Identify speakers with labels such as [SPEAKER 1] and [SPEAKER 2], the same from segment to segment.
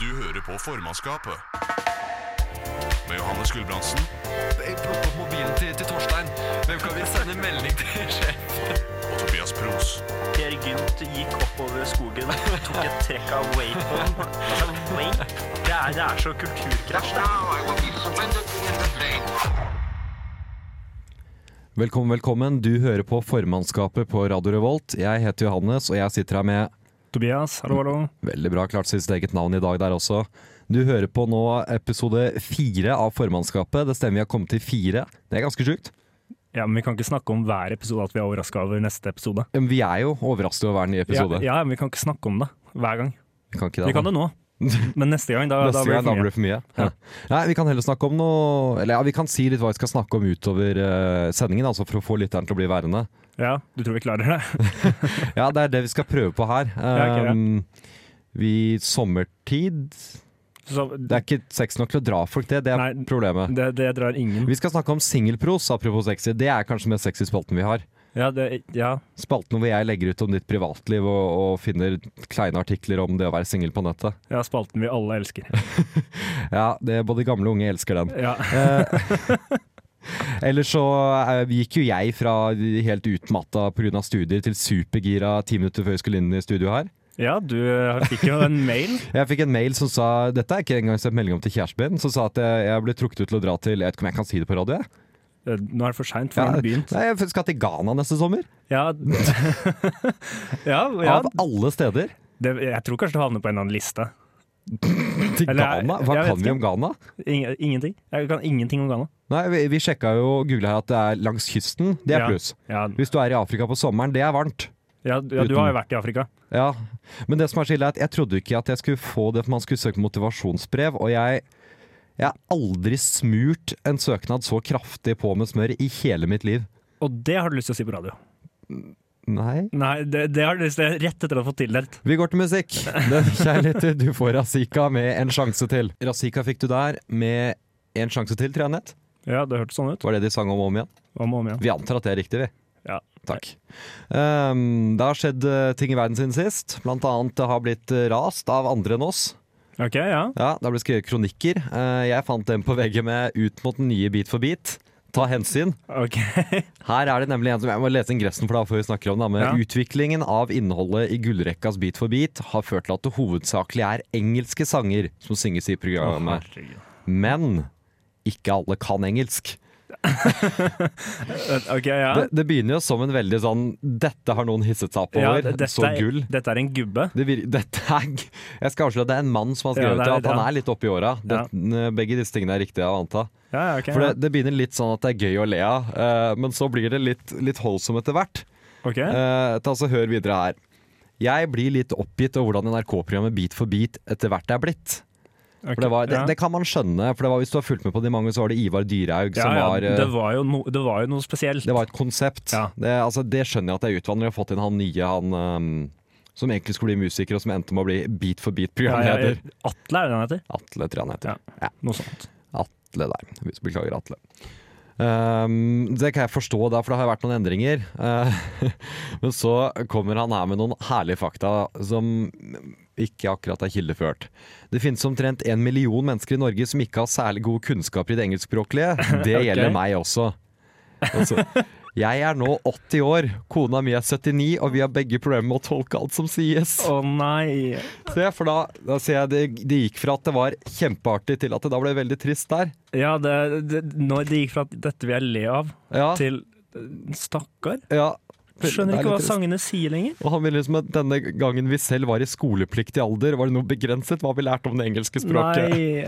[SPEAKER 1] Du hører på formannskapet. Med Johannes Gulbrandsen.
[SPEAKER 2] Jeg plukker opp mobilen til, til Torstein. Hvem kan vi sende melding til sjef?
[SPEAKER 1] Og Tobias Pros.
[SPEAKER 3] Per Gynt gikk oppover skogen, tok et trekk av wakeboarden. Altså, wake? Det er, det er så kulturkrasj. det.
[SPEAKER 4] Now I will be suspended in the plane.
[SPEAKER 5] Velkommen, velkommen. Du hører på formannskapet på Radio Revolt. Jeg heter Johannes, og jeg sitter her med
[SPEAKER 6] Tobias, hallo, hallo.
[SPEAKER 5] Veldig bra, klart sitt eget navn i dag der også. Du hører på nå episode fire av formannskapet. Det stemmer vi har kommet til fire. Det er ganske sjukt.
[SPEAKER 6] Ja, men Vi kan ikke snakke om hver episode at vi er overraska over neste episode.
[SPEAKER 5] Men Vi er jo overrasket over hver nye episode.
[SPEAKER 6] Ja, ja, men Vi kan ikke snakke om det hver gang.
[SPEAKER 5] Vi kan ikke
[SPEAKER 6] Vi
[SPEAKER 5] det.
[SPEAKER 6] kan det nå, men neste gang da,
[SPEAKER 5] Neste
[SPEAKER 6] da blir
[SPEAKER 5] gang da blir
[SPEAKER 6] det for mye.
[SPEAKER 5] det for mye. Ja. Nei, vi kan heller snakke om noe Eller ja, vi kan si litt hva vi skal snakke om utover eh, sendingen, altså for å få lytteren til å bli værende.
[SPEAKER 6] Ja, Du tror vi klarer det?
[SPEAKER 5] Ja, det er det vi skal prøve på her.
[SPEAKER 6] Ja, ok, ja.
[SPEAKER 5] Um, vi Sommertid
[SPEAKER 6] Så,
[SPEAKER 5] Det er ikke sex nok til å dra folk, det. Det er
[SPEAKER 6] Nei.
[SPEAKER 5] problemet.
[SPEAKER 6] det, det drar ingen.
[SPEAKER 5] Vi skal snakke om singelpros, apropos sexy. Det er kanskje den mest sexy spalten vi har.
[SPEAKER 6] Ja, det, ja.
[SPEAKER 5] Spalten hvor jeg legger ut om ditt privatliv og, og finner kleine artikler om det å være singel på nettet.
[SPEAKER 6] ja, spalten vi alle elsker.
[SPEAKER 5] Ja, det, både gamle og unge elsker den.
[SPEAKER 6] Ja,
[SPEAKER 5] Ellers så eh, gikk jo jeg fra helt utmatta pga. studier til supergira ti minutter før jeg skulle inn i studio her.
[SPEAKER 6] ja du fikk jo en mail.
[SPEAKER 5] Jeg fikk en mail som sa Dette er ikke engang sendt melding om til kjæresten min, som sa at jeg, jeg ble trukket ut til å dra til Jeg vet ikke om jeg kan si det på radio, jeg.
[SPEAKER 6] Eh, Nå er det for seint, for
[SPEAKER 5] Ja,
[SPEAKER 6] nå har det begynt.
[SPEAKER 5] nei, jeg skal til Ghana neste sommer.
[SPEAKER 6] Ja, ja, ja
[SPEAKER 5] Av alle steder.
[SPEAKER 6] det, jeg tror kanskje det havner på en eller annen liste.
[SPEAKER 5] Til
[SPEAKER 6] Eller,
[SPEAKER 5] Ghana? Hva
[SPEAKER 6] jeg vet
[SPEAKER 5] kan vi
[SPEAKER 6] ikke.
[SPEAKER 5] om Ghana?
[SPEAKER 6] Ingen- Ingenting. Jeg kan ingenting om Ghana.
[SPEAKER 5] Nei, vi, vi sjekka jo og googla her at det er langs kysten. Det er
[SPEAKER 6] Ja.
[SPEAKER 5] pluss.
[SPEAKER 6] Ja,
[SPEAKER 5] Hvis du er i Afrika på sommeren, det er varmt.
[SPEAKER 6] ja, ja, du har jo vært i Afrika.
[SPEAKER 5] Ja, Men det som er så ille er at jeg trodde ikke at jeg skulle få det, for man skulle søke motivasjonsbrev, og jeg jeg har aldri smurt en søknad så kraftig på med smør i hele mitt liv.
[SPEAKER 6] Og det har du lyst til å si på radio.
[SPEAKER 5] Nei.
[SPEAKER 6] Nei, det, det har du lyst til rett etter å ha fått tildelt.
[SPEAKER 5] Vi går til musikk. Det er Kjærligheter, du får Razika med en sjanse til. Razika fikk du der med en sjanse til, tror jeg, Nett.
[SPEAKER 6] Ja, det hørtes sånn ut.
[SPEAKER 5] Var det de sang om og om igjen?
[SPEAKER 6] Om og om igjen.
[SPEAKER 5] Vi antar at det er riktig, vi.
[SPEAKER 6] Ja.
[SPEAKER 5] Takk. Ehm, det har skjedd eh, ting i verden siden sist. Blant annet det har blitt eh, rast av andre enn oss.
[SPEAKER 6] Ok, ja.
[SPEAKER 5] Ja, Det har blitt skrevet kronikker. Eh, jeg fant den på VG med 'Ut mot den nye bit for bit'. Ta hensyn.
[SPEAKER 6] Ok.
[SPEAKER 5] Her er det nemlig en som Jeg må lese ingressen for deg før vi snakker om det. Men
[SPEAKER 6] Ja.
[SPEAKER 5] utviklingen av innholdet i Gullrekkas Bit for bit har ført til at det hovedsakelig er engelske sanger som synges i programmet.
[SPEAKER 6] Herregud.
[SPEAKER 5] Men ikke alle kan engelsk.
[SPEAKER 6] Ok, ja.
[SPEAKER 5] Det, det begynner jo som en veldig sånn Dette har noen hisset seg opp
[SPEAKER 6] ja
[SPEAKER 5] over.
[SPEAKER 6] dette,
[SPEAKER 5] så gull.
[SPEAKER 6] er, dette er en gubbe.
[SPEAKER 5] Det vir dette er, g- jeg skal avsløre at det er en mann som har
[SPEAKER 6] Ja,
[SPEAKER 5] skrevet
[SPEAKER 6] det
[SPEAKER 5] det,
[SPEAKER 6] er-
[SPEAKER 5] at han
[SPEAKER 6] ja.
[SPEAKER 5] er litt oppi åra. Det- Begge disse tingene er riktige å anta.
[SPEAKER 6] Ja, ja, ok.
[SPEAKER 5] For
[SPEAKER 6] ja.
[SPEAKER 5] det, det begynner litt sånn at det er gøy å le av, eh, men så blir det litt, litt holdsom etter hvert.
[SPEAKER 6] Ok.
[SPEAKER 5] Eh, ta så Hør videre her. Jeg blir litt oppgitt over hvordan NRK-programmet Beat for beat etter hvert er blitt.
[SPEAKER 6] ok,
[SPEAKER 5] For det, var, det,
[SPEAKER 6] ja.
[SPEAKER 5] det kan man skjønne, for det var, hvis du har fulgt med på de mange, så var det Ivar Dyrhaug
[SPEAKER 6] ja,
[SPEAKER 5] som
[SPEAKER 6] ja,
[SPEAKER 5] var eh,
[SPEAKER 6] det, var jo no, det var jo noe spesielt.
[SPEAKER 5] Det var et konsept.
[SPEAKER 6] Ja.
[SPEAKER 5] Det, altså, det skjønner jeg at det er utvannet. Vi har fått inn han nye, han ehm, som egentlig skulle bli musiker, og som endte med å bli Beat for
[SPEAKER 6] Ja, ja,
[SPEAKER 5] beat-programleder.
[SPEAKER 6] Atle er det han heter.
[SPEAKER 5] Atle, tror jeg han heter.
[SPEAKER 6] Noe sånt.
[SPEAKER 5] Atle der. Hvis- Beklager, Atle. Ehm, det kan jeg forstå, da, for det har vært noen endringer. Eh, men så kommer han her med noen herlige fakta som ikke akkurat er kildeført. Det finnes omtrent en million mennesker i Norge som ikke har særlig gode kunnskaper i det engelskspråklige. Det
[SPEAKER 6] Ok.
[SPEAKER 5] gjelder meg også. Altså, jeg er nå 80 år, kona mi er 79, og vi har begge problemer med å tolke alt som sies.
[SPEAKER 6] Å nei.
[SPEAKER 5] Se, for da, da ser jeg det, det gikk fra at det var kjempeartig, til at det da ble veldig trist der.
[SPEAKER 6] Ja, det, det, når det gikk fra at dette vil jeg le av,
[SPEAKER 5] Ja.
[SPEAKER 6] til eh, stakkar.
[SPEAKER 5] Ja.
[SPEAKER 6] Skjønner
[SPEAKER 5] Det er
[SPEAKER 6] ikke
[SPEAKER 5] litt
[SPEAKER 6] hva
[SPEAKER 5] trist.
[SPEAKER 6] sangene sier lenger.
[SPEAKER 5] Og han ville liksom at denne gangen vi selv var i skolepliktig alder, var det noe begrenset hva vi lærte om det engelske språket.
[SPEAKER 6] Nei.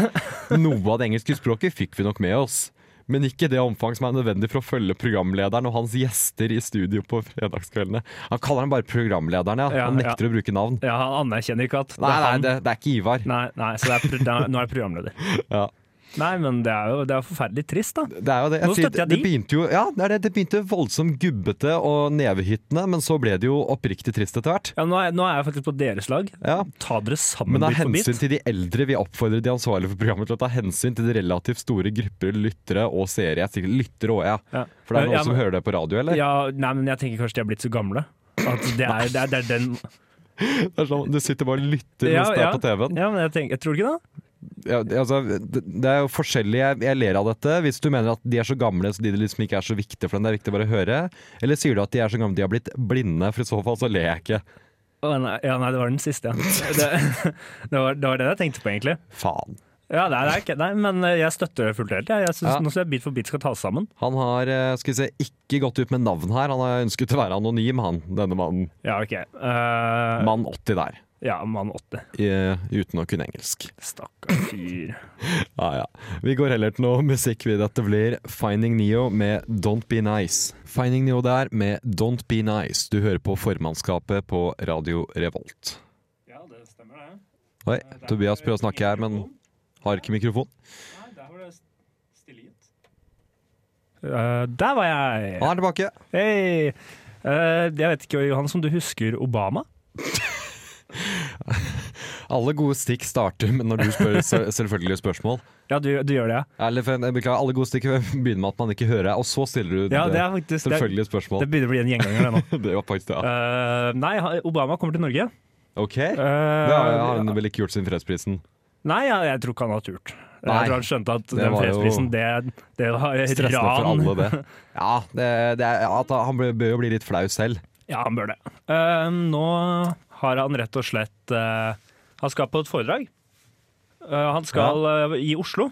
[SPEAKER 5] Noe av det engelske språket fikk vi nok med oss. Men ikke det omfang som er nødvendig for å følge programlederen og hans gjester i studio på fredagskveldene. Han kaller han bare programlederen, ja.
[SPEAKER 6] Ja,
[SPEAKER 5] han nekter å bruke navn.
[SPEAKER 6] Ja, han anerkjenner ikke at det er
[SPEAKER 5] Nei, nei,
[SPEAKER 6] han.
[SPEAKER 5] det, det er ikke Ivar.
[SPEAKER 6] Nei, nei så det er, pro- det er, nå er jeg programleder.
[SPEAKER 5] Ja.
[SPEAKER 6] Nei, men det er jo det er forferdelig trist, da.
[SPEAKER 5] Det er jo det.
[SPEAKER 6] Nå
[SPEAKER 5] sier-
[SPEAKER 6] støtter jeg
[SPEAKER 5] det
[SPEAKER 6] de.
[SPEAKER 5] begynte jo, ja, det, er det, det begynte voldsomt gubbete og nevehyttende, men så ble det jo oppriktig trist etter hvert.
[SPEAKER 6] Ja, nå, er, nå er jeg faktisk på deres lag.
[SPEAKER 5] Ja.
[SPEAKER 6] Ta dere sammen
[SPEAKER 5] Men av
[SPEAKER 6] bit for
[SPEAKER 5] hensyn
[SPEAKER 6] bit.
[SPEAKER 5] til de eldre vil jeg oppfordre de ansvarlige for programmet til å ta hensyn til de relativt store grupper lyttere og seere. Jeg sier lyttere òg, ja.
[SPEAKER 6] Ja.
[SPEAKER 5] For det er noen
[SPEAKER 6] Ja,
[SPEAKER 5] som
[SPEAKER 6] men-
[SPEAKER 5] hører det på radio, eller?
[SPEAKER 6] Ja, nei, men jeg tenker kanskje de er blitt så gamle. At det er, det er, det er den
[SPEAKER 5] Det er sånn, du sitter bare og lytter
[SPEAKER 6] Ja,
[SPEAKER 5] mens det
[SPEAKER 6] ja.
[SPEAKER 5] er på TV-en.
[SPEAKER 6] Ja, men jeg, tenker, jeg tror ikke det.
[SPEAKER 5] Ja, det- altså, det det er jo forskjellig. Jeg, jeg ler av dette. Hvis du mener at de er så gamle så de liksom ikke er så viktige for dem, det er viktig bare å høre. Eller sier du at de er så gamle de har blitt blinde, for i så fall så ler jeg ikke.
[SPEAKER 6] Å, nei, ja, nei, det var den siste, ja. Det, det, var, det var det jeg tenkte på, egentlig.
[SPEAKER 5] Faen.
[SPEAKER 6] Ja, nei, det er ikke, nei, men eh, jeg støtter det fullt og helt. jeg. Jeg synes,
[SPEAKER 5] Ja.
[SPEAKER 6] Nå syns jeg Bit for bit skal tas sammen.
[SPEAKER 5] Han har eh, skal vi se, ikke gått ut med navn her. Han har ønsket å være anonym, han, denne mannen.
[SPEAKER 6] Ja, OK. Eh,
[SPEAKER 5] Mann 80 der,
[SPEAKER 6] ja, mann 80.
[SPEAKER 5] i, uten å kunne engelsk.
[SPEAKER 6] Stakkars fyr.
[SPEAKER 5] Ja, ja. Vi går heller til noe musikk vi dette blir Finding Neo med Don't Be Nice. Finding Neo der med Don't Be Nice. Du hører på formannskapet på Radio Revolt.
[SPEAKER 6] Ja, det stemmer, det.
[SPEAKER 5] Oi, Tobias prøver å snakke her, men har ikke mikrofon.
[SPEAKER 6] Nei, der var det stille gitt. Eh, der var jeg!
[SPEAKER 5] Han er tilbake.
[SPEAKER 6] Hei! Eh, jeg vet ikke, Johannes, om du husker Obama?
[SPEAKER 5] Alle gode stikk starter med når du spør se- selvfølgelig spørsmål.
[SPEAKER 6] Ja, du, du gjør det, ja.
[SPEAKER 5] Eller, for- jeg beklager, alle gode stikk begynner med at man ikke hører deg, og så stiller du
[SPEAKER 6] ja det,
[SPEAKER 5] det
[SPEAKER 6] er faktisk, det, er-
[SPEAKER 5] selvfølgelige spørsmål.
[SPEAKER 6] det begynner å bli en gjenganger, det nå.
[SPEAKER 5] Det var faktisk det. ja.
[SPEAKER 6] Eh, nei, ha- Obama kommer til Norge.
[SPEAKER 5] OK?
[SPEAKER 6] Eh,
[SPEAKER 5] Det har har han vel ikke gjort sin fredsprisen.
[SPEAKER 6] Nei, jeg, jeg tror ikke han har turt.
[SPEAKER 5] Nei.
[SPEAKER 6] Jeg tror han skjønte at den
[SPEAKER 5] var jo
[SPEAKER 6] fredsprisen, det, det var et
[SPEAKER 5] Stressende for
[SPEAKER 6] ran.
[SPEAKER 5] alle, det. Ja, det, det er, at han bør bør jo bli litt flau selv.
[SPEAKER 6] Ja, han bør det. Eh, nå har han rett og slett eh, Han skal på et foredrag. Eh, han skal eh, i Oslo.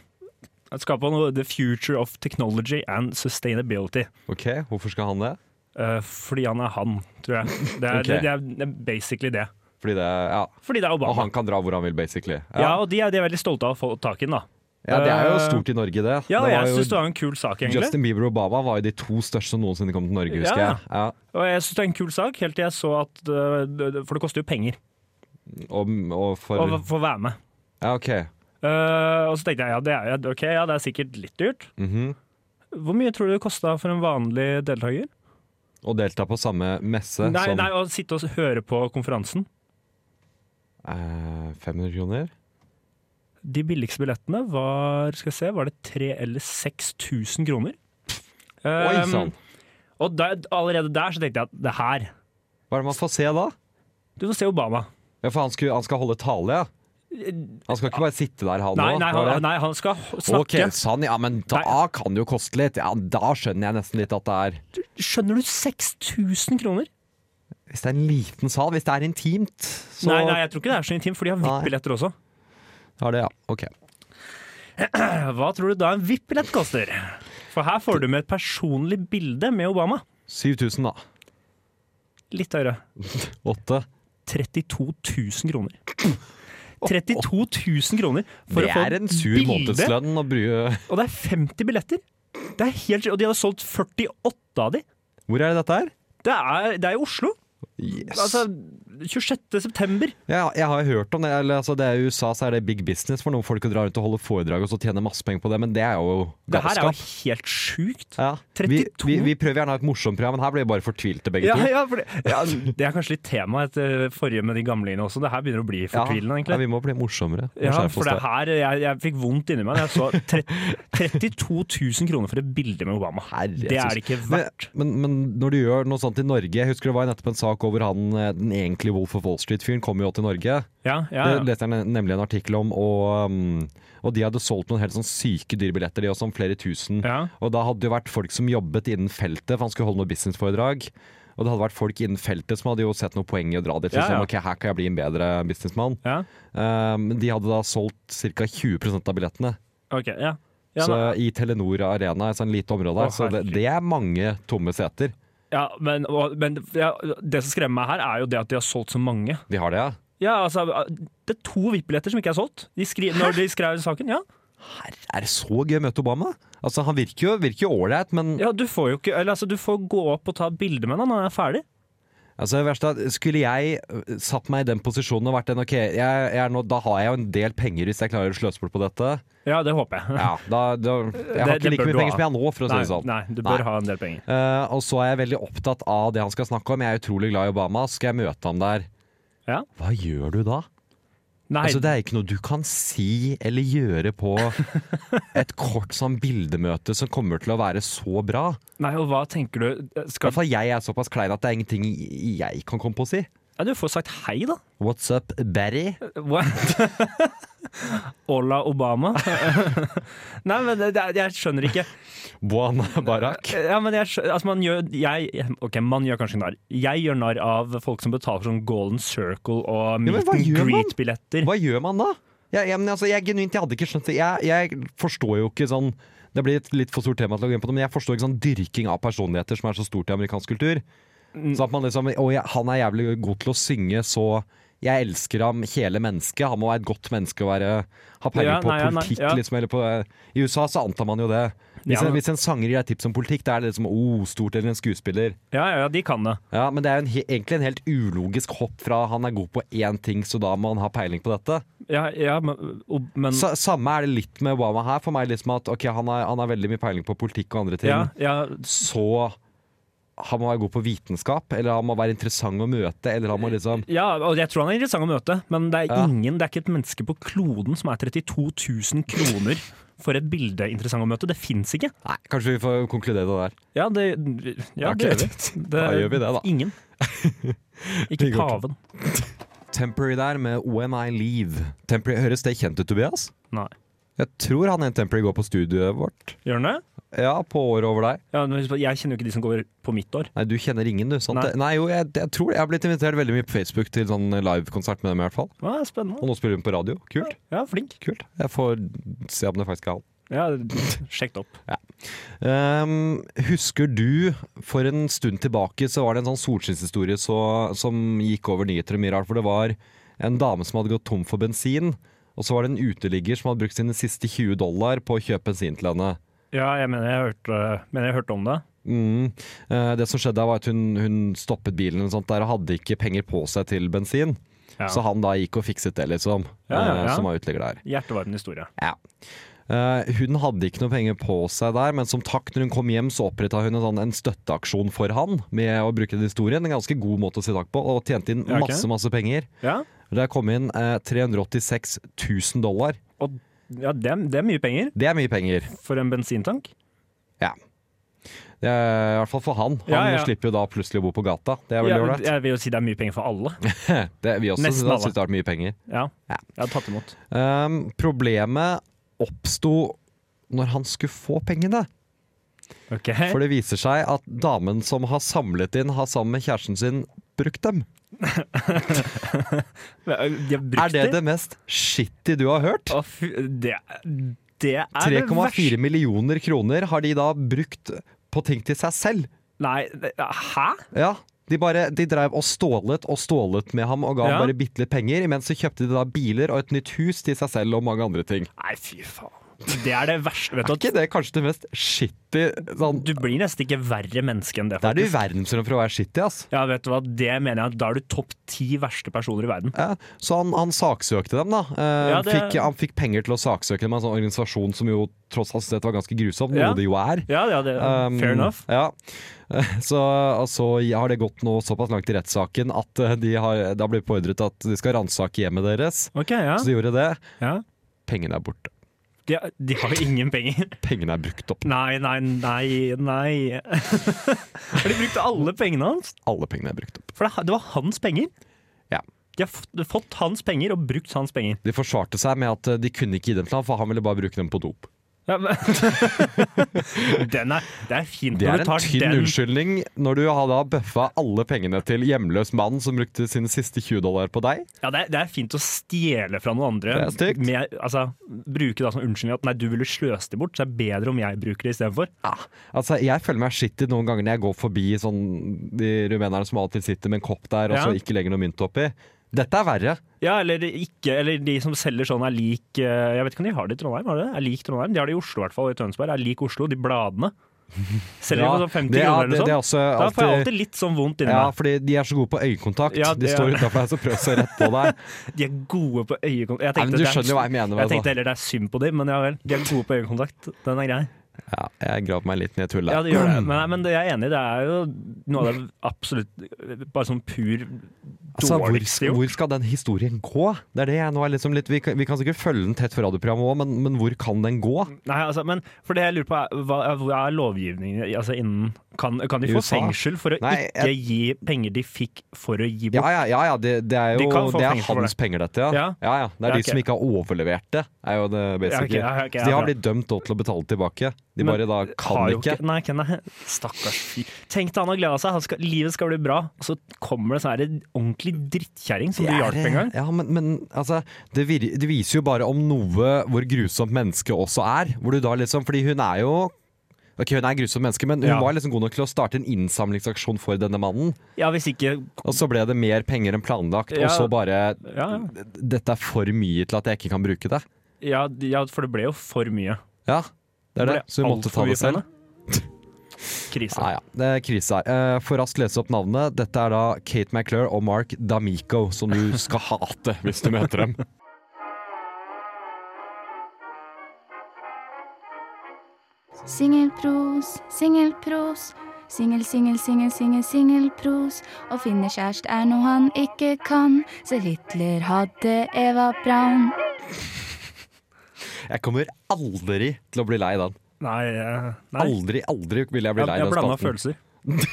[SPEAKER 6] Han skal på noe The Future of Technology and Sustainability.
[SPEAKER 5] Ok, Hvorfor skal han det?
[SPEAKER 6] Eh, fordi han er han, tror jeg. Det er,
[SPEAKER 5] Ok.
[SPEAKER 6] det, det, er, det er basically det.
[SPEAKER 5] Fordi det, ja
[SPEAKER 6] Fordi det er
[SPEAKER 5] Og
[SPEAKER 6] Obama.
[SPEAKER 5] han kan dra hvor han vil, basically.
[SPEAKER 6] Ja, og de er, de er veldig stolte av å få tak i den, da.
[SPEAKER 5] Ja, Det er jo
[SPEAKER 6] eh,
[SPEAKER 5] stort i Norge, det.
[SPEAKER 6] Ja,
[SPEAKER 5] det var
[SPEAKER 6] jeg
[SPEAKER 5] jo-
[SPEAKER 6] syns det var en kul sak, egentlig.
[SPEAKER 5] Justin Bieber og Obama var jo de to største som noensinne kom til Norge, husker
[SPEAKER 6] Ja.
[SPEAKER 5] jeg. Ja,
[SPEAKER 6] Og jeg syns det er en kul sak, helt til jeg så at øh, det- det- For det koster jo penger
[SPEAKER 5] og, og for
[SPEAKER 6] å v- få være med.
[SPEAKER 5] Ja, OK.
[SPEAKER 6] Eh, og så tenkte jeg ja det, er, jo- ok, ja, det er sikkert litt dyrt.
[SPEAKER 5] Mhm.
[SPEAKER 6] Hvor mye tror du det kosta for en vanlig deltaker?
[SPEAKER 5] Og delta på samme messe
[SPEAKER 6] Nei,
[SPEAKER 5] som
[SPEAKER 6] nei, å sitte og høre på konferansen.
[SPEAKER 5] eh, 500 kroner?
[SPEAKER 6] De billigste billettene var skal jeg se, var det 3000 eller 6000 kroner.
[SPEAKER 5] Oi sånn.
[SPEAKER 6] Eh,
[SPEAKER 5] sann!
[SPEAKER 6] og da, allerede der så tenkte jeg at det her
[SPEAKER 5] Hva er det man får se da?
[SPEAKER 6] Du får se Obama.
[SPEAKER 5] Ja, for han, skulle, han skal holde tale, ja? Han skal ikke bare sitte der, han
[SPEAKER 6] eh, Nei,
[SPEAKER 5] også,
[SPEAKER 6] nei,
[SPEAKER 5] var det?
[SPEAKER 6] han, nei, han skal h- snakke.
[SPEAKER 5] Ok, sånn, ja, men da
[SPEAKER 6] Nei.
[SPEAKER 5] kan det jo koste litt. Ja, da skjønner jeg nesten litt at det er
[SPEAKER 6] Skjønner du 6000 kroner?
[SPEAKER 5] Hvis det er en liten sal, hvis det er intimt, så
[SPEAKER 6] Nei, nei, jeg tror ikke det er så intimt, for de har
[SPEAKER 5] Nei.
[SPEAKER 6] VIP-billetter også.
[SPEAKER 5] har det, ja. Ok.
[SPEAKER 6] Hva tror du da en VIP-billett koster? For her får du med et personlig bilde med Obama.
[SPEAKER 5] 7000, da.
[SPEAKER 6] Litt høyere.
[SPEAKER 5] Åtte.
[SPEAKER 6] 32 000 kroner. 32 000 kroner for
[SPEAKER 5] Det
[SPEAKER 6] å få
[SPEAKER 5] er en sur
[SPEAKER 6] bilde,
[SPEAKER 5] månedslønn å bruke
[SPEAKER 6] Og det er 50 billetter! Det er helt, og de hadde solgt 48 av de.
[SPEAKER 5] Hvor er det dette her?
[SPEAKER 6] Det er, det er i Oslo.
[SPEAKER 5] Yes.
[SPEAKER 6] Altså 26. september.
[SPEAKER 5] ja, jeg har jo hørt om det. Eller, altså, det er I USA så er det big business for noen folk å dra rundt og holde foredrag og så tjene masse penger på det, men det er jo
[SPEAKER 6] Det her er
[SPEAKER 5] galskap.
[SPEAKER 6] jo helt sjukt.
[SPEAKER 5] Ja. Vi,
[SPEAKER 6] 32.
[SPEAKER 5] vi, vi prøver gjerne å ha et morsomt program, men her blir vi bare fortvilte begge
[SPEAKER 6] Ja,
[SPEAKER 5] to.
[SPEAKER 6] ja, for det, ja, det er kanskje litt tema etter forrige med de gamlingene også. Det her begynner å bli fortvilende, egentlig.
[SPEAKER 5] ja, vi må bli morsommere. Må
[SPEAKER 6] Ja,
[SPEAKER 5] skjerpe
[SPEAKER 6] for
[SPEAKER 5] oss
[SPEAKER 6] det
[SPEAKER 5] der.
[SPEAKER 6] her, jeg, jeg fikk vondt inni meg da jeg så tre- 32 000 kroner for et bilde med Obama.
[SPEAKER 5] Herre
[SPEAKER 6] det er det
[SPEAKER 5] Jesus.
[SPEAKER 6] ikke verdt.
[SPEAKER 5] Men, men, men når du gjør noe sånt i Norge Jeg husker det var nettopp en sak over han eh, den egentlige Wolf of Wall Street-fyren kom jo til Norge.
[SPEAKER 6] Ja, ja,
[SPEAKER 5] Det
[SPEAKER 6] ja.
[SPEAKER 5] leste jeg ne- nemlig en artikkel om, og, um, og de hadde solgt noen helt sånn syke dyrebilletter, de også, om flere tusen.
[SPEAKER 6] Ja.
[SPEAKER 5] Og da hadde det jo vært folk som jobbet innen feltet, for han skulle holde noe businessforedrag. Og det hadde vært folk innen feltet som hadde jo sett noe poeng i å dra dit.
[SPEAKER 6] Ja,
[SPEAKER 5] Ja,
[SPEAKER 6] ja.
[SPEAKER 5] Ok, her kan jeg bli en bedre businessmann.
[SPEAKER 6] ja.
[SPEAKER 5] Um, de hadde da solgt ca. 20 av billettene.
[SPEAKER 6] Ok, ja. Ja,
[SPEAKER 5] så
[SPEAKER 6] nei.
[SPEAKER 5] i Telenor Arena, et sånt lite område der,
[SPEAKER 6] Å,
[SPEAKER 5] så det,
[SPEAKER 6] herregud.
[SPEAKER 5] det er mange tomme seter.
[SPEAKER 6] ja, men, og, men ja, det som skremmer meg her, er jo det at de har solgt så mange.
[SPEAKER 5] De har det, ja?
[SPEAKER 6] Ja, altså, Det er to VIP-billetter som ikke er solgt. De skri, når de skrev saken, ja.
[SPEAKER 5] Her er det så gøy å møte Obama? Altså, han virker jo- virker jo ålreit, men
[SPEAKER 6] ja du får jo ikke Eller altså, du får gå opp og ta et bilde med den når den er ferdig.
[SPEAKER 5] Altså, det verste er at skulle jeg ø, satt meg i den posisjonen og vært den, ok, jeg, jeg er nå, da har jeg jo en del penger hvis jeg klarer å sløse bort på dette.
[SPEAKER 6] Ja, det håper jeg.
[SPEAKER 5] Ja, da, da, jeg har ikke
[SPEAKER 6] Det- det
[SPEAKER 5] like mye
[SPEAKER 6] bør du
[SPEAKER 5] penger
[SPEAKER 6] ha.
[SPEAKER 5] som jeg har nå, for å si
[SPEAKER 6] Nei,
[SPEAKER 5] det sånn.
[SPEAKER 6] nei, du bør
[SPEAKER 5] Nei.
[SPEAKER 6] ha en del penger.
[SPEAKER 5] Eh, og så er jeg veldig opptatt av det han skal snakke om. Jeg er utrolig glad i Obama. Skal jeg møte ham der?
[SPEAKER 6] Ja.
[SPEAKER 5] Hva gjør du da?
[SPEAKER 6] Nei,
[SPEAKER 5] Altså, det er ikke noe du kan si eller gjøre på et kort sånn bildemøte som kommer til å være så bra.
[SPEAKER 6] nei, og hva tenker du
[SPEAKER 5] I
[SPEAKER 6] skal,
[SPEAKER 5] hvert fall jeg er såpass klein at det er ingenting jeg kan komme på å si.
[SPEAKER 6] Ja, du får sagt hei, da.
[SPEAKER 5] What's up, Barry?
[SPEAKER 6] What? Ola Obama? Nei, men det, det, jeg skjønner ikke.
[SPEAKER 5] Buana Barak?
[SPEAKER 6] Ja, men jeg, skjø- altså man gjør jeg, Ok, man gjør kanskje narr. Jeg gjør narr av folk som betaler sånn Golden Circle og
[SPEAKER 5] men
[SPEAKER 6] meet
[SPEAKER 5] hva
[SPEAKER 6] and
[SPEAKER 5] gjør man?
[SPEAKER 6] greet-billetter.
[SPEAKER 5] Hva gjør man da? Jeg, jeg, men altså, jeg genuint, jeg hadde ikke skjønt det. Jeg, jeg forstår jo ikke sånn det blir et litt for stort tema til å gå inn på det, men jeg forstår ikke sånn dyrking av personligheter som er så stort i amerikansk kultur.
[SPEAKER 6] Mm.
[SPEAKER 5] Så at man liksom, «Å, jeg, Han er jævlig god til å synge, så jeg elsker ham, hele mennesket. Han må være et godt menneske og være, ha peiling
[SPEAKER 6] Ja,
[SPEAKER 5] på
[SPEAKER 6] nei, ja, nei,
[SPEAKER 5] politikk.
[SPEAKER 6] ja.
[SPEAKER 5] Liksom, eller på, I USA så antar man jo det. Hvis,
[SPEAKER 6] Ja.
[SPEAKER 5] en, hvis en sanger gir deg tips om politikk, da er det liksom oh, stort, eller en skuespiller.
[SPEAKER 6] Ja, ja, ja, de kan det.
[SPEAKER 5] Ja, Men det er jo en, he- egentlig en helt ulogisk hopp fra han er god på én ting, så da må han ha peiling på dette.
[SPEAKER 6] Ja, ja, men, og- men
[SPEAKER 5] Sa, samme er det litt med Obama her. For meg liksom at ok, han har, han har veldig mye peiling på politikk og andre ting.
[SPEAKER 6] ja, ja,
[SPEAKER 5] Så han må være god på vitenskap, eller han må være interessant å møte. Eller han må liksom
[SPEAKER 6] ja, og jeg tror han er interessant å møte, men det er
[SPEAKER 5] Ja.
[SPEAKER 6] ingen, det er ikke et menneske på kloden som er 32 000 kroner for et bilde interessant å møte. Det fins ikke.
[SPEAKER 5] Nei, kanskje vi får konkludere det der.
[SPEAKER 6] Ja, det, ja,
[SPEAKER 5] Ok.
[SPEAKER 6] det gjør vi. Det,
[SPEAKER 5] Da gjør vi det, da.
[SPEAKER 6] Ingen. Ikke
[SPEAKER 5] Det går ikke.
[SPEAKER 6] paven.
[SPEAKER 5] Temporary der med When I Leave. Temporary, høres det kjent ut, Tobias?
[SPEAKER 6] Nei.
[SPEAKER 5] Jeg tror han en Temporary går på studioet vårt.
[SPEAKER 6] Gjør den det?
[SPEAKER 5] Ja, på året over deg.
[SPEAKER 6] Ja, men husk på, jeg kjenner jo ikke de som går på mitt år.
[SPEAKER 5] Nei, du kjenner ingen, du. Sant?
[SPEAKER 6] Nei.
[SPEAKER 5] Nei. jo, jeg, jeg tror Jeg har blitt invitert veldig mye på Facebook til sånn livekonsert med dem, i hvert fall.
[SPEAKER 6] Ja, spennende.
[SPEAKER 5] Og nå spiller hun på radio. Kult.
[SPEAKER 6] Ja, flink.
[SPEAKER 5] Kult. Jeg får se om det faktisk er han.
[SPEAKER 6] Ja, Sjekk det opp.
[SPEAKER 5] Ehm, husker du, for en stund tilbake så var det en sånn solskinnshistorie så, som gikk over nyheter og mye rart, for det var en dame som hadde gått tom for bensin, og så var det en uteligger som hadde brukt sine siste 20 dollar på å kjøpe bensin til henne.
[SPEAKER 6] Ja, jeg mener jeg hørte, mener jeg hørte om det.
[SPEAKER 5] Mm. Eh, det som skjedde da var at hun, hun stoppet bilen og sånt der, og hadde ikke penger på seg til bensin,
[SPEAKER 6] Ja.
[SPEAKER 5] så han da gikk og fikset det, liksom,
[SPEAKER 6] Ja, ja,
[SPEAKER 5] eh,
[SPEAKER 6] ja.
[SPEAKER 5] som var uteligger der.
[SPEAKER 6] Hjertevarm historie.
[SPEAKER 5] Ja. Eh, hun hadde ikke noe penger på seg der, men som takk når hun kom hjem, så oppretta hun en, sånn, en støtteaksjon for han, med å bruke den historien. En ganske god måte å si takk på, og tjente inn
[SPEAKER 6] Ja, ok.
[SPEAKER 5] masse, masse penger.
[SPEAKER 6] Ja,
[SPEAKER 5] Det kom inn eh, 386 000 dollar.
[SPEAKER 6] og ja, det, er- det er mye penger
[SPEAKER 5] Det er mye penger.
[SPEAKER 6] for en bensintank.
[SPEAKER 5] Ja. Det er, I hvert fall for han. Han
[SPEAKER 6] Ja, ja.
[SPEAKER 5] slipper jo da plutselig å bo på gata. Det er veldig
[SPEAKER 6] Ja,
[SPEAKER 5] ålreit.
[SPEAKER 6] jeg vil jo si det er mye penger for alle.
[SPEAKER 5] Det- Vi også
[SPEAKER 6] Nesten
[SPEAKER 5] syns det
[SPEAKER 6] alle.
[SPEAKER 5] har vært mye penger.
[SPEAKER 6] Ja,
[SPEAKER 5] Ja.
[SPEAKER 6] jeg har tatt imot.
[SPEAKER 5] Ehm, problemet oppsto når han skulle få pengene.
[SPEAKER 6] Ok,
[SPEAKER 5] For det viser seg at damen som har samlet inn, har sammen med kjæresten sin brukt dem.
[SPEAKER 6] De har
[SPEAKER 5] Er
[SPEAKER 6] brukt
[SPEAKER 5] det
[SPEAKER 6] det.
[SPEAKER 5] det mest shitty du har hørt?
[SPEAKER 6] Å, fy- det, det er det verste
[SPEAKER 5] 3,4 millioner kroner har de da brukt på ting til seg selv.
[SPEAKER 6] Nei, det- hæ?
[SPEAKER 5] Ja, De, bare, de drev og stålet og stålet med ham og ga
[SPEAKER 6] Ja.
[SPEAKER 5] ham bare bitte litt penger. Imens så kjøpte de da biler og et nytt hus til seg selv og mange andre ting.
[SPEAKER 6] Nei, fy faen. Det er det verste. Vet
[SPEAKER 5] Er
[SPEAKER 6] du,
[SPEAKER 5] ikke
[SPEAKER 6] at
[SPEAKER 5] det kanskje det mest shitty sånn,
[SPEAKER 6] du blir nesten ikke verre menneske enn det,
[SPEAKER 5] Da er du
[SPEAKER 6] faktisk.
[SPEAKER 5] i verdensrommet for å være shitty, ass.
[SPEAKER 6] Ja, vet du hva, det mener jeg at da er du topp ti verste personer i verden.
[SPEAKER 5] Ja, så han, han saksøkte dem, da. Eh,
[SPEAKER 6] Ja, det-
[SPEAKER 5] fikk, han fikk penger til å saksøke dem, en sånn organisasjon som jo tross alt sett var ganske grusom, noe
[SPEAKER 6] Ja.
[SPEAKER 5] det jo er.
[SPEAKER 6] Ja, ja, det,
[SPEAKER 5] Um,
[SPEAKER 6] fair enough.
[SPEAKER 5] Ja. Eh, Så altså, har det gått nå såpass langt i rettssaken at eh, de har, det har blitt beordret at de skal ransake hjemmet deres.
[SPEAKER 6] Ok, ja.
[SPEAKER 5] Så de gjorde det.
[SPEAKER 6] ja.
[SPEAKER 5] Pengene er borte.
[SPEAKER 6] De, de har jo ingen penger.
[SPEAKER 5] Pengene er brukt opp.
[SPEAKER 6] Nei, nei, nei, nei. Har de brukt alle pengene hans?
[SPEAKER 5] Alle pengene er brukt opp.
[SPEAKER 6] For det, det var hans penger.
[SPEAKER 5] Ja.
[SPEAKER 6] De har fått, fått hans penger og brukt hans penger.
[SPEAKER 5] De forsvarte seg med at eh, de kunne ikke gi dem til ham, for han ville bare bruke dem på dop.
[SPEAKER 6] Ja, men- den er, det er fint
[SPEAKER 5] Det
[SPEAKER 6] når
[SPEAKER 5] er
[SPEAKER 6] du
[SPEAKER 5] en
[SPEAKER 6] tar
[SPEAKER 5] tynn
[SPEAKER 6] den.
[SPEAKER 5] unnskyldning når du har da bøffa alle pengene til hjemløs mann som brukte sine siste 20 dollar på deg.
[SPEAKER 6] Ja, det, er, det er fint å stjele fra noen andre.
[SPEAKER 5] Det er stygt.
[SPEAKER 6] Med, altså, bruke det som unnskyldning at nei, du ville sløse det bort, så det er bedre om jeg bruker det istedenfor.
[SPEAKER 5] Ja, altså Jeg føler meg shitty noen ganger når jeg går forbi sånn, de rumenerne som alltid sitter med en kopp der, og
[SPEAKER 6] Ja.
[SPEAKER 5] så ikke legger noe mynt oppi. Dette er verre.
[SPEAKER 6] Ja, eller ikke Eller de som selger sånn er lik eh, Jeg vet ikke om de har det i Trondheim? Har de det? Er lik Trondheim? De har det i Oslo i hvert fall, og i Tønsberg. Er lik Oslo, de bladene. Selger
[SPEAKER 5] Ja,
[SPEAKER 6] de for sånn 50
[SPEAKER 5] det er-
[SPEAKER 6] kroner eller
[SPEAKER 5] det-
[SPEAKER 6] sånn.
[SPEAKER 5] det er også
[SPEAKER 6] da får jeg
[SPEAKER 5] alltid-
[SPEAKER 6] alltid litt sånn vondt inni
[SPEAKER 5] Ja, fordi de er så gode på øyekontakt.
[SPEAKER 6] Ja,
[SPEAKER 5] de
[SPEAKER 6] det-
[SPEAKER 5] står utafor her og prøver å se rett på deg.
[SPEAKER 6] meg. De er gode på øyekontakt. Jeg
[SPEAKER 5] Nei, men
[SPEAKER 6] tenkte
[SPEAKER 5] du
[SPEAKER 6] det er-
[SPEAKER 5] skjønner jo hva jeg mener altså. med det,
[SPEAKER 6] Jeg
[SPEAKER 5] da.
[SPEAKER 6] tenkte heller det er synd på dem, men ja vel. De er gode på øyekontakt. Den er grei.
[SPEAKER 5] Ja, jeg graver meg litt ned i tullet.
[SPEAKER 6] Ja, det gjør det. Men, nei, men det jeg er enig i, det er jo noe av det absolutt Bare sånn pur
[SPEAKER 5] Altså, hvor,
[SPEAKER 6] dårligste gjort.
[SPEAKER 5] hvor skal den historien gå? Det er det jeg nå er liksom litt Vi kan, vi kan sikkert følge den tett for radioprogrammet òg, men, men hvor kan den gå?
[SPEAKER 6] Nei, altså, men for det jeg lurer på er, hva, hvor er lovgivningen i- altså, innen Kan, kan de
[SPEAKER 5] I
[SPEAKER 6] få
[SPEAKER 5] USA?
[SPEAKER 6] fengsel for å
[SPEAKER 5] Nei,
[SPEAKER 6] ikke gi penger de fikk for å gi
[SPEAKER 5] Ja
[SPEAKER 6] bort?
[SPEAKER 5] ja, ja, ja det, det er
[SPEAKER 6] De
[SPEAKER 5] jo
[SPEAKER 6] kan få
[SPEAKER 5] det er
[SPEAKER 6] penger for
[SPEAKER 5] hans penger, dette. Ja. Ja.
[SPEAKER 6] Ja.
[SPEAKER 5] ja, Det er
[SPEAKER 6] Ja,
[SPEAKER 5] de som
[SPEAKER 6] ok.
[SPEAKER 5] ikke har overlevert det, er jo det basically.
[SPEAKER 6] Ja, ok, ja, ok, ja,
[SPEAKER 5] Så de har
[SPEAKER 6] bra.
[SPEAKER 5] blitt dømt da til å betale tilbake. De
[SPEAKER 6] Men
[SPEAKER 5] bare da kan
[SPEAKER 6] Har jo
[SPEAKER 5] ikke.
[SPEAKER 6] Nei, ikke- nei. Stakkars fyr. Tenk deg han har gleda seg, han skal, livet skal bli bra, og så kommer det sånn her en ordentlig drittkjerring som du
[SPEAKER 5] Det er-
[SPEAKER 6] hjalp en gang.
[SPEAKER 5] Ja, men, men altså, det, vir det viser jo bare om noe hvor grusomt mennesket også er. Hvor du da liksom, fordi hun er jo Ok, hun er et grusomt menneske, men hun
[SPEAKER 6] Ja.
[SPEAKER 5] var liksom god nok til å starte en innsamlingsaksjon for denne mannen.
[SPEAKER 6] Ja, hvis ikke
[SPEAKER 5] Og så ble det mer penger enn planlagt,
[SPEAKER 6] Ja.
[SPEAKER 5] og så bare
[SPEAKER 6] Ja, ja.
[SPEAKER 5] Dette er for mye til at jeg ikke kan bruke det.
[SPEAKER 6] Ja, d- ja, for det ble jo for mye.
[SPEAKER 5] Ja, det er det.
[SPEAKER 6] ble
[SPEAKER 5] Så hun
[SPEAKER 6] alt
[SPEAKER 5] måtte
[SPEAKER 6] for
[SPEAKER 5] ta
[SPEAKER 6] mye
[SPEAKER 5] det
[SPEAKER 6] for
[SPEAKER 5] selv.
[SPEAKER 6] henne. Krise.
[SPEAKER 5] Ja, ja. Det er krise her. Eh, For raskt lese opp navnet. Dette er da Kate McClure og Mark D'Amico, som du skal hate hvis du møter dem.
[SPEAKER 7] Singelpros, singelpros. Singel, singel, singel, singel, singelpros. Å finne kjæreste er noe han ikke kan, så Hitler hadde Eva Braun.
[SPEAKER 5] Jeg kommer aldri til å bli lei den.
[SPEAKER 6] Nei, jeg- nei.
[SPEAKER 5] Aldri, aldri vil jeg bli
[SPEAKER 6] jeg,
[SPEAKER 5] lei
[SPEAKER 6] jeg
[SPEAKER 5] den
[SPEAKER 6] blanda
[SPEAKER 5] spalten.
[SPEAKER 6] følelser.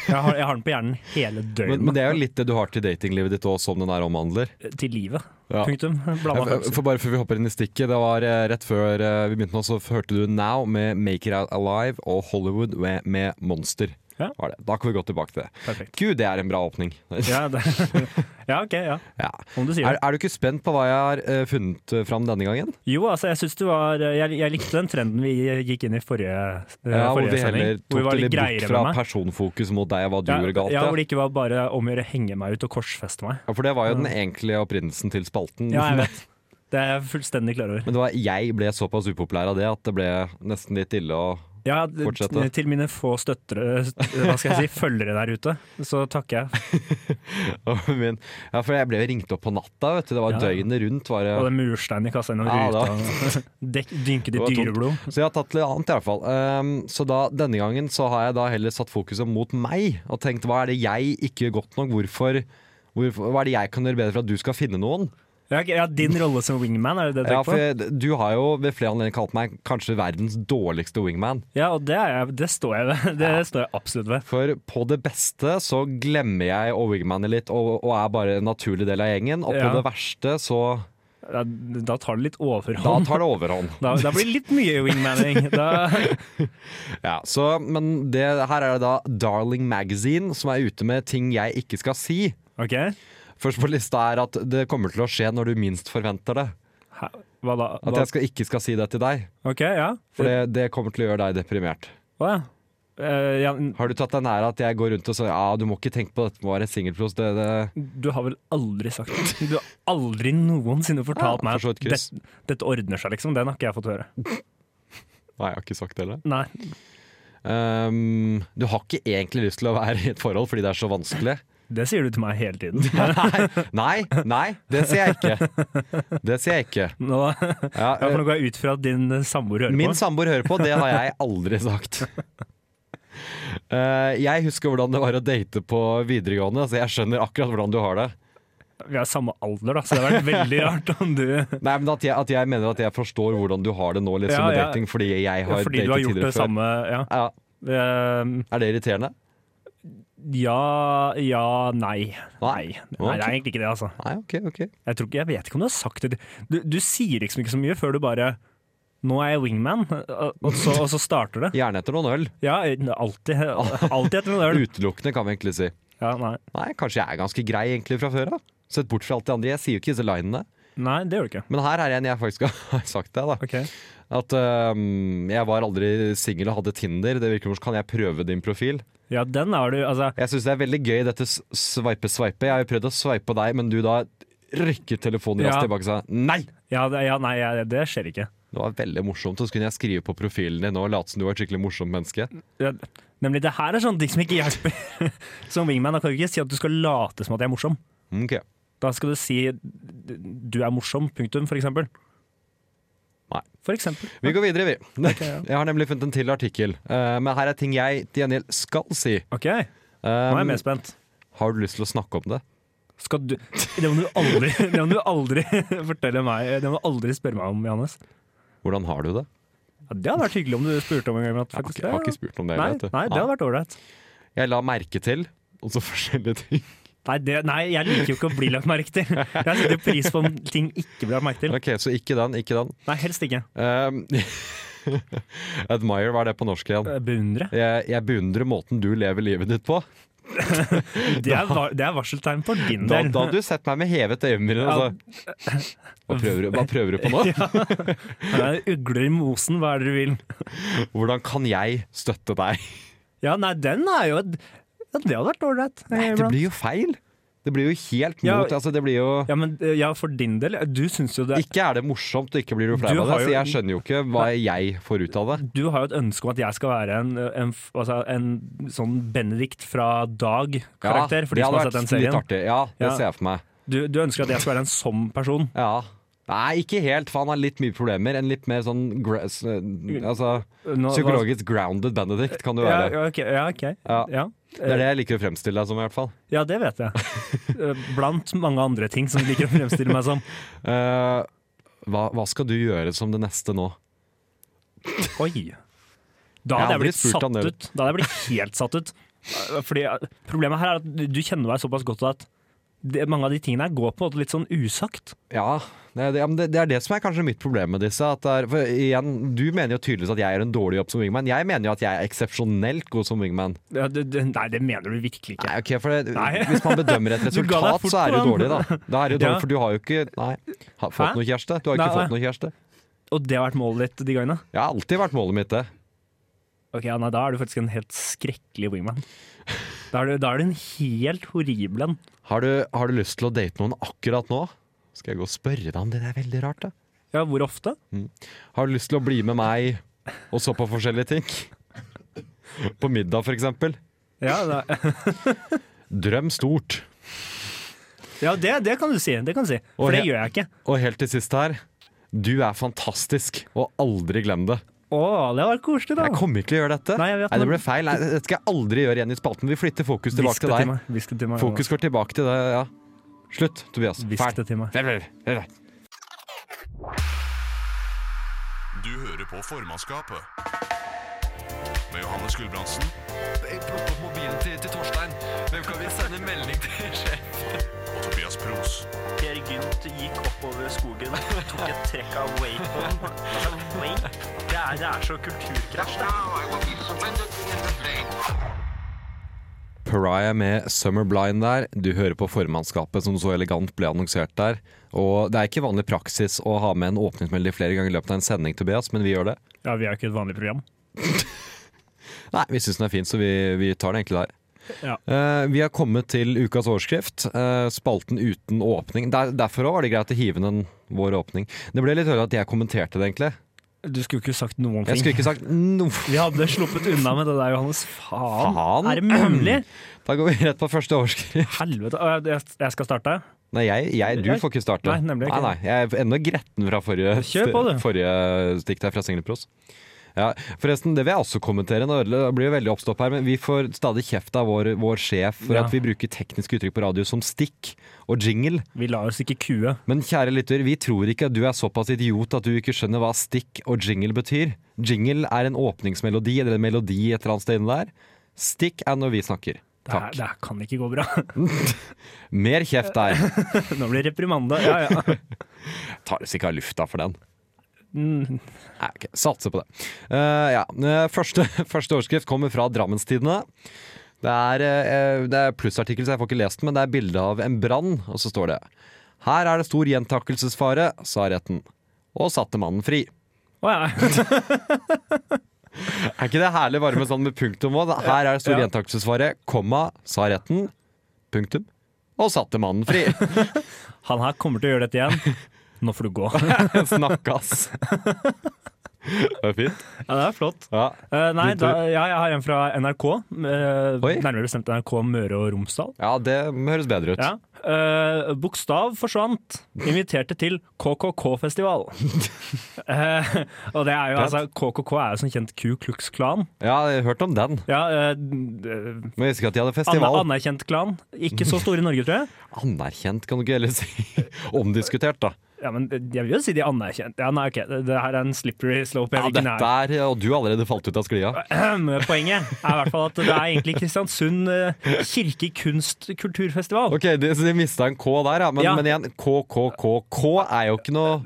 [SPEAKER 6] Jeg har, jeg har den på hjernen hele
[SPEAKER 5] Men,
[SPEAKER 6] døgnet.
[SPEAKER 5] men det er jo litt det du har til datinglivet ditt òg, som den her omhandler.
[SPEAKER 6] Til livet.
[SPEAKER 5] Ja.
[SPEAKER 6] Punktum. Blanda
[SPEAKER 5] Eh,
[SPEAKER 6] følelser.
[SPEAKER 5] For bare før vi hopper inn i stikket, det var eh, rett før eh, vi begynte nå, så hørte du Now med Make It Out Alive og Hollywood med, med Monster.
[SPEAKER 6] Ja.
[SPEAKER 5] Var det. Da kan vi gå tilbake til det.
[SPEAKER 6] Perfekt.
[SPEAKER 5] Gud, det er en bra åpning.
[SPEAKER 6] Ja, det, ja, OK, ja.
[SPEAKER 5] Ja.
[SPEAKER 6] Om du sier
[SPEAKER 5] Er,
[SPEAKER 6] det.
[SPEAKER 5] er du ikke spent på hva jeg har eh, funnet eh, fram denne gangen?
[SPEAKER 6] Jo, altså, jeg syns du var jeg, jeg likte den trenden vi gikk inn i forrige, eh,
[SPEAKER 5] Ja, hvor
[SPEAKER 6] forrige
[SPEAKER 5] vi heller
[SPEAKER 6] sending. Hvor vi
[SPEAKER 5] tok
[SPEAKER 6] var
[SPEAKER 5] det
[SPEAKER 6] litt
[SPEAKER 5] litt bort
[SPEAKER 6] greiere
[SPEAKER 5] fra
[SPEAKER 6] med meg.
[SPEAKER 5] personfokus mot deg og hva du
[SPEAKER 6] Ja,
[SPEAKER 5] gjorde galt.
[SPEAKER 6] ja,
[SPEAKER 5] Ja,
[SPEAKER 6] hvor det ikke var bare om å gjøre å henge meg ut og korsfeste meg.
[SPEAKER 5] Ja, for det var jo den egentlige opprinnelsen til spalten.
[SPEAKER 6] Ja, jeg vet. Det er jeg fullstendig klar over.
[SPEAKER 5] Men det var, jeg ble såpass upopulær av det at det ble nesten litt ille å
[SPEAKER 6] Ja, d-
[SPEAKER 5] Fortsette.
[SPEAKER 6] Til mine få støttere, st- hva skal jeg si, følgere der ute, så takker jeg.
[SPEAKER 5] å- men- Ja, for jeg ble jo ringt opp på natta, vet du. Det var
[SPEAKER 6] Ja.
[SPEAKER 5] døgnet rundt. Var det.
[SPEAKER 6] Og det er murstein i kassa gjennom
[SPEAKER 5] Ja,
[SPEAKER 6] ruta, og dekk- dynket i
[SPEAKER 5] Det var tungt.
[SPEAKER 6] dyreblod.
[SPEAKER 5] Så jeg har tatt litt annet i hvert fall. Ehm, så da, denne gangen så har jeg da heller satt fokuset mot meg, og tenkt hva er det jeg ikke gjør godt nok? Hvorfor, hvorfor, hva er det jeg kan gjøre bedre for at du skal finne noen?
[SPEAKER 6] Ja, ok, ja, din rolle som wingman, er det det du
[SPEAKER 5] Ja,
[SPEAKER 6] tenker
[SPEAKER 5] for
[SPEAKER 6] på?
[SPEAKER 5] jeg, du har jo ved flere anledninger kalt meg kanskje verdens dårligste wingman.
[SPEAKER 6] Ja, og det, er jeg, det står jeg ved. Det står jeg absolutt ved.
[SPEAKER 5] For på det beste så glemmer jeg å wingmane litt og, og er bare en naturlig del av gjengen. Og på
[SPEAKER 6] Ja.
[SPEAKER 5] det verste så
[SPEAKER 6] Ja, Da tar det litt
[SPEAKER 5] Da
[SPEAKER 6] overhånd.
[SPEAKER 5] tar det overhånd.
[SPEAKER 6] Da, da blir det litt mye wingmaning. Da,
[SPEAKER 5] Ja, så, men det, her er det da Darling Magazine som er ute med ting jeg ikke skal si.
[SPEAKER 6] ok,
[SPEAKER 5] Først på lista er at det kommer til å skje når du minst forventer det.
[SPEAKER 6] Hæ? hva da?
[SPEAKER 5] At
[SPEAKER 6] Hva?
[SPEAKER 5] jeg skal, ikke skal si det til deg.
[SPEAKER 6] Ok, ja.
[SPEAKER 5] For det, det kommer til å gjøre deg deprimert.
[SPEAKER 6] Hva? Eh, ja,
[SPEAKER 5] Har du tatt deg nær at jeg går rundt og sier ja, du må ikke tenke på dette med å være singelpros? Det, det,
[SPEAKER 6] du har vel aldri sagt det? Du har aldri noensinne
[SPEAKER 5] Ja,
[SPEAKER 6] fortalt
[SPEAKER 5] for
[SPEAKER 6] meg
[SPEAKER 5] så
[SPEAKER 6] at
[SPEAKER 5] vidt, Chris.
[SPEAKER 6] dette, dette ordner seg, liksom. Den har ikke jeg fått høre.
[SPEAKER 5] Nei, jeg har ikke sagt det heller.
[SPEAKER 6] Nei.
[SPEAKER 5] Um, du har ikke egentlig lyst til å være i et forhold fordi det er så vanskelig.
[SPEAKER 6] Det sier du til meg hele tiden.
[SPEAKER 5] Nei, nei, nei det sier jeg ikke. Det sier jeg ikke.
[SPEAKER 6] Nå, ja,
[SPEAKER 5] Ja,
[SPEAKER 6] for nå går jeg ut fra at din eh, samboer hører
[SPEAKER 5] min
[SPEAKER 6] på.
[SPEAKER 5] samboer hører på, det har jeg aldri sagt. Eh, jeg husker hvordan det var å date på videregående, så jeg skjønner akkurat hvordan du har det.
[SPEAKER 6] Vi er samme alder, da, så det hadde vært veldig rart om du
[SPEAKER 5] Nei, men at jeg, at jeg mener at jeg forstår hvordan du har det nå liksom,
[SPEAKER 6] Ja,
[SPEAKER 5] med
[SPEAKER 6] ja.
[SPEAKER 5] dating, fordi jeg har
[SPEAKER 6] Fordi
[SPEAKER 5] datet
[SPEAKER 6] du har gjort
[SPEAKER 5] tidligere
[SPEAKER 6] det
[SPEAKER 5] før.
[SPEAKER 6] samme Ja.
[SPEAKER 5] Ja,
[SPEAKER 6] Eh,
[SPEAKER 5] er det irriterende?
[SPEAKER 6] Ja, ja, nei.
[SPEAKER 5] Nei.
[SPEAKER 6] Nei, nei det er egentlig ikke det, altså.
[SPEAKER 5] Nei, ok, ok.
[SPEAKER 6] Jeg, tror ikke, jeg vet ikke om du har sagt det. Du, du sier liksom ikke så mye før du bare Nå er jeg wingman, og så, og så starter det.
[SPEAKER 5] Gjerne etter noen øl.
[SPEAKER 6] Ja, alltid, alltid etter en øl.
[SPEAKER 5] Utelukkende, kan vi egentlig si.
[SPEAKER 6] Ja, nei.
[SPEAKER 5] Nei, kanskje jeg er ganske grei egentlig fra før av. Sett bort fra alt det andre. Jeg sier jo ikke disse linene.
[SPEAKER 6] nei, det gjør du ikke.
[SPEAKER 5] Men her er en jeg faktisk har sagt det, da.
[SPEAKER 6] Ok.
[SPEAKER 5] At øhm, jeg var aldri singel og hadde Tinder. Det virker som kan jeg prøve din profil.
[SPEAKER 6] Ja, den har du Altså,
[SPEAKER 5] Jeg syns det er veldig gøy dette s- sveipe-sveipe. Jeg har jo prøvd å sveipe deg, men du da rykket telefonen raskt
[SPEAKER 6] Ja.
[SPEAKER 5] tilbake og sa nei!
[SPEAKER 6] ja, det, ja nei, ja, det skjer ikke.
[SPEAKER 5] Det var veldig morsomt, og så kunne jeg skrive på profilen din og late som du var et skikkelig morsomt menneske.
[SPEAKER 6] Ja, nemlig, det her er sånne ting som ikke hjelper. Som wingman da kan du ikke si at du skal late som at jeg er morsom.
[SPEAKER 5] Mm, Ok.
[SPEAKER 6] Da skal du si 'du er morsom', punktum, for eksempel.
[SPEAKER 5] Nei.
[SPEAKER 6] for eksempel.
[SPEAKER 5] Vi går videre, vi.
[SPEAKER 6] ja.
[SPEAKER 5] Jeg har nemlig funnet en til artikkel. Eh, men her er ting jeg til gjengjeld skal si.
[SPEAKER 6] Ok, nå er
[SPEAKER 5] Um,
[SPEAKER 6] jeg mer spent.
[SPEAKER 5] har du lyst til å snakke om det?
[SPEAKER 6] Skal du Det må du aldri, det må du aldri fortelle meg Det må du aldri spørre meg om, Johannes.
[SPEAKER 5] Hvordan har du det?
[SPEAKER 6] Ja, det hadde vært hyggelig om du spurte om en gang.
[SPEAKER 5] Jeg har ikke, jeg har ikke spurt om det.
[SPEAKER 6] Nei,
[SPEAKER 5] vet du.
[SPEAKER 6] nei, det hadde vært ålreit.
[SPEAKER 5] Jeg la merke til også forskjellige ting.
[SPEAKER 6] Nei, det- nei, jeg liker jo ikke å bli lagt merke til. Jeg setter jo pris på om ting ikke blir lagt merke til.
[SPEAKER 5] Ok, Så ikke den, ikke den.
[SPEAKER 6] Nei, helst ikke.
[SPEAKER 5] Um, admire, hva er det på norsk igjen?
[SPEAKER 6] Eh, Beundre.
[SPEAKER 5] Jeg, jeg beundrer måten du lever livet ditt på.
[SPEAKER 6] Det er, var- det er varseltegn for din
[SPEAKER 5] Da,
[SPEAKER 6] del.
[SPEAKER 5] da hadde du sett meg med hevet øyenbryn.
[SPEAKER 6] Ja.
[SPEAKER 5] Altså. Hva, prøver du- hva prøver du på nå?
[SPEAKER 6] Nei, Ugler i mosen, hva er det du vil?
[SPEAKER 5] Hvordan kan jeg støtte deg?
[SPEAKER 6] Ja, nei, den er jo et- ja, Det hadde vært ålreit.
[SPEAKER 5] Nei,
[SPEAKER 6] eh,
[SPEAKER 5] det
[SPEAKER 6] iblant.
[SPEAKER 5] blir jo feil. Det blir jo helt
[SPEAKER 6] Ja,
[SPEAKER 5] mot. Altså, det blir jo
[SPEAKER 6] Ja, men eh, ja, for din del. Du syns jo det
[SPEAKER 5] Ikke er det morsomt, og ikke blir du flau
[SPEAKER 6] Du
[SPEAKER 5] av det.
[SPEAKER 6] har jo-
[SPEAKER 5] Så jeg skjønner jo ikke hva jeg får ut av det.
[SPEAKER 6] Du har jo et ønske om at jeg skal være en, en, f- altså en sånn Benedikt fra Dag-karakter. for de
[SPEAKER 5] det
[SPEAKER 6] som har
[SPEAKER 5] hadde
[SPEAKER 6] sett den
[SPEAKER 5] vært litt
[SPEAKER 6] serien.
[SPEAKER 5] artig. Ja, det
[SPEAKER 6] Ja.
[SPEAKER 5] ser jeg for meg.
[SPEAKER 6] Du, du ønsker at jeg skal være en sånn person.
[SPEAKER 5] Ja. Nei, ikke helt, for han har litt mye problemer. En litt mer sånn gra- s- altså,
[SPEAKER 6] Mm. Nå-
[SPEAKER 5] psykologisk grounded Benedict kan du
[SPEAKER 6] Ja,
[SPEAKER 5] være.
[SPEAKER 6] ja, ok. Ja, ok.
[SPEAKER 5] Ja.
[SPEAKER 6] Ja. Eh,
[SPEAKER 5] Det er det jeg liker å fremstille deg som, i hvert fall.
[SPEAKER 6] Ja, det vet jeg. Eh, Blant mange andre ting som de liker å fremstille meg som.
[SPEAKER 5] Eh, hva, hva skal du gjøre som det neste nå?
[SPEAKER 6] Oi. Da
[SPEAKER 5] Jeg har
[SPEAKER 6] hadde jeg
[SPEAKER 5] aldri
[SPEAKER 6] blitt
[SPEAKER 5] spurt
[SPEAKER 6] satt
[SPEAKER 5] han det.
[SPEAKER 6] ut. Da hadde jeg blitt helt satt ut. Eh, Fordi eh, Problemet her er at du- du kjenner meg såpass godt at det, mange av de tingene her går på en måte litt sånn usagt.
[SPEAKER 5] Ja, det, det, ja, men det, det er det som er kanskje mitt problem med disse. At det er, for igjen, du mener jo tydeligvis at jeg gjør en dårlig jobb som wingman. Jeg mener jo at jeg er eksepsjonelt god som wingman.
[SPEAKER 6] Ja, det, det, nei, det mener du virkelig ikke.
[SPEAKER 5] Nei, ok, for det,
[SPEAKER 6] Nei.
[SPEAKER 5] Hvis man bedømmer et
[SPEAKER 6] Du ga deg
[SPEAKER 5] resultat,
[SPEAKER 6] fort
[SPEAKER 5] så er det jo
[SPEAKER 6] på
[SPEAKER 5] dårlig,
[SPEAKER 6] den.
[SPEAKER 5] da. da er det jo dårlig,
[SPEAKER 6] Ja.
[SPEAKER 5] For du har jo ikke Nei, har fått
[SPEAKER 6] Hæ?
[SPEAKER 5] noe kjæreste. Du har ikke
[SPEAKER 6] Nei,
[SPEAKER 5] fått noe kjæreste.
[SPEAKER 6] Og det har vært målet ditt de gangene?
[SPEAKER 5] Jeg har alltid vært målet mitt, det.
[SPEAKER 6] Ok, ja, nei, Da er du faktisk en helt skrekkelig wingman. Da er du, da er du en helt horribel en.
[SPEAKER 5] Har du, har du lyst til å date noen akkurat nå? Skal jeg gå og spørre deg om det? Det er veldig rart, det.
[SPEAKER 6] Ja, hvor ofte?
[SPEAKER 5] Har du lyst til å bli med meg og så på forskjellige ting? På middag, for eksempel.
[SPEAKER 6] Ja, da,
[SPEAKER 5] Drøm stort.
[SPEAKER 6] Ja, det, det kan du si. Det kan du si.
[SPEAKER 5] Og
[SPEAKER 6] For det
[SPEAKER 5] he-
[SPEAKER 6] gjør jeg ikke.
[SPEAKER 5] Og helt til sist her. Du er fantastisk, og aldri glem det.
[SPEAKER 6] Å, det var koselig, da.
[SPEAKER 5] Jeg kommer ikke til å gjøre dette.
[SPEAKER 6] Nei, jeg vet
[SPEAKER 5] det
[SPEAKER 6] men-
[SPEAKER 5] ble feil. Nei, dette skal jeg aldri gjøre igjen i spalten. Vi flytter fokus tilbake
[SPEAKER 6] Hvisk det
[SPEAKER 5] til deg.
[SPEAKER 6] meg. Hvisk det til meg.
[SPEAKER 5] Fokus går tilbake til det, ja. Slutt, Tobias.
[SPEAKER 6] Hvisk det til meg.
[SPEAKER 5] Ferdig.
[SPEAKER 1] Du hører på formannskapet. Med Johannes Gulbrandsen
[SPEAKER 2] Plukk opp mobilen til, til Torstein. Hvem kan vi sende melding til? sjef?
[SPEAKER 1] og Tobias Pros.
[SPEAKER 3] Per Gynt gikk oppover skogen, tok et trekk av wakeboarden. Altså, wake? Det er, det er så kulturkrasj, det.
[SPEAKER 4] Now I will be surrendered in the flame.
[SPEAKER 5] Pariah med Summer Blind der. Du hører på formannskapet som så elegant ble annonsert der. Og det er ikke vanlig praksis å ha med en åpningsmelding flere ganger i løpet av en sending, Tobias, men vi gjør det.
[SPEAKER 6] Ja, vi er jo ikke et vanlig program.
[SPEAKER 5] Nei, vi syns den er fin, så vi, vi tar den egentlig der.
[SPEAKER 6] Ja.
[SPEAKER 5] Eh, vi har kommet til ukas overskrift. eh, spalten uten åpning. Der, derfor òg var det greit å hive inn en vår åpning. Det ble litt høyere at jeg kommenterte det, egentlig.
[SPEAKER 6] Du skulle ikke sagt noen
[SPEAKER 5] Jeg
[SPEAKER 6] ting.
[SPEAKER 5] skulle ikke sagt noe.
[SPEAKER 6] Vi hadde sluppet unna med det der, Johannes. Faen!
[SPEAKER 5] Faen.
[SPEAKER 6] Er det mulig?
[SPEAKER 5] Da går vi rett på første overskrift.
[SPEAKER 6] Helvete. Å, Jeg, jeg skal starte.
[SPEAKER 5] Nei, jeg, jeg, du
[SPEAKER 6] Jeg-
[SPEAKER 5] får ikke starte.
[SPEAKER 6] Nei, nemlig ikke.
[SPEAKER 5] Nei, nei, jeg er ennå gretten fra forrige,
[SPEAKER 6] Kjør på, du.
[SPEAKER 5] forrige stikk der fra Singlepros. Ja, forresten, det vil jeg også kommentere. Nå ødele- blir det veldig oppstopp her, men vi får stadig kjeft av vår, vår sjef for
[SPEAKER 6] Ja.
[SPEAKER 5] at vi bruker tekniske uttrykk på radio som stikk og jingle.
[SPEAKER 6] Vi lar oss ikke kue.
[SPEAKER 5] Men kjære lytter, vi tror ikke at du er såpass idiot at du ikke skjønner hva stikk og jingle betyr. Jingle er en åpningsmelodi eller en melodi et eller annet sted inne der. Stikk er når vi snakker.
[SPEAKER 6] Det her,
[SPEAKER 5] Takk.
[SPEAKER 6] det her kan ikke gå bra.
[SPEAKER 5] Mer kjeft der.
[SPEAKER 6] Nå blir det reprimande. Ja, ja.
[SPEAKER 5] Tar oss ikke av lufta for den.
[SPEAKER 6] Mm.
[SPEAKER 5] Nei, ok, Satser på det. Eh, ja. eh, Første, første overskrift kommer fra Drammenstidene. Det er, eh, det er plussartikkel, så jeg får ikke lest den, men det er bilde av en brann, og så står det Her er det stor gjentakelsesfare, sa retten. Og satte mannen fri.
[SPEAKER 6] Å, ja.
[SPEAKER 5] Er ikke det herlig bare med sånn med punktum òg? Her er det stor
[SPEAKER 6] Ja.
[SPEAKER 5] gjentakelsesfare, komma, sa retten. Punktum. Og satte mannen fri.
[SPEAKER 6] Han her kommer til å gjøre dette igjen. Nå får du gå.
[SPEAKER 5] Snakkas. Det var fint.
[SPEAKER 6] Ja, det er flott.
[SPEAKER 5] Ja.
[SPEAKER 6] Eh, nei,
[SPEAKER 5] Din tur.
[SPEAKER 6] da, ja, jeg har en fra NRK. eh,
[SPEAKER 5] Oi.
[SPEAKER 6] nærmere bestemt NRK Møre og Romsdal.
[SPEAKER 5] ja, det høres bedre ut.
[SPEAKER 6] Ja. Eh, bokstav forsvant. Inviterte til KKK-festival. Eh, og det er jo altså KKK er jo som kjent Ku Klux Klan.
[SPEAKER 5] Ja, jeg har hørt om den,
[SPEAKER 6] Ja, eh, eh,
[SPEAKER 5] men jeg visste ikke at de hadde
[SPEAKER 6] anna,
[SPEAKER 5] festival.
[SPEAKER 6] anerkjent klan. Ikke så store i Norge, tror jeg.
[SPEAKER 5] Anerkjent, kan du ikke heller si. Omdiskutert, da.
[SPEAKER 6] Ja, men eh, jeg vil jo si de er anerkjent. Ja, nei, ok, det, det her er en slippery slope.
[SPEAKER 5] Ja,
[SPEAKER 6] Jeg vil ikke
[SPEAKER 5] dette
[SPEAKER 6] nær.
[SPEAKER 5] er, Og du har allerede falt ut av sklia.
[SPEAKER 6] Poenget er i hvert fall at det er egentlig Kristiansund eh, kirke-, kunst- og kulturfestival.
[SPEAKER 5] Ok, de, så de mista en K der, ja. Men,
[SPEAKER 6] Ja.
[SPEAKER 5] men igjen, KKKK er jo ikke noe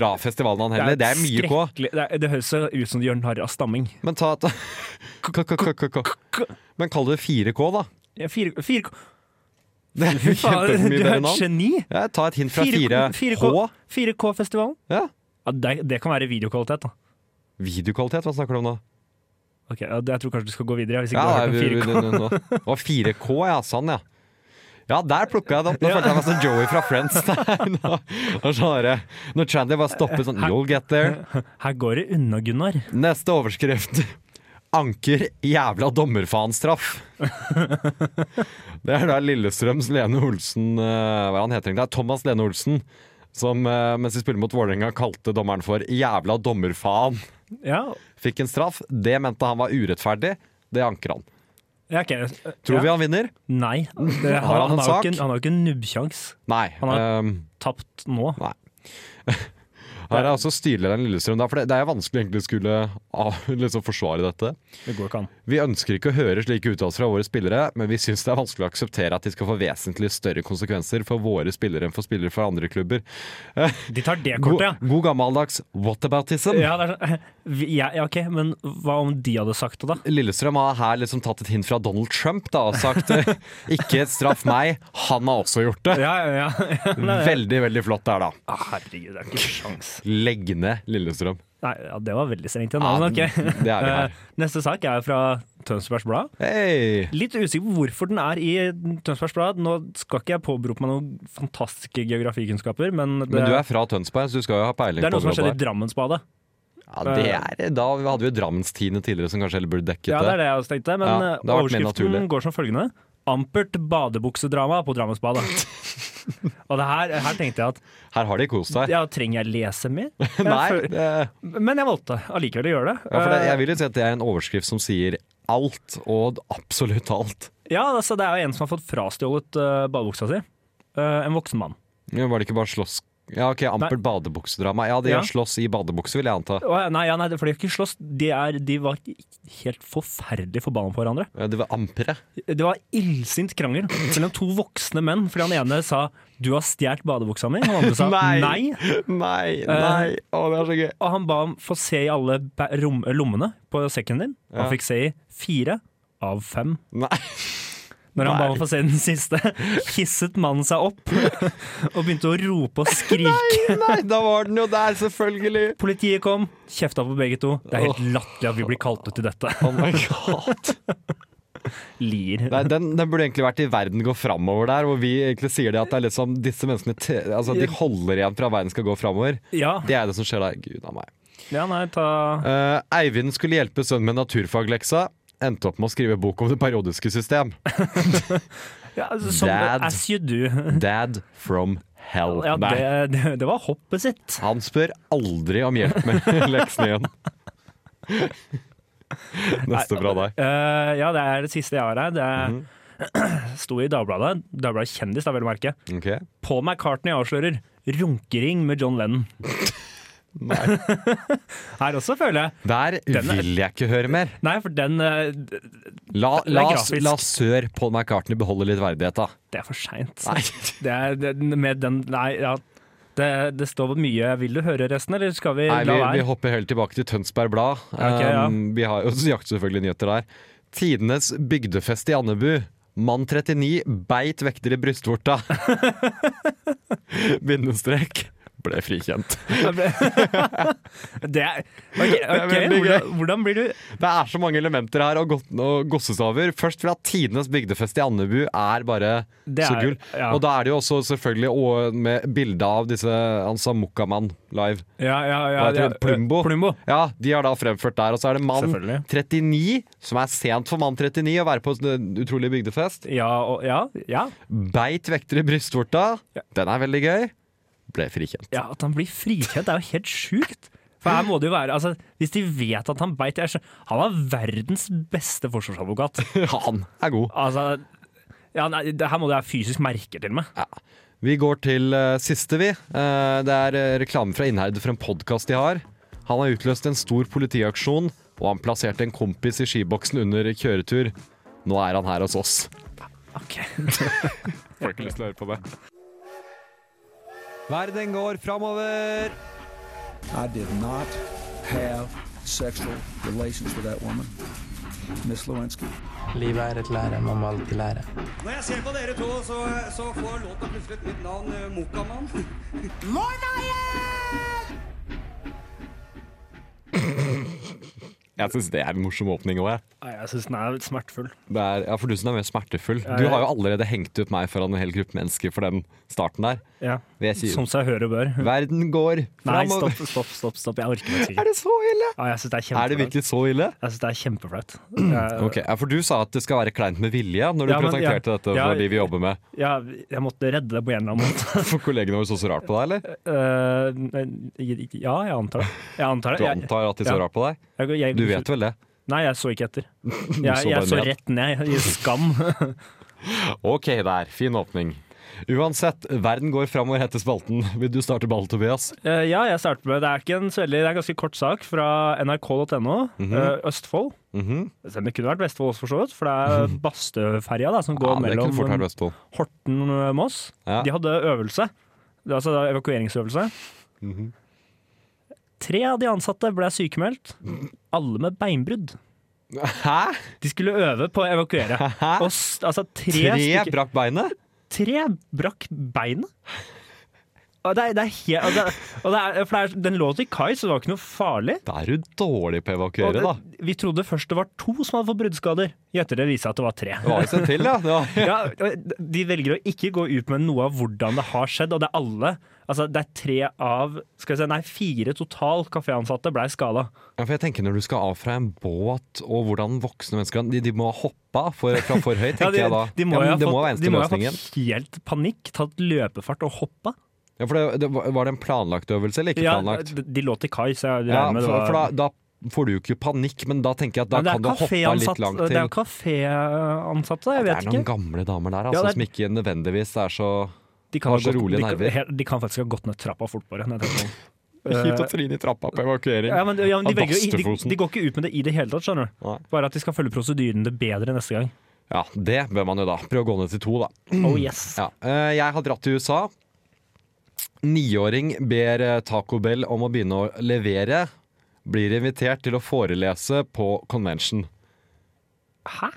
[SPEAKER 5] bra festivalnavn heller. Det er mye K.
[SPEAKER 6] skrekkelig- Det, er- det høres så ut som Jørn Harry av stamming.
[SPEAKER 5] Men ta ta- KKKK. Men kall det 4K, da.
[SPEAKER 6] Ja, fire, fire,
[SPEAKER 5] Det er jo
[SPEAKER 6] Fy faen,
[SPEAKER 5] kjempemye
[SPEAKER 6] du er
[SPEAKER 5] bedre
[SPEAKER 6] et
[SPEAKER 5] navn.
[SPEAKER 6] geni!
[SPEAKER 5] Ja, ta et hint fra 4H.
[SPEAKER 6] 4K-festivalen.
[SPEAKER 5] Ja.
[SPEAKER 6] Ja, det, det kan være videokvalitet, da.
[SPEAKER 5] Videokvalitet, hva snakker du om nå?
[SPEAKER 6] Ok, ja, det- Jeg tror kanskje du skal gå videre. Hvis ikke
[SPEAKER 5] Ja,
[SPEAKER 6] du har hørt om 4K.
[SPEAKER 5] Og 4K, ja. Sånn, ja. Ja, der plukka jeg det opp. Nå følte jeg meg som Joey fra Friends. der. Nå- nå skjønner jeg. Når Chandler bare stopper sånn You'll get there.
[SPEAKER 6] Her går det unna, Gunnar.
[SPEAKER 5] Neste overskrift. Anker jævla dommerfaenstraff. Det er da Lillestrøms Lene Olsen eh, Hva er han heter egentlig? Det er Thomas Lene Olsen. Som eh, mens de spiller mot Vålerenga, kalte dommeren for 'jævla dommerfaen'.
[SPEAKER 6] Ja,
[SPEAKER 5] Fikk en straff. Det mente han var urettferdig. Det anker han.
[SPEAKER 6] ja ok.
[SPEAKER 5] Tror
[SPEAKER 6] ja.
[SPEAKER 5] vi han vinner?
[SPEAKER 6] Nei. Det,
[SPEAKER 5] Har han en
[SPEAKER 6] jo
[SPEAKER 5] sak?
[SPEAKER 6] Ikke, han har jo ikke en nubbsjans.
[SPEAKER 5] Nei.
[SPEAKER 6] Han har-
[SPEAKER 5] ehm,
[SPEAKER 6] Tapt nå.
[SPEAKER 5] Her er altså styrelederen i Lillestrøm. da, For det, det er jo vanskelig egentlig å skulle ah, liksom forsvare dette.
[SPEAKER 6] Det går ikke an.
[SPEAKER 5] Vi ønsker ikke å høre slike uttalelser fra våre spillere, men vi syns det er vanskelig å akseptere at de skal få vesentlig større konsekvenser for våre spillere enn for spillere fra andre klubber.
[SPEAKER 6] De tar det
[SPEAKER 5] God,
[SPEAKER 6] kortet, ja.
[SPEAKER 5] god gammeldags whataboutism.
[SPEAKER 6] Ja, det er sånn. Vi- ja, ja, OK, men hva om de hadde sagt det, da?
[SPEAKER 5] Lillestrøm har her liksom tatt et hint fra Donald Trump da, og sagt eh, 'ikke straff meg, han har også gjort det'.
[SPEAKER 6] Ja, ja, ja.
[SPEAKER 5] Veldig, veldig flott der, da.
[SPEAKER 6] Ah, Herregud, det er ikke sjans.
[SPEAKER 5] Legg ned Lillestrøm.
[SPEAKER 6] Nei, ja, det var veldig strengt. igjen,
[SPEAKER 5] Ja,
[SPEAKER 6] men ok.
[SPEAKER 5] det er vi her.
[SPEAKER 6] Eh, Neste sak er fra Tønsbergs Blad.
[SPEAKER 5] Hei!
[SPEAKER 6] Litt usikker på hvorfor den er i Tønsbergs Blad. Nå skal ikke jeg påberope meg noen fantastiske geografikunnskaper, men det,
[SPEAKER 5] Men du er fra Tønsberg, så du skal jo ha peiling
[SPEAKER 6] det er
[SPEAKER 5] på
[SPEAKER 6] noe som har
[SPEAKER 5] hva
[SPEAKER 6] skjedd i Drammensbadet.
[SPEAKER 5] Ja, det er, da hadde vi jo Drammenstiene tidligere som kanskje heller burde dekket
[SPEAKER 6] Eh, Ja, det er det jeg også tenkte, men
[SPEAKER 5] Ja,
[SPEAKER 6] eh,
[SPEAKER 5] det har vært mer naturlig.
[SPEAKER 6] overskriften går som følgende. Ampert badebuksedrama på Drammensbadet. Og det her, her tenkte jeg at
[SPEAKER 5] Her har de kost seg.
[SPEAKER 6] ja, trenger jeg lese mer? Jeg
[SPEAKER 5] Nei,
[SPEAKER 6] føl-
[SPEAKER 5] det, ja,
[SPEAKER 6] Men jeg valgte allikevel å gjøre det.
[SPEAKER 5] for det,
[SPEAKER 6] Eh,
[SPEAKER 5] jeg vil jo si at det er en overskrift som sier alt, og absolutt alt.
[SPEAKER 6] ja, altså, det er jo en som har fått frastjålet eh, badebuksa si. Eh, en voksen mann.
[SPEAKER 5] Ja, Var det ikke bare slåss Ja, ok, Ampert badebuksedrama. Ja, de
[SPEAKER 6] Ja.
[SPEAKER 5] har slåss i badebukse, vil jeg anta.
[SPEAKER 6] Å, nei, ja, nei, for de har ikke slåss. De, er, de var helt forferdelig forbanna på hverandre.
[SPEAKER 5] Ja, Det var ampere.
[SPEAKER 6] Det var illsint krangel mellom to voksne menn, fordi han ene sa 'du har stjålet badebuksa mi', og han andre sa
[SPEAKER 5] Nei.
[SPEAKER 6] nei. Eh.
[SPEAKER 5] Nei,
[SPEAKER 6] nei.
[SPEAKER 5] Å, det er så gøy.
[SPEAKER 6] Og han ba om få se i alle ba- rom, lommene på sekken din. Og
[SPEAKER 5] Ja.
[SPEAKER 6] Han fikk se i fire av fem.
[SPEAKER 5] Nei.
[SPEAKER 6] Når han ba om
[SPEAKER 5] Nei.
[SPEAKER 6] å få se den siste, hisset mannen seg opp og begynte å rope og skrike.
[SPEAKER 5] Nei, da var den jo der, selvfølgelig.
[SPEAKER 6] Politiet kom, kjefta på begge to. Det er helt latterlig at vi blir kalt ut til dette.
[SPEAKER 5] Oh my god.
[SPEAKER 6] Lir.
[SPEAKER 5] Nei, den, den burde egentlig vært i Verden går framover der, hvor vi egentlig sier det at det er liksom disse menneskene te, altså, de holder igjen fra verden skal gå framover.
[SPEAKER 6] Ja,
[SPEAKER 5] Det er det som skjer der. Gud av meg.
[SPEAKER 6] ja, nei, ta
[SPEAKER 5] Eh, Eivind skulle hjelpe sønnen med naturfagleksa. Endte opp med å skrive bok om det periodiske system.
[SPEAKER 6] Ja, altså, som
[SPEAKER 5] Dad.
[SPEAKER 6] As you do.
[SPEAKER 5] Dad from hell.
[SPEAKER 6] Ja,
[SPEAKER 5] Nei.
[SPEAKER 6] det, det, det var hoppet sitt.
[SPEAKER 5] Han spør aldri om hjelp med leksene igjen. Neste fra deg.
[SPEAKER 6] Eh, ja, det er det siste jeg har her. Det er-
[SPEAKER 5] Mhm.
[SPEAKER 6] sto i Dagbladet. Dagbladet Kjendis, da, vel å merke.
[SPEAKER 5] Ok.
[SPEAKER 6] Paul McCartney avslører runkering med John Lennon.
[SPEAKER 5] Nei.
[SPEAKER 6] Her også, føler jeg.
[SPEAKER 5] Der
[SPEAKER 6] Den er-
[SPEAKER 5] vil jeg ikke høre mer.
[SPEAKER 6] Nei, for den eh, d-
[SPEAKER 5] La,
[SPEAKER 6] Det er
[SPEAKER 5] la,
[SPEAKER 6] grafisk.
[SPEAKER 5] la sør Paul McCartney beholde litt verdighet, da.
[SPEAKER 6] Det er for seint.
[SPEAKER 5] Nei.
[SPEAKER 6] Det er det, med den Nei, ja. Det, det står mye Vil du høre resten, eller skal vi
[SPEAKER 5] Nei,
[SPEAKER 6] la
[SPEAKER 5] vi,
[SPEAKER 6] være?
[SPEAKER 5] vi hopper helt tilbake til Tønsberg Blad.
[SPEAKER 6] Ok, ja.
[SPEAKER 5] Um, vi har jo jakt selvfølgelig nyheter der. Tidenes bygdefest i Andebu. Mann 39 beit vekter i brystvorta. Bindestrek. ble frikjent.
[SPEAKER 6] Det er, ok, ok,
[SPEAKER 5] veldig gøy.
[SPEAKER 6] hvordan, hvordan blir du
[SPEAKER 5] Det er så mange elementer her og, godt, og gossesaver. Først fra tidenes bygdefest i Andebu er bare
[SPEAKER 6] Det
[SPEAKER 5] så
[SPEAKER 6] er-
[SPEAKER 5] gull.
[SPEAKER 6] ja.
[SPEAKER 5] Og da er det jo også selvfølgelig og med bilde av disse Ansa Mokkamann live.
[SPEAKER 6] ja, ja, ja,
[SPEAKER 5] Hva heter
[SPEAKER 6] ja,
[SPEAKER 5] hun? Plumbo?
[SPEAKER 6] Plumbo.
[SPEAKER 5] Ja, De har da fremført der. Og så er det mann
[SPEAKER 6] Selvfølgelig.
[SPEAKER 5] 39, som er sent for mann 39 å være på en eh, utrolig bygdefest.
[SPEAKER 6] Ja, og, ja, ja,
[SPEAKER 5] Beit vekter i brystvorta. Den er veldig gøy. Ble frikjent.
[SPEAKER 6] ja, at han blir frikjent, det er jo helt sjukt. For her må det jo være, altså, Hvis de vet at han beit jeg skjønner- Han var verdens beste forsvarsadvokat.
[SPEAKER 5] Han er god.
[SPEAKER 6] Altså, ja, nei, det her må det være fysisk merke til meg.
[SPEAKER 5] Vi går til eh, siste, vi. Eh, det er eh, reklame fra Innherred for en podkast de har. Han har utløst en stor politiaksjon, og han plasserte en kompis i skiboksen under kjøretur. Nå er han her hos oss.
[SPEAKER 6] Ok.
[SPEAKER 5] Får ikke lyst til å høre på det. Verden går framover.
[SPEAKER 8] I did not have sexual relations with that woman, Miss Lewinsky.
[SPEAKER 9] Livet er et lære, man må alltid lære.
[SPEAKER 10] Når jeg ser på dere to, så, så får låta plutselig et nytt navn, eh, Mokkamann.
[SPEAKER 5] Jeg syns det er en morsom åpning òg, jeg.
[SPEAKER 6] Nei, Jeg syns den er litt smertefull.
[SPEAKER 5] Det er, ja, for du som er mer smertefull. Du har jo allerede hengt ut meg foran en hel gruppe mennesker for den starten der.
[SPEAKER 6] Ja.
[SPEAKER 5] Det sier-
[SPEAKER 6] Som seg høre og bør.
[SPEAKER 5] Verden går
[SPEAKER 6] Nei,
[SPEAKER 5] framover.
[SPEAKER 6] stopp, stopp, stopp. stopp. Jeg orker ikke.
[SPEAKER 5] Er det så ille?
[SPEAKER 6] Ja, jeg syns det er
[SPEAKER 5] Er det
[SPEAKER 6] kjempeflaut.
[SPEAKER 5] virkelig så ille?
[SPEAKER 6] Jeg synes det er kjempeflaut. Jeg-
[SPEAKER 5] Ok, ja, For du sa at det skal være kleint med vilje når du
[SPEAKER 6] Ja, men-
[SPEAKER 5] presenterte
[SPEAKER 6] ja.
[SPEAKER 5] dette for
[SPEAKER 6] Eh, Ja.
[SPEAKER 5] de vi jobber med.
[SPEAKER 6] jeg- jeg måtte redde det på en eller annen måte.
[SPEAKER 5] For kollegene våre så så rart på deg, eller?
[SPEAKER 6] Eh, men- ja, jeg antar det. Jeg antar det.
[SPEAKER 5] Du antar at de så
[SPEAKER 6] Ja.
[SPEAKER 5] rart på deg?
[SPEAKER 6] Jeg, jeg, jeg,
[SPEAKER 5] Du vet vel det?
[SPEAKER 6] Nei, jeg så ikke etter. Jeg,
[SPEAKER 5] så
[SPEAKER 6] jeg
[SPEAKER 5] bare
[SPEAKER 6] så
[SPEAKER 5] ned.
[SPEAKER 6] rett ned i skam.
[SPEAKER 5] Ok der, fin åpning. Uansett, verden går framover heter spalten. Vil du starte ball, Tobias?
[SPEAKER 6] Eh, ja, jeg starter med Det er ikke en så veldig, det er en ganske kort sak fra nrk.no.
[SPEAKER 5] Mhm.
[SPEAKER 6] eh, Østfold. Selv om Det kunne vært Vestfold også, for så vidt. For det er Bastøferja da, som går
[SPEAKER 5] Ja, det kunne fort vært
[SPEAKER 6] mellom
[SPEAKER 5] Vestfold.
[SPEAKER 6] Horten og Moss.
[SPEAKER 5] Ja.
[SPEAKER 6] De hadde øvelse. Det var altså da evakueringsøvelse.
[SPEAKER 5] Mhm.
[SPEAKER 6] Tre av de ansatte ble sykemeldt.
[SPEAKER 5] Mhm.
[SPEAKER 6] Alle med beinbrudd.
[SPEAKER 5] Hæ?
[SPEAKER 6] De skulle øve på å evakuere.
[SPEAKER 5] Hæ?
[SPEAKER 6] Og s altså tre,
[SPEAKER 5] Tre
[SPEAKER 6] stykker-
[SPEAKER 5] brakk beinet?
[SPEAKER 6] tre brakk beinet. Og det er, det er helt og det, og det er, for det er, Den lå til kai, så det var ikke noe farlig.
[SPEAKER 5] Da er du dårlig på å
[SPEAKER 6] Og
[SPEAKER 5] evakuere, da.
[SPEAKER 6] det, vi trodde først det var to som hadde fått bruddskader. I ettertid viste det seg at det var tre.
[SPEAKER 5] Det var jo seg til, ja. Det var-
[SPEAKER 6] ja, de velger å ikke gå ut med noe av hvordan det har skjedd, og det er alle. Altså, det er tre av skal vi si, Nei, fire total kaféansatte blei skada.
[SPEAKER 5] Ja, for jeg tenker Når du skal av fra en båt, og hvordan voksne mennesker De, de må ha hoppa for, fra for høyt, tenker jeg da.
[SPEAKER 6] de
[SPEAKER 5] ja,
[SPEAKER 6] må jo
[SPEAKER 5] men
[SPEAKER 6] ha
[SPEAKER 5] det må
[SPEAKER 6] fått-
[SPEAKER 5] være eneste
[SPEAKER 6] de må jo ha
[SPEAKER 5] løsningen.
[SPEAKER 6] fått helt panikk, tatt løpefart og hoppa.
[SPEAKER 5] Ja, for det, det, var det en planlagt øvelse, eller ikke
[SPEAKER 6] Ja,
[SPEAKER 5] planlagt?
[SPEAKER 6] de de lå til kai, så jeg
[SPEAKER 5] Ja,
[SPEAKER 6] regner med det
[SPEAKER 5] for,
[SPEAKER 6] var
[SPEAKER 5] for da, da får du jo ikke panikk, men da tenker jeg at da
[SPEAKER 6] Men det er
[SPEAKER 5] kan du hoppe
[SPEAKER 6] kaféansatt-
[SPEAKER 5] litt langt til.
[SPEAKER 6] Det er jo kaféansatte, jeg
[SPEAKER 5] Det
[SPEAKER 6] vet
[SPEAKER 5] er noen
[SPEAKER 6] ikke.
[SPEAKER 5] gamle damer der
[SPEAKER 6] Ja,
[SPEAKER 5] altså,
[SPEAKER 6] det er-
[SPEAKER 5] som ikke nødvendigvis er så
[SPEAKER 6] De kan,
[SPEAKER 5] har
[SPEAKER 6] ha
[SPEAKER 5] så
[SPEAKER 6] gått-
[SPEAKER 5] rolige
[SPEAKER 6] de kan-
[SPEAKER 5] nerver.
[SPEAKER 6] helt- de kan faktisk ha gått ned trappa fort bare. når jeg tenker meg om.
[SPEAKER 5] Kjipt å tryne i trappa på evakuering.
[SPEAKER 6] Eh, Ja, men, ja, men de,
[SPEAKER 5] Av
[SPEAKER 6] velger, jo- de,
[SPEAKER 5] bastefoten.
[SPEAKER 6] de går ikke ut med det i det hele tatt, skjønner
[SPEAKER 5] Nei.
[SPEAKER 6] du. Bare at de skal følge prosedyrene bedre neste gang.
[SPEAKER 5] Ja, det bør man jo da. Prøv å gå ned til to, da.
[SPEAKER 6] Oh
[SPEAKER 5] Mm.
[SPEAKER 6] yes.
[SPEAKER 5] Ja. eh, Jeg har dratt til USA. Niåring ber eh, Taco Bell om å begynne å levere. Blir invitert til å forelese på convention.
[SPEAKER 6] Hæ?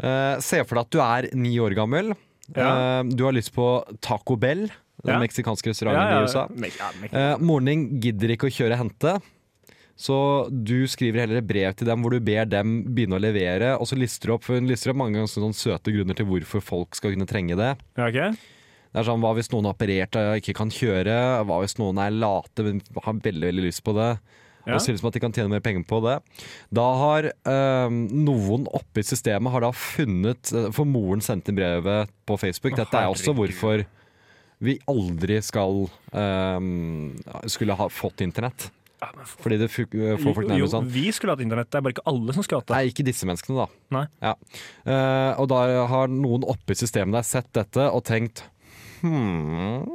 [SPEAKER 5] Eh, se for deg at du er ni år gammel.
[SPEAKER 6] Ja.
[SPEAKER 5] Eh, du har lyst på Taco Bell, den
[SPEAKER 6] Ja.
[SPEAKER 5] meksikanske restauranten i USA.
[SPEAKER 6] Meg- ja, meg-
[SPEAKER 5] Eh, moren din gidder ikke å kjøre og hente, så du skriver heller et brev til dem hvor du ber dem begynne å levere, og så lister du opp, for hun lister opp mange ganger sånne søte grunner til hvorfor folk skal kunne trenge det.
[SPEAKER 6] Ja, ok.
[SPEAKER 5] Det er sånn, Hva hvis noen er operert og ikke kan kjøre? Hva hvis noen er late, men har veldig veldig lyst på det?
[SPEAKER 6] Ja.
[SPEAKER 5] Og synes som at de kan tjene mer penger på det. Da har eh, noen oppe i systemet har da funnet eh, For moren sendte inn brevet på Facebook. Dette er også hvorfor vi aldri skal eh, skulle ha fått internett.
[SPEAKER 6] Ja, men f-
[SPEAKER 5] Fordi det fu- får folk
[SPEAKER 6] jo,
[SPEAKER 5] nærmest
[SPEAKER 6] jo,
[SPEAKER 5] sånn.
[SPEAKER 6] vi skulle hatt internett, det er bare ikke alle som skulle hatt det.
[SPEAKER 5] Nei, ikke disse menneskene, da.
[SPEAKER 6] Nei.
[SPEAKER 5] Ja. Eh, og da har noen oppe i systemet der sett dette og tenkt hmm,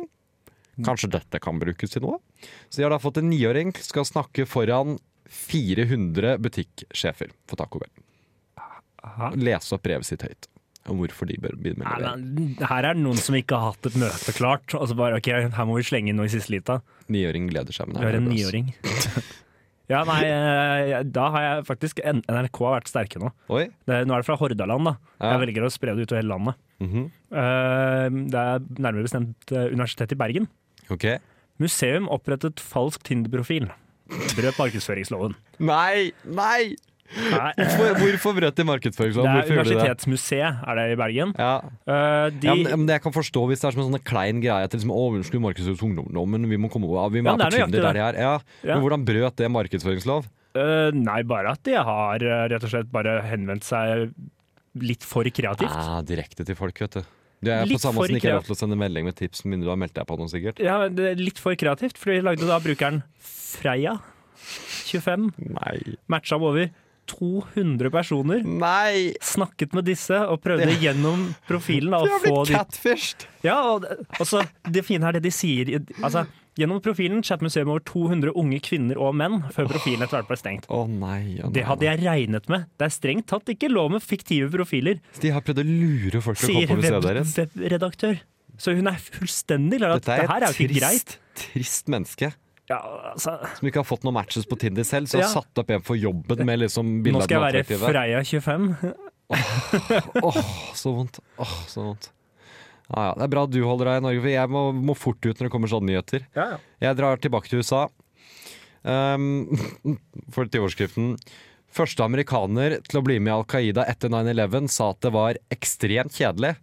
[SPEAKER 5] Kanskje dette kan brukes til noe? Så de har da fått en niåring skal snakke foran 400 butikksjefer for Taco Bell.
[SPEAKER 6] Aha.
[SPEAKER 5] Lese opp brevet sitt høyt om hvorfor de bør begynne med
[SPEAKER 6] Nei,
[SPEAKER 5] levering.
[SPEAKER 6] men her er det noen som ikke har hatt et møte klart. Og så bare, ok, Her må vi slenge inn noe i siste lita.
[SPEAKER 5] Niåring gleder seg. men
[SPEAKER 6] Vi har
[SPEAKER 5] det er
[SPEAKER 6] en
[SPEAKER 5] nervøs.
[SPEAKER 6] niåring. Ja, nei, eh, da har jeg faktisk N- NRK har vært sterke nå.
[SPEAKER 5] Oi,
[SPEAKER 6] Det, nå er det fra Hordaland, da.
[SPEAKER 5] Ja. Mhm.
[SPEAKER 6] Jeg velger å spre det utover hele landet. Eh, det er nærmere bestemt eh, Universitetet i Bergen.
[SPEAKER 5] Ok.
[SPEAKER 6] Museum opprettet falsk Tinder-profil. Brøt markedsføringsloven.
[SPEAKER 5] Nei! Nei!
[SPEAKER 6] Nei, det
[SPEAKER 5] Hvorfor, hvorfor brøt de markedsføringsloven?
[SPEAKER 6] er
[SPEAKER 5] Hvorfor gjorde de det?
[SPEAKER 6] Universitetsmuseet er det i Bergen.
[SPEAKER 5] Ja.
[SPEAKER 6] Eh,
[SPEAKER 5] Ja, men,
[SPEAKER 6] de,
[SPEAKER 5] men Jeg kan forstå hvis det er som en sånn klein greie at det liksom, å, unnskyld, markedsføres ungdommen, vi må komme over, vi må
[SPEAKER 6] Ja,
[SPEAKER 5] være
[SPEAKER 6] det er
[SPEAKER 5] på Tinder
[SPEAKER 6] nøyaktig
[SPEAKER 5] der de er. Ja.
[SPEAKER 6] Ja.
[SPEAKER 5] Men hvordan brøt det markedsføringslov?
[SPEAKER 6] eh, nei, bare at de har eh, rett og slett bare henvendt seg litt for kreativt.
[SPEAKER 5] Ah, direkte til folk, vet du. Det er
[SPEAKER 6] Litt
[SPEAKER 5] på samme
[SPEAKER 6] for
[SPEAKER 5] måte som ikke er lov
[SPEAKER 6] kreativt.
[SPEAKER 5] til å sende melding med tips, men du har meldt deg på noe sikkert.
[SPEAKER 6] Ja, men det er litt for kreativt, for de lagde da brukeren Freya 25.
[SPEAKER 5] Nei.
[SPEAKER 6] Matcha med over 200 personer.
[SPEAKER 5] Nei!
[SPEAKER 6] Snakket med disse og prøvde gjennom profilen da, å få de
[SPEAKER 5] catfished!
[SPEAKER 6] Ja, og og så det fine er det de sier i- altså, Gjennom profilen chat museet med over 200 unge kvinner og menn før profilen etter hvert ble stengt.
[SPEAKER 5] Å nei, å nei.
[SPEAKER 6] Det hadde jeg regnet med. Det er strengt tatt ikke lov med fiktive profiler,
[SPEAKER 5] De har prøvd å lure folk til å
[SPEAKER 6] sier
[SPEAKER 5] komme på museet
[SPEAKER 6] web-
[SPEAKER 5] deres.
[SPEAKER 6] webredaktør. Så hun er fullstendig klar at
[SPEAKER 5] Dette
[SPEAKER 6] det
[SPEAKER 5] er
[SPEAKER 6] her er
[SPEAKER 5] et
[SPEAKER 6] jo ikke greit.
[SPEAKER 5] trist, trist menneske
[SPEAKER 6] Ja, altså,
[SPEAKER 5] som ikke har fått noen matches på Tinder selv, så
[SPEAKER 6] Ja.
[SPEAKER 5] har satt opp en for jobben med liksom
[SPEAKER 6] nå
[SPEAKER 5] bilde av
[SPEAKER 6] skal
[SPEAKER 5] den
[SPEAKER 6] jeg være
[SPEAKER 5] attraktive.
[SPEAKER 6] Freia 25.
[SPEAKER 5] Åh, så vondt. Åh, så vondt. Ja, ja. Det er bra du holder deg i Norge, for jeg må, må fort ut når det kommer sånne nyheter. Jeg drar tilbake til USA. Um, for til overskriften. Første amerikaner til å bli med i Al Qaida etter 9-11 sa at det var ekstremt kjedelig.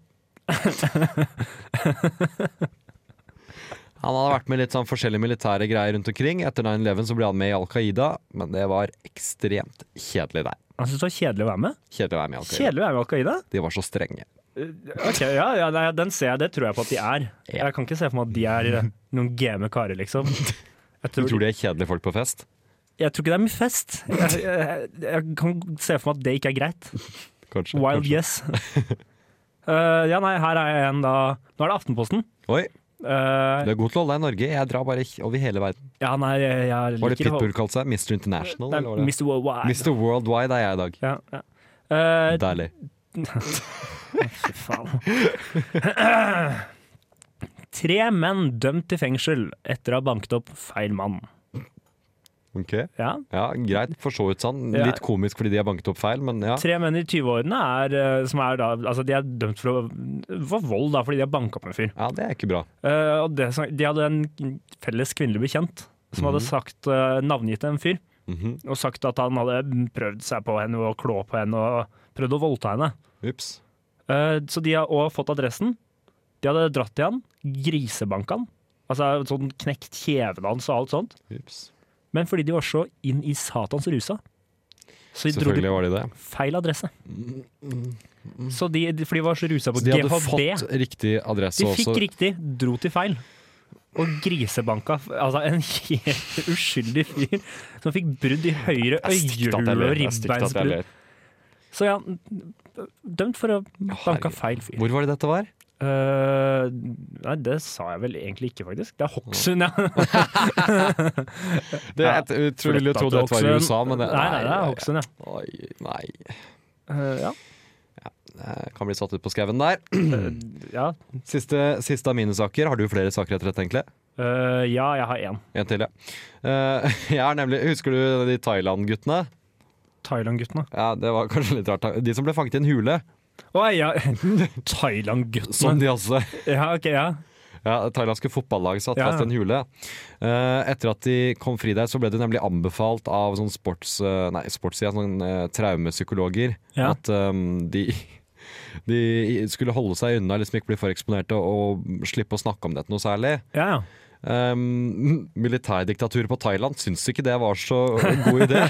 [SPEAKER 5] Han hadde vært med litt sånn forskjellige militære greier rundt omkring. Etter 9-11 så ble han med i Al Qaida, men det var ekstremt kjedelig der.
[SPEAKER 6] Han syntes det var kjedelig å være med.
[SPEAKER 5] Kjedelig å være med i Al Qaida.
[SPEAKER 6] Kjedelig å være med i Al Qaida?
[SPEAKER 5] De var så strenge.
[SPEAKER 6] Ok, ja, ja nei, den ser jeg. Det tror jeg på at de er.
[SPEAKER 5] Ja.
[SPEAKER 6] Jeg kan ikke se for meg at de er noen game karer, liksom. Jeg
[SPEAKER 5] Du tror de er kjedelige folk på fest?
[SPEAKER 6] Jeg tror ikke det er mye fest. Jeg, jeg, jeg kan se for meg at det ikke er greit.
[SPEAKER 5] Kanskje.
[SPEAKER 6] Wild
[SPEAKER 5] kanskje.
[SPEAKER 6] yes. Eh, ja, nei, her er en da Nå er det Aftenposten.
[SPEAKER 5] Oi,
[SPEAKER 6] Eh,
[SPEAKER 5] du er god til å holde deg i Norge. Jeg drar bare ikke over hele verden.
[SPEAKER 6] ja, nei, jeg, jeg
[SPEAKER 5] Var det
[SPEAKER 6] liker å-
[SPEAKER 5] Pitbull kalte seg? Mr. International?
[SPEAKER 6] Nei,
[SPEAKER 5] eller var det?
[SPEAKER 6] Mr. Worldwide.
[SPEAKER 5] Mr. Worldwide er jeg i dag.
[SPEAKER 6] Ja, ja. Eh,
[SPEAKER 5] Deilig.
[SPEAKER 6] fy faen. Tre menn dømt til fengsel etter å ha banket opp feil mann.
[SPEAKER 5] Ok.
[SPEAKER 6] Ja.
[SPEAKER 5] Ja, greit. For så vidt sånn.
[SPEAKER 6] Ja.
[SPEAKER 5] Litt komisk fordi de har banket opp feil, men ja.
[SPEAKER 6] Tre menn i 20-årene er, eh, som er da Altså, de er dømt for, å, for vold da, fordi de har banka opp en fyr.
[SPEAKER 5] Ja, det er ikke bra.
[SPEAKER 6] Eh, og det, som- de hadde en felles kvinnelig bekjent som hadde sagt, eh, navngitt en fyr.
[SPEAKER 5] Mhm.
[SPEAKER 6] Og sagt at han hadde prøvd seg på henne og klå på henne og prøvd å voldta henne.
[SPEAKER 5] Ups.
[SPEAKER 6] Eh, så de har også fått adressen. De hadde dratt til han, grisebanka han. Altså sånn knekt kjeven hans og alt sånt.
[SPEAKER 5] Ups.
[SPEAKER 6] Men fordi de var så inn i satans rusa, så de dro de
[SPEAKER 5] Selvfølgelig var de det.
[SPEAKER 6] feil adresse. Så de, de, for de var så rusa på
[SPEAKER 5] Så de hadde
[SPEAKER 6] GHB.
[SPEAKER 5] fått riktig adresse
[SPEAKER 6] De
[SPEAKER 5] også.
[SPEAKER 6] fikk riktig, dro til feil. Og grisebanka altså en helt uskyldig fyr som fikk brudd i høyre
[SPEAKER 5] Det er stygt at jeg
[SPEAKER 6] øyehjul og
[SPEAKER 5] ler. Det er stygt at jeg
[SPEAKER 6] ribbeinsbrudd.
[SPEAKER 5] ler.
[SPEAKER 6] Så ja, dømt for å banka feil fyr.
[SPEAKER 5] Hvor var det dette var?
[SPEAKER 6] Eh, nei, det sa jeg vel egentlig ikke, faktisk. Det er Hokksund, ja.
[SPEAKER 5] Mm. Det,
[SPEAKER 6] Ja.
[SPEAKER 5] jeg, t- jeg tror, ville jo trodd dette var i
[SPEAKER 6] Hokksund.
[SPEAKER 5] USA, men det,
[SPEAKER 6] Nei, nei, det er Hokksund, ja.
[SPEAKER 5] Oi, nei.
[SPEAKER 6] Eh, ja.
[SPEAKER 5] Jeg kan bli satt ut på skauen der.
[SPEAKER 6] Ja.
[SPEAKER 5] Siste, siste av mine saker. Har du flere saker etter dette, egentlig?
[SPEAKER 6] Eh, ja, jeg har én.
[SPEAKER 5] En til, ja. Eh, jeg er nemlig, husker du de Thailand-guttene?
[SPEAKER 6] Thailand-guttene.
[SPEAKER 5] Ja, det var kanskje litt rart. De som ble fanget i en hule.
[SPEAKER 6] Å ja!
[SPEAKER 5] Som
[SPEAKER 6] Thailand-guttene.
[SPEAKER 5] de også
[SPEAKER 6] Ja, ok, ja.
[SPEAKER 5] ja, Thailandske fotballag satt
[SPEAKER 6] Ja.
[SPEAKER 5] fast i en hule. Eh, etter at de kom fri der, så ble de nemlig anbefalt av sånn sports... eh, nei, sports, sier jeg, sånn eh, traumepsykologer
[SPEAKER 6] Ja.
[SPEAKER 5] at eh, de de skulle holde seg unna, liksom ikke bli for eksponerte og, og slippe å snakke om dette noe særlig.
[SPEAKER 6] ja, ja.
[SPEAKER 5] Um, militærdiktaturet på Thailand syns ikke det var så god idé.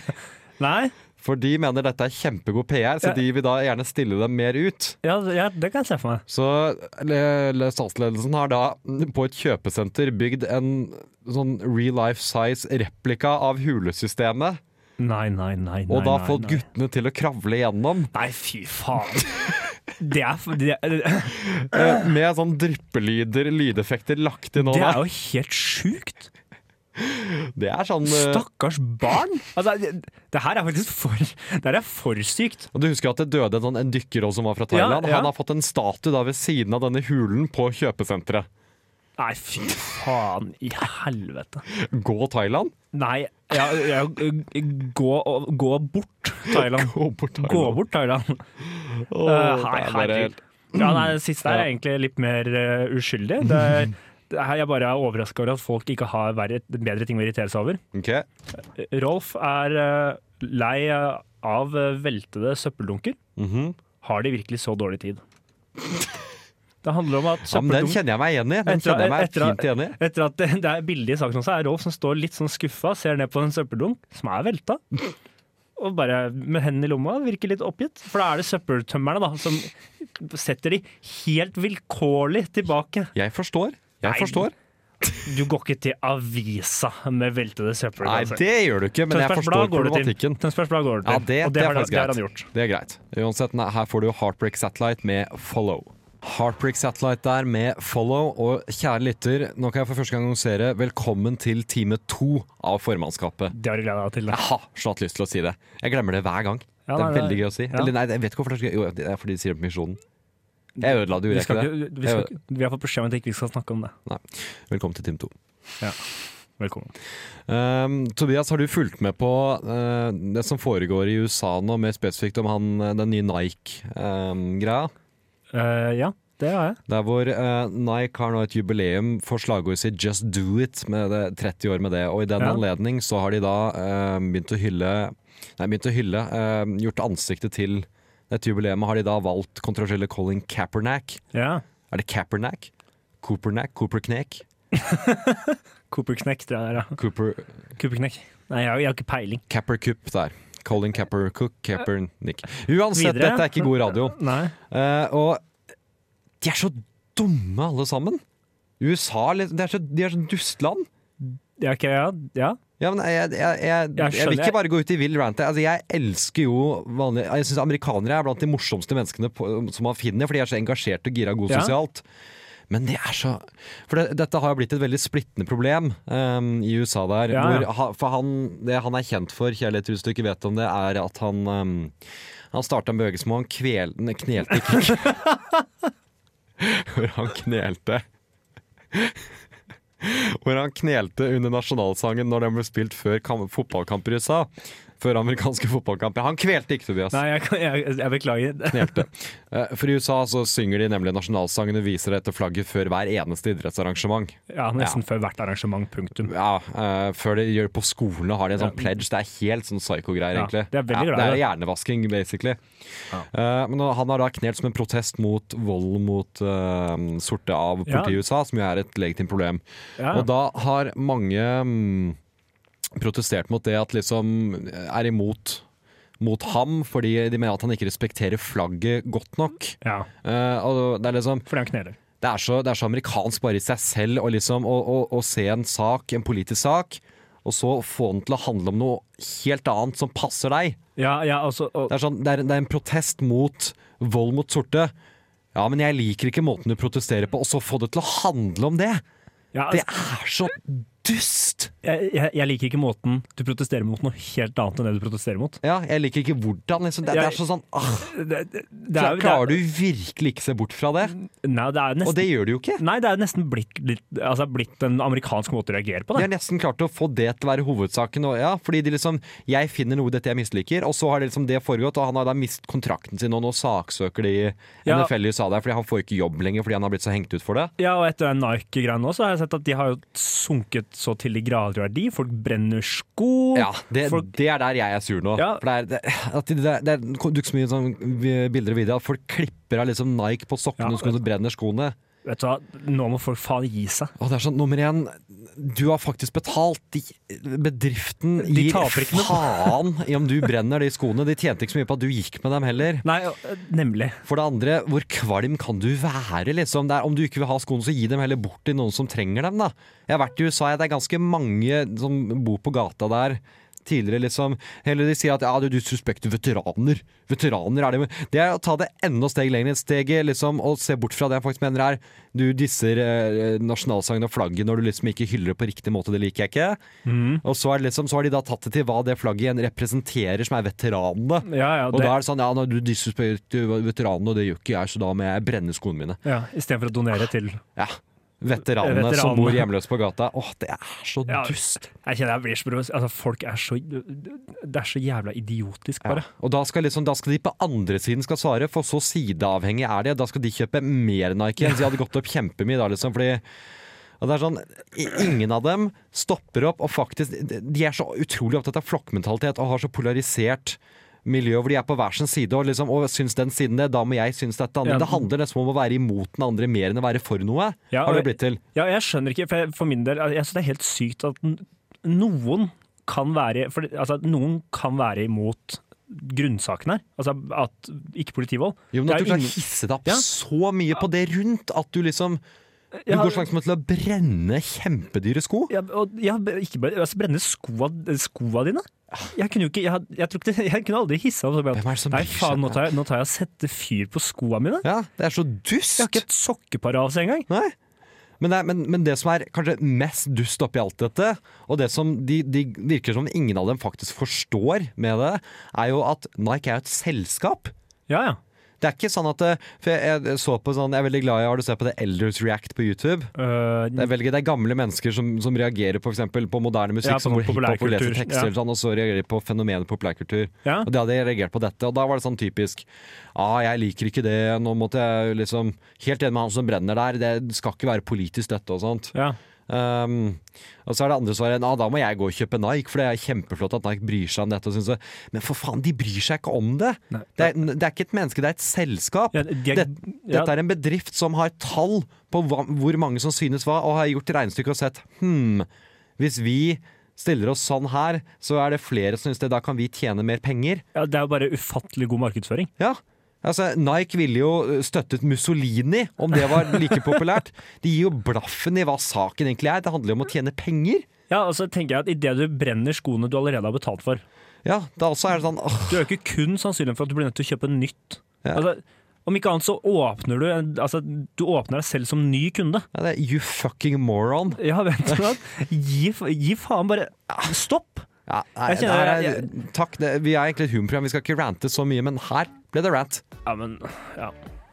[SPEAKER 6] Nei,
[SPEAKER 5] For de mener dette er kjempegod PR, så
[SPEAKER 6] Ja.
[SPEAKER 5] de vil da gjerne stille dem mer ut.
[SPEAKER 6] ja, ja, det kan jeg se for meg.
[SPEAKER 5] Så le- le- statsledelsen har da mm, på et kjøpesenter bygd en sånn real life size replika av hulesystemet,
[SPEAKER 6] Nei, nei, nei.
[SPEAKER 5] og
[SPEAKER 6] nei,
[SPEAKER 5] da
[SPEAKER 6] nei,
[SPEAKER 5] fått
[SPEAKER 6] nei.
[SPEAKER 5] guttene til å kravle gjennom
[SPEAKER 6] Nei, fy faen. Det er, f- det, er-
[SPEAKER 5] eh, med sånn dryppelyder, lydeffekter lagt inn
[SPEAKER 6] det er
[SPEAKER 5] over.
[SPEAKER 6] jo helt sjukt!
[SPEAKER 5] Det er sånn eh,
[SPEAKER 6] Stakkars barn! Altså, det, det her er faktisk for, det her er for sykt.
[SPEAKER 5] Og du husker at det døde en, sånn, en dykker også som var fra
[SPEAKER 6] Ja,
[SPEAKER 5] Thailand?
[SPEAKER 6] ja.
[SPEAKER 5] Han har fått en statue da ved siden av denne hulen på kjøpesenteret.
[SPEAKER 6] Nei, fy faen i helvete.
[SPEAKER 5] Gå Thailand?
[SPEAKER 6] Nei, ja, ja, gå, gå bort Thailand.
[SPEAKER 5] Gå bort Thailand.
[SPEAKER 6] Gå bort
[SPEAKER 5] Åh,
[SPEAKER 6] Thailand.
[SPEAKER 5] det
[SPEAKER 6] Eh, Nei,
[SPEAKER 5] er bare
[SPEAKER 6] herregud. Ja, nei, det siste her er egentlig litt mer eh, uskyldig. Det, er- her jeg bare er overraska over at folk ikke har verre, bedre ting å irritere seg over.
[SPEAKER 5] Ok,
[SPEAKER 6] Rolf er eh, lei av eh, veltede søppeldunker.
[SPEAKER 5] Mhm.
[SPEAKER 6] Har de virkelig så dårlig tid? Det handler om at
[SPEAKER 5] ja, men Den
[SPEAKER 6] søppeldunk
[SPEAKER 5] kjenner jeg meg igjen i. Den
[SPEAKER 6] Etter-
[SPEAKER 5] kjenner jeg meg
[SPEAKER 6] etter-
[SPEAKER 5] fint igjen i
[SPEAKER 6] Etter at det, det er billig i saken også, er Rolf som står litt sånn skuffa, ser ned på en søppeldunk som er velta, og bare med hendene i lomma virker litt oppgitt. For da er det søppeltømmerne da, som setter de helt vilkårlig tilbake.
[SPEAKER 5] Jeg forstår. Jeg
[SPEAKER 6] Nei,
[SPEAKER 5] forstår.
[SPEAKER 6] Du går ikke til avisa med veltede
[SPEAKER 5] Nei,
[SPEAKER 6] søppelkasser.
[SPEAKER 5] det gjør du ikke, men jeg
[SPEAKER 6] Tønsbergs
[SPEAKER 5] forstår
[SPEAKER 6] Blad går du til.
[SPEAKER 5] problematikken.
[SPEAKER 6] Tønsbergs Blad går du til.
[SPEAKER 5] Ja, det,
[SPEAKER 6] og
[SPEAKER 5] det,
[SPEAKER 6] det,
[SPEAKER 5] er
[SPEAKER 6] har,
[SPEAKER 5] faktisk
[SPEAKER 6] det har
[SPEAKER 5] greit.
[SPEAKER 6] han gjort.
[SPEAKER 5] Det er greit. Uansett, nei, her får du Heartbreak Satellite med Follow. Heartbreak Satellite der med Follow, og kjære lytter, nå kan jeg for første gang annonsere velkommen til time to av formannskapet.
[SPEAKER 6] Det har jeg gleda deg til. da.
[SPEAKER 5] Jeg har så hatt lyst til å si det. Jeg glemmer det hver gang. det
[SPEAKER 6] Ja,
[SPEAKER 5] er
[SPEAKER 6] nei, nei.
[SPEAKER 5] veldig gøy å si.
[SPEAKER 6] Ja.
[SPEAKER 5] Eller nei, jeg vet ikke hvorfor det er så gøy. Jo, det er fordi de sier det på Misjonen. Jeg ødela det,
[SPEAKER 6] Vi,
[SPEAKER 5] gjorde jeg
[SPEAKER 6] skal,
[SPEAKER 5] ikke
[SPEAKER 6] ikke-
[SPEAKER 5] det?
[SPEAKER 6] vi, skal,
[SPEAKER 5] Jeg-
[SPEAKER 6] ikke- vi har fått beskjed om at vi ikke skal snakke om det.
[SPEAKER 5] Velkommen til time to.
[SPEAKER 6] Velkommen.
[SPEAKER 5] Um, Tobias, har du fulgt med på uh, det som foregår i USA nå, mer spesifikt om han, uh, den nye ehm, Nike-greia?
[SPEAKER 6] Eh, ja, det har jeg.
[SPEAKER 5] Der hvor eh, Nike har nå et jubileum for slagordet sitt 'Just do it', med det, 30 år med det. Og i den
[SPEAKER 6] Ja.
[SPEAKER 5] anledning så har de da eh, begynt å hylle Nei, begynt å hylle eh, Gjort ansiktet til dette jubileet. Har de da valgt kontroversielle Colin Kaepernack?
[SPEAKER 6] Ja.
[SPEAKER 5] Er det Kaepernack? Coopernack? Cooperknek?
[SPEAKER 6] Cooperknekk, tror jeg det er. ja.
[SPEAKER 5] Cooper
[SPEAKER 6] Kuppeknekk. Nei, jeg har, jeg har ikke peiling.
[SPEAKER 5] Kaepercup der. Colin Kaepercook, Kaepernick. Uansett,
[SPEAKER 6] Videre.
[SPEAKER 5] dette er ikke god radio.
[SPEAKER 6] Nei.
[SPEAKER 5] Eh, og de er så dumme, alle sammen. USA, liksom, de er så, de er så dustland.
[SPEAKER 6] Ja, ok, ja, ja.
[SPEAKER 5] Ja, men jeg, jeg, jeg, jeg, vil
[SPEAKER 6] skjønner.
[SPEAKER 5] ikke bare gå ut i vill rant. Altså, jeg elsker jo vanlige Jeg syns amerikanere er blant de morsomste menneskene på, som man finner, for de er så engasjerte og gira og gode
[SPEAKER 6] Ja.
[SPEAKER 5] sosialt. Men det er så For det, dette har jo blitt et veldig splittende problem ehm, i USA der.
[SPEAKER 6] Ja, ja.
[SPEAKER 5] Hvor, ha- for han, det han er kjent for, kjærlighet hvis du ikke vet om det, er at han ehm, Han starta en bevegelse hvor han kvel, ne, knelte ikke Hvor han knelte hvor han knelte under nasjonalsangen når den ble spilt før kam- fotballkamper i USA. Før amerikanske fotballkamper. Han kvelte ikke, Tobias.
[SPEAKER 6] Nei, jeg, kan- jeg, jeg beklager.
[SPEAKER 5] Knelte. Eh, For i USA så synger de nemlig nasjonalsangen og viser dette flagget før hver eneste idrettsarrangement.
[SPEAKER 6] Ja, Nesten før hvert arrangement. Punktum.
[SPEAKER 5] Ja, eh, Før de gjør på skolene har de en sånn pledge. Det er helt sånn psyko-greier,
[SPEAKER 6] Ja,
[SPEAKER 5] egentlig.
[SPEAKER 6] de er veldig glad i
[SPEAKER 5] det er
[SPEAKER 6] det.
[SPEAKER 5] hjernevasking, basically. Eh, Men han har da knelt som en protest mot vold mot eh, sorte av
[SPEAKER 6] Ja.
[SPEAKER 5] politiet i USA, som jo er et legitimt problem.
[SPEAKER 6] Ja.
[SPEAKER 5] Og da har mange mm, protestert mot det at liksom er imot mot ham, fordi de mener at han ikke respekterer flagget godt nok.
[SPEAKER 6] ja,
[SPEAKER 5] Eh, og det er liksom
[SPEAKER 6] Fordi han kneler.
[SPEAKER 5] det er, så, det er så amerikansk bare i seg selv å liksom, å, å, å se en sak, en politisk sak, og så få den til å handle om noe helt annet som passer deg.
[SPEAKER 6] Ja, ja, altså, og,
[SPEAKER 5] Det er, sånn, det er, det er en protest mot vold mot sorte. Ja, men jeg liker ikke måten du protesterer på, og så få det til å handle om det!
[SPEAKER 6] ja, altså,
[SPEAKER 5] Det er så dust!
[SPEAKER 6] jeg, jeg, jeg liker ikke måten du protesterer mot noe helt annet enn det du protesterer mot.
[SPEAKER 5] Ja, jeg liker ikke hvordan, liksom. Det, det er
[SPEAKER 6] Jeg-
[SPEAKER 5] så sånn ah,
[SPEAKER 6] Det, det, det er,
[SPEAKER 5] Klarer klarer du virkelig ikke se bort fra det?
[SPEAKER 6] Nei, det er
[SPEAKER 5] Og
[SPEAKER 6] nesten,
[SPEAKER 5] det gjør du jo ikke.
[SPEAKER 6] nei, det er nesten blitt, litt, altså, blitt en amerikansk måte å reagere på.
[SPEAKER 5] De
[SPEAKER 6] Det.
[SPEAKER 5] har nesten klart å få det til å være hovedsaken. Og, ja, fordi de liksom, jeg finner noe i dette jeg misliker, og så har det, liksom det foregått, og han har da mistet kontrakten sin, og nå saksøker de
[SPEAKER 6] Ja.
[SPEAKER 5] NFL i USA der, fordi han får ikke jobb lenger fordi han har blitt så hengt ut for det.
[SPEAKER 6] Ja, og etter den Nike-greia nå, så har jeg sett at de har jo sunket så til de grader i verdi. Folk brenner sko.
[SPEAKER 5] Ja, det,
[SPEAKER 6] folk,
[SPEAKER 5] det er der jeg er sur nå.
[SPEAKER 6] Ja.
[SPEAKER 5] For det er, det, at det, det, er- det dukker så mye sånn vi- bilder og videoer at folk klipper av liksom Nike på sokkene
[SPEAKER 6] Ja.
[SPEAKER 5] og så brenner skoene.
[SPEAKER 6] vet du hva, nå må folk faen gi seg.
[SPEAKER 5] Og det er sånn, nummer én, du har faktisk betalt. De, bedriften
[SPEAKER 6] De
[SPEAKER 5] gir
[SPEAKER 6] taper ikke noe.
[SPEAKER 5] faen i om du brenner de skoene. De tjente ikke så mye på at du gikk med dem heller.
[SPEAKER 6] Nei, eh, nemlig.
[SPEAKER 5] For det andre, hvor kvalm kan du være, liksom? Det er, om du ikke vil ha skoene, så gi dem heller bort til noen som trenger dem, da. Jeg har vært i USA, jeg, det er ganske mange som bor på gata der. Tidligere liksom Eller de sier at ja, du, du suspekter veteraner. Veteraner er det Det er å ta det enda steg lenger. Steget liksom å se bort fra det jeg faktisk mener er Du disser eh, nasjonalsangen og flagget når du liksom ikke hyller det på riktig måte, det liker jeg ikke. Og så, er det liksom, så har de da tatt det til hva det flagget igjen representerer, som er veteranene.
[SPEAKER 6] Ja, ja,
[SPEAKER 5] Og
[SPEAKER 6] det,
[SPEAKER 5] da er det sånn, ja, når du disrespekter veteranene, og det gjør ikke jeg, så da må jeg brenne skoene mine.
[SPEAKER 6] ja, Istedenfor å donere til
[SPEAKER 5] Ja, veteranene,
[SPEAKER 6] Veteranene.
[SPEAKER 5] som bor hjemløse på gata. Åh, det er så
[SPEAKER 6] Ja.
[SPEAKER 5] dust.
[SPEAKER 6] Jeg kjenner jeg blir så provos- altså, Folk er så Det er så jævla idiotisk,
[SPEAKER 5] Ja.
[SPEAKER 6] bare.
[SPEAKER 5] Og da skal, liksom, da skal de på andre siden skal svare, for så sideavhengig er de. Da skal de kjøpe mer Nike. Så de hadde gått opp kjempemye da, liksom, fordi Og det er sånn, i- Ingen av dem stopper opp, og faktisk De er så utrolig opptatt av flokkmentalitet og har så polarisert miljø hvor de er på hver sin side og liksom, og syns den siden det, da må jeg synes dette andre.
[SPEAKER 6] Ja.
[SPEAKER 5] Det handler nesten om å være imot den andre mer enn å være for noe.
[SPEAKER 6] Ja,
[SPEAKER 5] har det
[SPEAKER 6] og-
[SPEAKER 5] blitt til.
[SPEAKER 6] Ja, jeg skjønner ikke, for, jeg, for min del altså, Jeg synes det er helt sykt at n- noen kan være for, det- altså, at Noen kan være imot grunnsakene her. Altså at ikke politivold.
[SPEAKER 5] Jo, men
[SPEAKER 6] Det
[SPEAKER 5] at
[SPEAKER 6] er
[SPEAKER 5] du klarer
[SPEAKER 6] ingen-
[SPEAKER 5] å hisse deg opp
[SPEAKER 6] Ja.
[SPEAKER 5] så mye på det rundt at du liksom Du
[SPEAKER 6] Ja,
[SPEAKER 5] går så langt som til å brenne kjempedyre sko.
[SPEAKER 6] ja, og, ja, ikke bare altså, brenne skoa, skoa dine. Jeg kunne jo ikke Jeg, had- jeg, tror ikke det, jeg kunne aldri hissa opp.
[SPEAKER 5] Hvem er det som
[SPEAKER 6] Nei,
[SPEAKER 5] bryr seg?
[SPEAKER 6] faen, nå tar, jeg, nå tar jeg og setter fyr på skoa mine.
[SPEAKER 5] Ja, det er så dust.
[SPEAKER 6] Jeg har ikke et sokkepar av seg engang.
[SPEAKER 5] Nei. Men det, er- men, men det som er kanskje mest dust oppi alt dette, og det som de, de virker som ingen av dem faktisk forstår med det, er jo at Nike er jo et selskap.
[SPEAKER 6] Ja, ja.
[SPEAKER 5] Det er ikke sånn at eh, For jeg, jeg så på sånn Jeg er veldig glad i Har du sett på det Elders React på YouTube?
[SPEAKER 6] Øh,
[SPEAKER 5] Det er, veldig, det er gamle mennesker som, som reagerer på, for eksempel, på moderne musikk,
[SPEAKER 6] Ja, på
[SPEAKER 5] som hvor hiphop og
[SPEAKER 6] populærkultur,
[SPEAKER 5] leser tekster,
[SPEAKER 6] ja.
[SPEAKER 5] og sånn, og så reagerer de på fenomenet populærkultur.
[SPEAKER 6] Ja.
[SPEAKER 5] Og det hadde jeg reagert på dette, og da var det sånn typisk ah, jeg liker ikke det, nå måtte jeg liksom Helt enig med han som brenner der, det skal ikke være politisk dette og sånt.
[SPEAKER 6] ja.
[SPEAKER 5] Um, og så er det andre svaret ah, da må jeg gå og kjøpe Nike, for det er kjempeflott at Nike bryr seg om dette. Og synes jeg, men for faen, de bryr seg ikke om det!
[SPEAKER 6] Nei.
[SPEAKER 5] Det er, det er ikke et menneske, det er et selskap.
[SPEAKER 6] Ja, de er-
[SPEAKER 5] Det,
[SPEAKER 6] ja.
[SPEAKER 5] Dette er en bedrift som har tall på hva, hvor mange som synes hva, og har gjort regnestykket og sett hm, hvis vi stiller oss sånn her, så er det flere som synes det, da kan vi tjene mer penger.
[SPEAKER 6] ja, det er jo bare ufattelig god markedsføring.
[SPEAKER 5] Ja. Altså, Nike ville jo støttet Mussolini, om det var like populært. De gir jo blaffen i hva saken egentlig er. Det handler jo om å tjene penger.
[SPEAKER 6] Ja, og så tenker jeg at Idet du brenner skoene du allerede har betalt for
[SPEAKER 5] Ja, da også er det sånn åh,
[SPEAKER 6] Du øker kun sannsynligheten for at du blir nødt til å kjøpe nytt.
[SPEAKER 5] Ja.
[SPEAKER 6] Altså, om ikke annet så åpner du en- altså, Du åpner deg selv som ny kunde.
[SPEAKER 5] ja, det er You fucking moron.
[SPEAKER 6] Ja, vet du hva? Gi, fa- gi faen, bare ah, stopp!
[SPEAKER 5] Ja, nei,
[SPEAKER 6] Jeg kjenner-
[SPEAKER 5] det er, takk, det, vi er egentlig et humorprogram, vi skal ikke rante så mye, men her ble det rant.
[SPEAKER 6] Ja, men ja.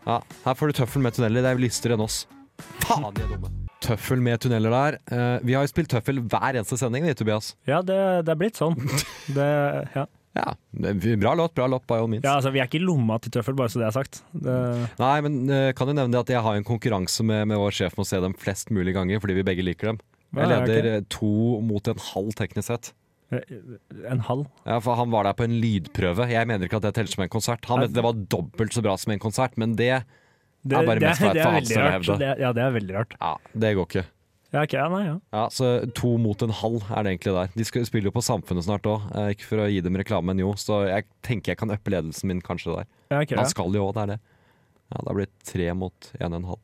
[SPEAKER 5] Ja, her får du tøffel med tunneler, det er lystere enn oss. Faen, de er dumme. Tøffel med tunneler der. Eh, vi har jo spilt tøffel hver eneste sending, vi, Tobias.
[SPEAKER 6] ja det, det er blitt sånn. Det, ja.
[SPEAKER 5] Ja, det- bra låt, bra låt, by all means.
[SPEAKER 6] ja, altså, Vi er ikke i lomma til tøffel, bare så det er sagt. Det,
[SPEAKER 5] Nei, men eh, kan jo nevne det at jeg har en konkurranse med, med vår sjef om å se dem flest mulig ganger, fordi vi begge liker dem. Jeg
[SPEAKER 6] Ja, ok.
[SPEAKER 5] leder eh, to mot en halv teknisk sett.
[SPEAKER 6] en halv.
[SPEAKER 5] Ja, for Han var der på en lydprøve. Jeg mener ikke at det teller som en konsert. Han mente det var dobbelt så bra som en konsert, men det
[SPEAKER 6] Det,
[SPEAKER 5] Ja, bare mest for at
[SPEAKER 6] det
[SPEAKER 5] for
[SPEAKER 6] er
[SPEAKER 5] han
[SPEAKER 6] veldig
[SPEAKER 5] skal
[SPEAKER 6] rart.
[SPEAKER 5] hevde.
[SPEAKER 6] Det, ja, det er veldig rart.
[SPEAKER 5] Ja, det går ikke.
[SPEAKER 6] Ja, ok, ja, nei, ja.
[SPEAKER 5] Ja, Så to mot en halv er det egentlig der. De skal, spiller jo på Samfunnet snart òg, ikke for å gi dem reklame, men jo. Så jeg tenker jeg kan uppe ledelsen min kanskje der.
[SPEAKER 6] Ja, ok, ja.
[SPEAKER 5] Han skal jo òg, det er det. Ja, Da blir det tre mot en og en halv.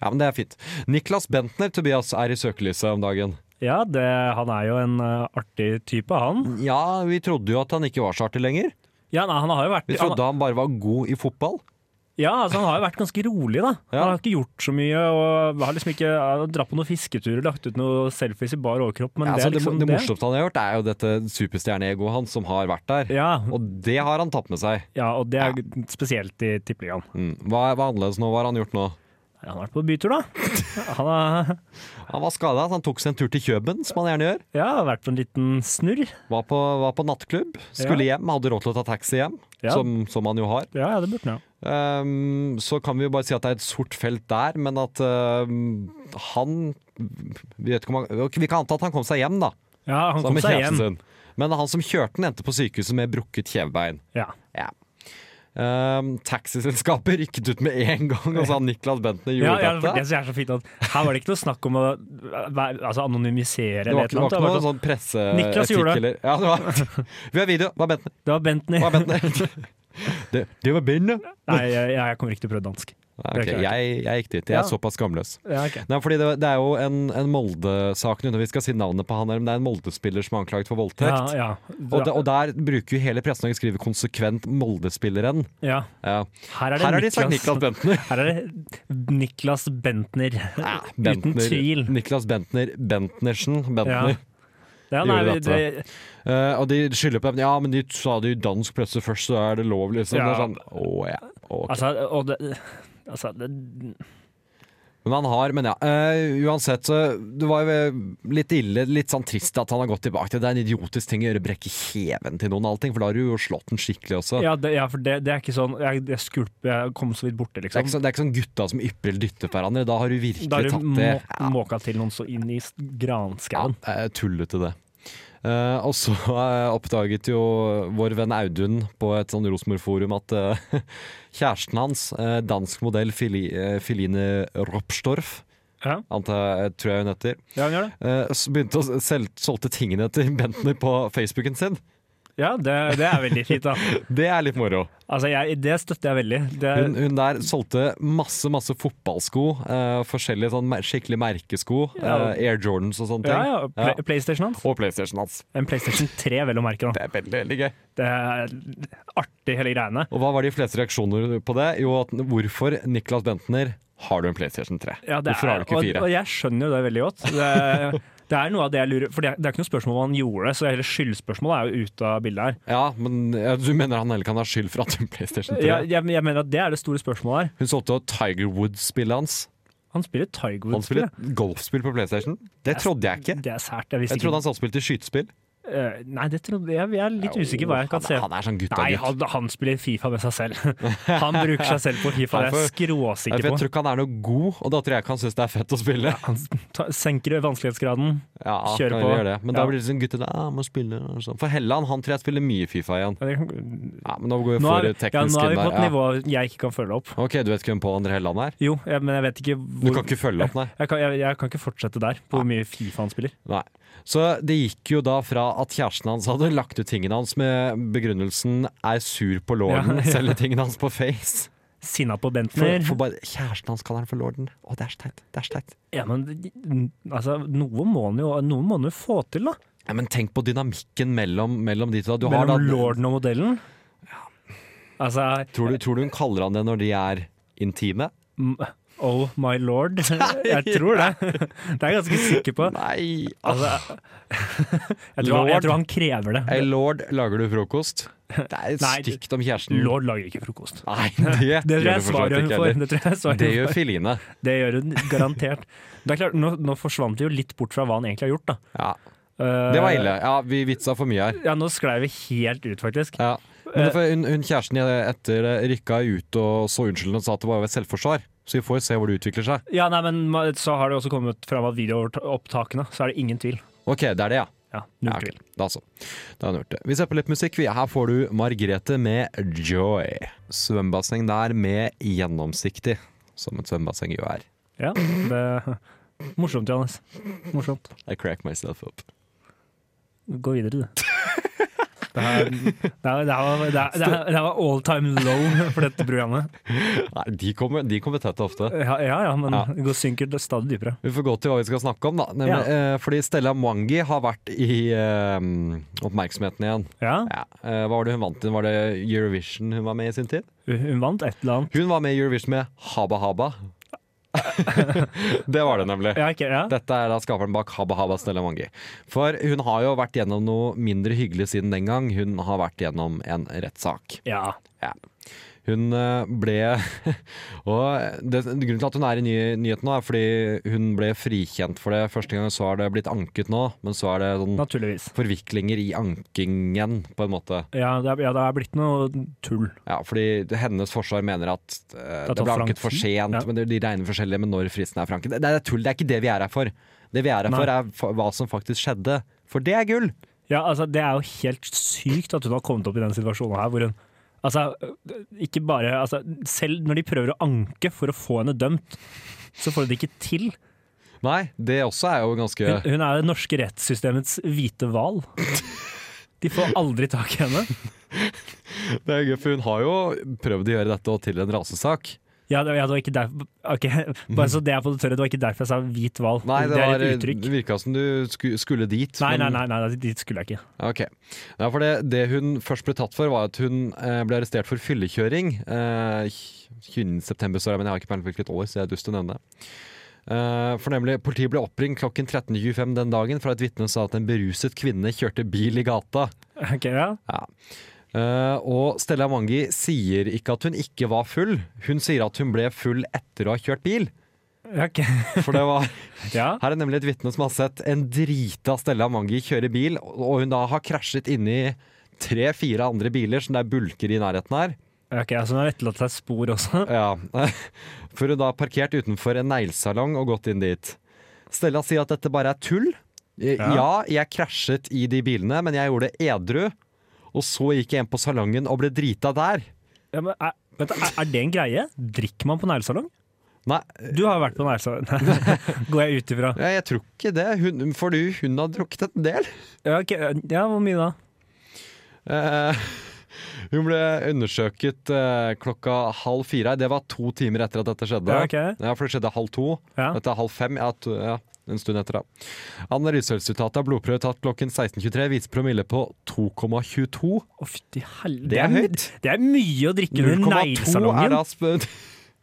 [SPEAKER 5] Ja, men det er fint. Niklas Bentner, Tobias, er i søkelyset om dagen.
[SPEAKER 6] ja det, han er jo en eh, artig type, han.
[SPEAKER 5] Ja, vi trodde jo at han ikke var så artig lenger.
[SPEAKER 6] Ja, nei, han har jo vært
[SPEAKER 5] Vi
[SPEAKER 6] han-
[SPEAKER 5] trodde han bare var god i fotball.
[SPEAKER 6] Ja, altså han har jo vært ganske rolig, da.
[SPEAKER 5] Ja.
[SPEAKER 6] Han har ikke gjort så mye. og har liksom ikke han har Dratt på noen fisketurer, lagt ut noen selfies i bar overkropp, men
[SPEAKER 5] Ja,
[SPEAKER 6] det
[SPEAKER 5] altså,
[SPEAKER 6] er
[SPEAKER 5] det,
[SPEAKER 6] liksom
[SPEAKER 5] det morsomste han har gjort, er jo dette superstjerneegoet hans som har vært der.
[SPEAKER 6] Ja, og,
[SPEAKER 5] Og det har han tatt med seg.
[SPEAKER 6] ja, og det er spesielt i tippeligaen.
[SPEAKER 5] Mm. Hva, hva er annerledes nå? Hva har han gjort nå?
[SPEAKER 6] Han har vært på bytur, da. Han har
[SPEAKER 5] Han var skada, så han tok seg en tur til Kjøben, som han gjerne gjør.
[SPEAKER 6] ja, vært på en liten snurr.
[SPEAKER 5] Var på, var på nattklubb, skulle hjem, hadde råd til å ta taxi hjem,
[SPEAKER 6] Ja.
[SPEAKER 5] som, som han jo har.
[SPEAKER 6] Ja, ja, det burde han. ja.
[SPEAKER 5] Ehm, så kan vi jo bare si at det er et sort felt der, men at ehm, han vi, vet ikke om han ok, vi kan anta at han kom seg hjem, da.
[SPEAKER 6] Ja, han
[SPEAKER 5] sammen
[SPEAKER 6] kom
[SPEAKER 5] med
[SPEAKER 6] seg
[SPEAKER 5] kjæresten
[SPEAKER 6] hjem.
[SPEAKER 5] sin. Men han som kjørte den, endte på sykehuset med brukket kjevebein.
[SPEAKER 6] Ja.
[SPEAKER 5] Ja. Ehm, taxiselskapet rykket ut med en gang og sa Niklas Bentner
[SPEAKER 6] Ja,
[SPEAKER 5] gjorde
[SPEAKER 6] ja, for det
[SPEAKER 5] dette.
[SPEAKER 6] som er så fint at Her var det ikke noe snakk om å være- altså, anonymisere
[SPEAKER 5] Det
[SPEAKER 6] eller
[SPEAKER 5] var ikke,
[SPEAKER 6] et
[SPEAKER 5] det var
[SPEAKER 6] eller annet.
[SPEAKER 5] ikke noe
[SPEAKER 6] Det var,
[SPEAKER 5] sånn
[SPEAKER 6] Niklas
[SPEAKER 5] presseetikk
[SPEAKER 6] gjorde det.
[SPEAKER 5] eller ja, det var, Vi har video. Hva er Bentner?
[SPEAKER 6] sånn, det var Bentner.
[SPEAKER 5] Hva er Bentner? Det, det var Bentner.
[SPEAKER 6] Nei, jeg, jeg kommer ikke til å prøve dansk.
[SPEAKER 5] Nei, ok,
[SPEAKER 6] Det er klart.
[SPEAKER 5] jeg, jeg gikk dit. Jeg
[SPEAKER 6] Ja.
[SPEAKER 5] er såpass skamløs.
[SPEAKER 6] Ja, ok.
[SPEAKER 5] Nei, fordi det, det er jo en, en Molde-sak nå, når vi skal si navnet på han her, men det er en Molde-spiller som er anklaget for
[SPEAKER 6] ja,
[SPEAKER 5] voldtekt.
[SPEAKER 6] ja.
[SPEAKER 5] Og, de, og der bruker jo hele pressen å skrive konsekvent Molde-spilleren.
[SPEAKER 6] ja.
[SPEAKER 5] Ja.
[SPEAKER 6] Her er det
[SPEAKER 5] Her har de sagt Niklas Bentner.
[SPEAKER 6] Her er det Niklas Bentner.
[SPEAKER 5] Ja,
[SPEAKER 6] Uten tvil.
[SPEAKER 5] Niklas Bentner Bentnersen. Bentner.
[SPEAKER 6] Ja,
[SPEAKER 5] Gjorde
[SPEAKER 6] nei, vi,
[SPEAKER 5] dette.
[SPEAKER 6] det,
[SPEAKER 5] Eh, og de skylder på Ja, men de sa det i dansk presse først, så er det lov, liksom.
[SPEAKER 6] Ja.
[SPEAKER 5] Det er sånn, å ja. ok.
[SPEAKER 6] altså, og det, altså det,
[SPEAKER 5] Men han har, men ja. eh, uansett, så det var jo eh, litt ille, litt sånn trist at han har gått tilbake til det. Det er en idiotisk ting å gjøre, brekke kjeven til noen, og allting, for da har du jo slått den skikkelig også.
[SPEAKER 6] Ja, det, ja for det, det er ikke sånn Jeg, jeg skulper, jeg kom så vidt borte,
[SPEAKER 5] Det er, ikke
[SPEAKER 6] liksom.
[SPEAKER 5] sånn, det er ikke sånn gutta som ypper eller dytter på hverandre. Da har du virkelig
[SPEAKER 6] Da har du
[SPEAKER 5] tatt det
[SPEAKER 6] må, måka til noen så inn i s- granskauen.
[SPEAKER 5] Ja, det er tullete det. Eh, og så eh, oppdaget jo vår venn Audun på et sånn Rosenborg-forum at eh, kjæresten hans, eh, dansk modell Fili, eh, Filine Ropstorff,
[SPEAKER 6] Ja.
[SPEAKER 5] antar, jeg- tror jeg hun heter,
[SPEAKER 6] Ja, hun gjør det.
[SPEAKER 5] eh, s- begynte å selge solgte tingene til Bentner på Facebooken sin.
[SPEAKER 6] Ja, det, det er veldig fint, da.
[SPEAKER 5] Det er litt moro.
[SPEAKER 6] Altså, jeg, det støtter jeg veldig. Det,
[SPEAKER 5] Hun, hun der solgte masse masse fotballsko, eh, forskjellige sånn mer- skikkelig merkesko,
[SPEAKER 6] Ja.
[SPEAKER 5] eh, Air Jordans og sånne ting.
[SPEAKER 6] ja, ja, Pla- PlayStation hans.
[SPEAKER 5] Og PlayStation hans.
[SPEAKER 6] En PlayStation 3, vel å merke. da.
[SPEAKER 5] Det er veldig, veldig gøy.
[SPEAKER 6] Det er artig, hele greiene.
[SPEAKER 5] Og hva var de fleste reaksjoner på det? Jo, at hvorfor Niklas Bentner har du en PlayStation 3?
[SPEAKER 6] Ja, det
[SPEAKER 5] hvorfor har du
[SPEAKER 6] er-
[SPEAKER 5] ikke fire?
[SPEAKER 6] Og, og jeg skjønner jo det veldig godt. Det, det er noe av det jeg lurer For det er, det er ikke noe spørsmål om han gjorde det, så hele skyldspørsmålet er jo ute av bildet her.
[SPEAKER 5] ja, men ja, Du mener han heller kan ha skyld for at hun PlayStation 3?
[SPEAKER 6] Jeg, jeg, jeg mener at det er det store spørsmålet her.
[SPEAKER 5] Hun solgte jo Tiger Woods-spillet hans.
[SPEAKER 6] Han spiller Tiger
[SPEAKER 5] Han
[SPEAKER 6] Woods.
[SPEAKER 5] spiller
[SPEAKER 6] spiller
[SPEAKER 5] et golfspill på PlayStation. Det trodde jeg ikke.
[SPEAKER 6] Det er sært. Jeg visste
[SPEAKER 5] Jeg
[SPEAKER 6] ikke.
[SPEAKER 5] trodde han satt spilte skytespill.
[SPEAKER 6] Eh, Nei, det trodde jeg. Jeg er litt usikker hva jeg kan
[SPEAKER 5] han,
[SPEAKER 6] se.
[SPEAKER 5] Han er sånn gutta
[SPEAKER 6] Nei,
[SPEAKER 5] gutt.
[SPEAKER 6] han, han spiller Fifa med seg selv. Han bruker seg selv på Fifa, det er jeg
[SPEAKER 5] Jeg
[SPEAKER 6] skråsikker
[SPEAKER 5] tror
[SPEAKER 6] på.
[SPEAKER 5] ikke han er noe god, og da tror jeg ikke han syns det er fett å spille.
[SPEAKER 6] Han ta, senker vanskelighetsgraden.
[SPEAKER 5] Ja, han
[SPEAKER 6] Kjør
[SPEAKER 5] kan
[SPEAKER 6] på.
[SPEAKER 5] gjøre Det. Men da
[SPEAKER 6] Ja.
[SPEAKER 5] blir det sånn gutter da, ah, må spille og sånn. For Helland, han tror jeg spiller mye Fifa igjen.
[SPEAKER 6] Ja, det kan-
[SPEAKER 5] Ja, men nå går vi
[SPEAKER 6] Nå
[SPEAKER 5] for
[SPEAKER 6] er, ja, nå
[SPEAKER 5] teknisk
[SPEAKER 6] er vi
[SPEAKER 5] inn
[SPEAKER 6] på et
[SPEAKER 5] der. Ja.
[SPEAKER 6] nivå jeg ikke kan følge opp.
[SPEAKER 5] Ok, du vet hvem Pål André Helland er?
[SPEAKER 6] Jo, jeg, men jeg vet ikke
[SPEAKER 5] Du
[SPEAKER 6] hvor
[SPEAKER 5] kan ikke følge opp, nei?
[SPEAKER 6] jeg kan, jeg, jeg kan ikke fortsette der, på hvor mye Fifa han spiller.
[SPEAKER 5] Nei. Så det gikk jo da fra at kjæresten hans hadde lagt ut tingene hans med begrunnelsen 'er sur på lorden',
[SPEAKER 6] Ja, ja.
[SPEAKER 5] selger tingene hans på Face.
[SPEAKER 6] Sinna på
[SPEAKER 5] For,
[SPEAKER 6] Bentner.
[SPEAKER 5] for bare, kjæresten hans kaller han for lorden. Å, det er så teit. Det er så teit.
[SPEAKER 6] Ja, men altså, noe må han jo, noe må han jo få til, da.
[SPEAKER 5] Ja, men tenk på dynamikken mellom, mellom de to. da. Du har
[SPEAKER 6] Mellom
[SPEAKER 5] da-
[SPEAKER 6] lorden og modellen. Altså
[SPEAKER 5] Tror, du, tror du hun kaller han det når de er intime?
[SPEAKER 6] m- Oh my lord. Jeg tror det. Det er jeg ganske sikker på.
[SPEAKER 5] Nei.
[SPEAKER 6] Altså, jeg, tror han, jeg tror han krever det.
[SPEAKER 5] Hey, Ah, lord, lager du frokost? Det er
[SPEAKER 6] Nei,
[SPEAKER 5] stygt om kjæresten
[SPEAKER 6] Lord lager ikke frokost.
[SPEAKER 5] Nei, det,
[SPEAKER 6] Det tror
[SPEAKER 5] gjør
[SPEAKER 6] jeg
[SPEAKER 5] du for så
[SPEAKER 6] svarer
[SPEAKER 5] vidt
[SPEAKER 6] hun
[SPEAKER 5] ikke
[SPEAKER 6] for.
[SPEAKER 5] heller.
[SPEAKER 6] Det, tror jeg svarer
[SPEAKER 5] Det
[SPEAKER 6] hun
[SPEAKER 5] gjør
[SPEAKER 6] for.
[SPEAKER 5] Filine.
[SPEAKER 6] det gjør hun garantert. Det er klart, nå, nå forsvant vi jo litt bort fra hva han egentlig har gjort, da.
[SPEAKER 5] Ja,
[SPEAKER 6] Eh,
[SPEAKER 5] det var ille. Ja, vi vitsa for mye her.
[SPEAKER 6] Ja, nå sklei vi helt ut, faktisk.
[SPEAKER 5] Ja. Men det, for hun, hun kjæresten etter det rykka ut og så unnskyldende og sa at det var et selvforsvar. Så vi får se hvor det utvikler seg.
[SPEAKER 6] Ja, nei, men ma- så har det også kommet fram at videoopptakene, så er det ingen tvil.
[SPEAKER 5] Ok, det er det, ja.
[SPEAKER 6] Ja,
[SPEAKER 5] ja
[SPEAKER 6] null
[SPEAKER 5] ok.
[SPEAKER 6] tvil.
[SPEAKER 5] Da så. Da har hun hørt det. Vi ser på litt musikk. vi. Her får du Margrethe med Joy. Svømmebasseng der med gjennomsiktig, som et svømmebasseng jo er.
[SPEAKER 6] Ja, det Morsomt, Johannes. Morsomt.
[SPEAKER 5] I crack myself up.
[SPEAKER 6] Gå videre, du. Det her, det her, det her, var- det her, det her, det her var all time low for dette programmet.
[SPEAKER 5] Nei, de kommer, de kommer tett ofte.
[SPEAKER 6] Ja, ja, ja men
[SPEAKER 5] Ja.
[SPEAKER 6] det går synker det stadig dypere.
[SPEAKER 5] Vi får gå til hva vi skal snakke om, da. Nemlig, eh, fordi Stella Mwangi har vært i eh, oppmerksomheten igjen.
[SPEAKER 6] Ja,
[SPEAKER 5] Ja. Eh, hva var det hun vant til? Var det Eurovision hun var med i sin tid?
[SPEAKER 6] hun vant et eller annet.
[SPEAKER 5] Hun var med i Eurovision med Haba Haba. det var det nemlig.
[SPEAKER 6] Ja, ikke, ja.
[SPEAKER 5] Dette er da skaperen bak Haba Haba Stella Mangi. For hun har jo vært gjennom noe mindre hyggelig siden den gang. Hun har vært gjennom en rettssak.
[SPEAKER 6] ja.
[SPEAKER 5] Ja. Hun eh, ble Og det, grunnen til at hun er i ny, nyheten nå, er fordi hun ble frikjent for det første gang, så har det blitt anket nå, men så er det sånn
[SPEAKER 6] Naturligvis.
[SPEAKER 5] forviklinger i ankingen, på en måte.
[SPEAKER 6] Ja det, er, ja, det er blitt noe tull.
[SPEAKER 5] Ja, fordi hennes forsvar mener at eh, det
[SPEAKER 6] Det tar
[SPEAKER 5] ble
[SPEAKER 6] for lang
[SPEAKER 5] anket for
[SPEAKER 6] tid.
[SPEAKER 5] sent,
[SPEAKER 6] Ja.
[SPEAKER 5] men det- de regner forskjellig med når fristen er for anket. Det, det er tull, det er ikke det vi er her for. Det vi er her
[SPEAKER 6] Nei.
[SPEAKER 5] for, er fa- hva som faktisk skjedde. For det er gull!
[SPEAKER 6] Ja, altså Det er jo helt sykt at hun har kommet opp i den situasjonen her. hvor hun Altså, ikke bare altså, Selv når de prøver å anke for å få henne dømt, så får hun det ikke til.
[SPEAKER 5] Nei, det også er jo ganske
[SPEAKER 6] Hun, hun er det norske rettssystemets hvite hval. De får aldri tak i henne.
[SPEAKER 5] Det er gøy, for hun har jo prøvd å gjøre dette til en rasesak.
[SPEAKER 6] Ja, det, ja, det var ikke derfor ok, Bare så det er på det tørre, det var ikke derfor jeg sa hvit hval.
[SPEAKER 5] Nei, det,
[SPEAKER 6] det er
[SPEAKER 5] var,
[SPEAKER 6] et uttrykk.
[SPEAKER 5] det virka som du sku- skulle dit.
[SPEAKER 6] Nei, nei,
[SPEAKER 5] men-
[SPEAKER 6] nei, nei, dit skulle jeg ikke.
[SPEAKER 5] Ok. Ja, for det, det hun først ble tatt for, var at hun eh, ble arrestert for fyllekjøring. Eh, 20. september, står det, men jeg har ikke peiling på hvilket år, så jeg er dust til å nevne det. Eh, for nemlig, Politiet ble oppringt klokken 13.25 den dagen fra et vitne som sa at en beruset kvinne kjørte bil i gata.
[SPEAKER 6] Ok, ja.
[SPEAKER 5] Eh, og Stella Mangi sier ikke at hun ikke var full, hun sier at hun ble full etter å ha kjørt bil.
[SPEAKER 6] Ja, ok.
[SPEAKER 5] For det var
[SPEAKER 6] ja.
[SPEAKER 5] Her er nemlig et vitne som har sett en drita Stella Mangi kjøre bil, og hun da har krasjet inni tre-fire andre biler som det er bulker i nærheten her.
[SPEAKER 6] Ok, altså, Så hun har etterlatt seg spor også?
[SPEAKER 5] Ja. For hun da har parkert utenfor en neglesalong og gått inn dit. Stella sier at dette bare er tull. Eh, Ja, jeg krasjet i de bilene, men jeg gjorde det edru. Og så gikk jeg inn på salongen og ble drita der.
[SPEAKER 6] Ja, men er, vent, er, er det en greie? Drikker man på neglesalong?
[SPEAKER 5] Nei,
[SPEAKER 6] Du har vært på neglesalong, går jeg ut ifra.
[SPEAKER 5] ja, jeg tror ikke det. Hun, for du, hun har drukket en del.
[SPEAKER 6] Ja, ok, ja, hvor mye da?
[SPEAKER 5] Eh, hun ble undersøket eh, klokka halv fire. Det var to timer etter at dette skjedde.
[SPEAKER 6] Ja, ok.
[SPEAKER 5] Ja, for det skjedde halv to.
[SPEAKER 6] Ja.
[SPEAKER 5] Dette er halv fem. Ja, to, ja, en stund etter, da. Analyseresultatet av blodprøve tatt klokken 16.23 viser promille på 2,22.
[SPEAKER 6] Å, fytti helvete.
[SPEAKER 5] Det er høyt.
[SPEAKER 6] Det er mye å drikke under
[SPEAKER 5] 0,2 er
[SPEAKER 6] neglesalongen.
[SPEAKER 5] da sp-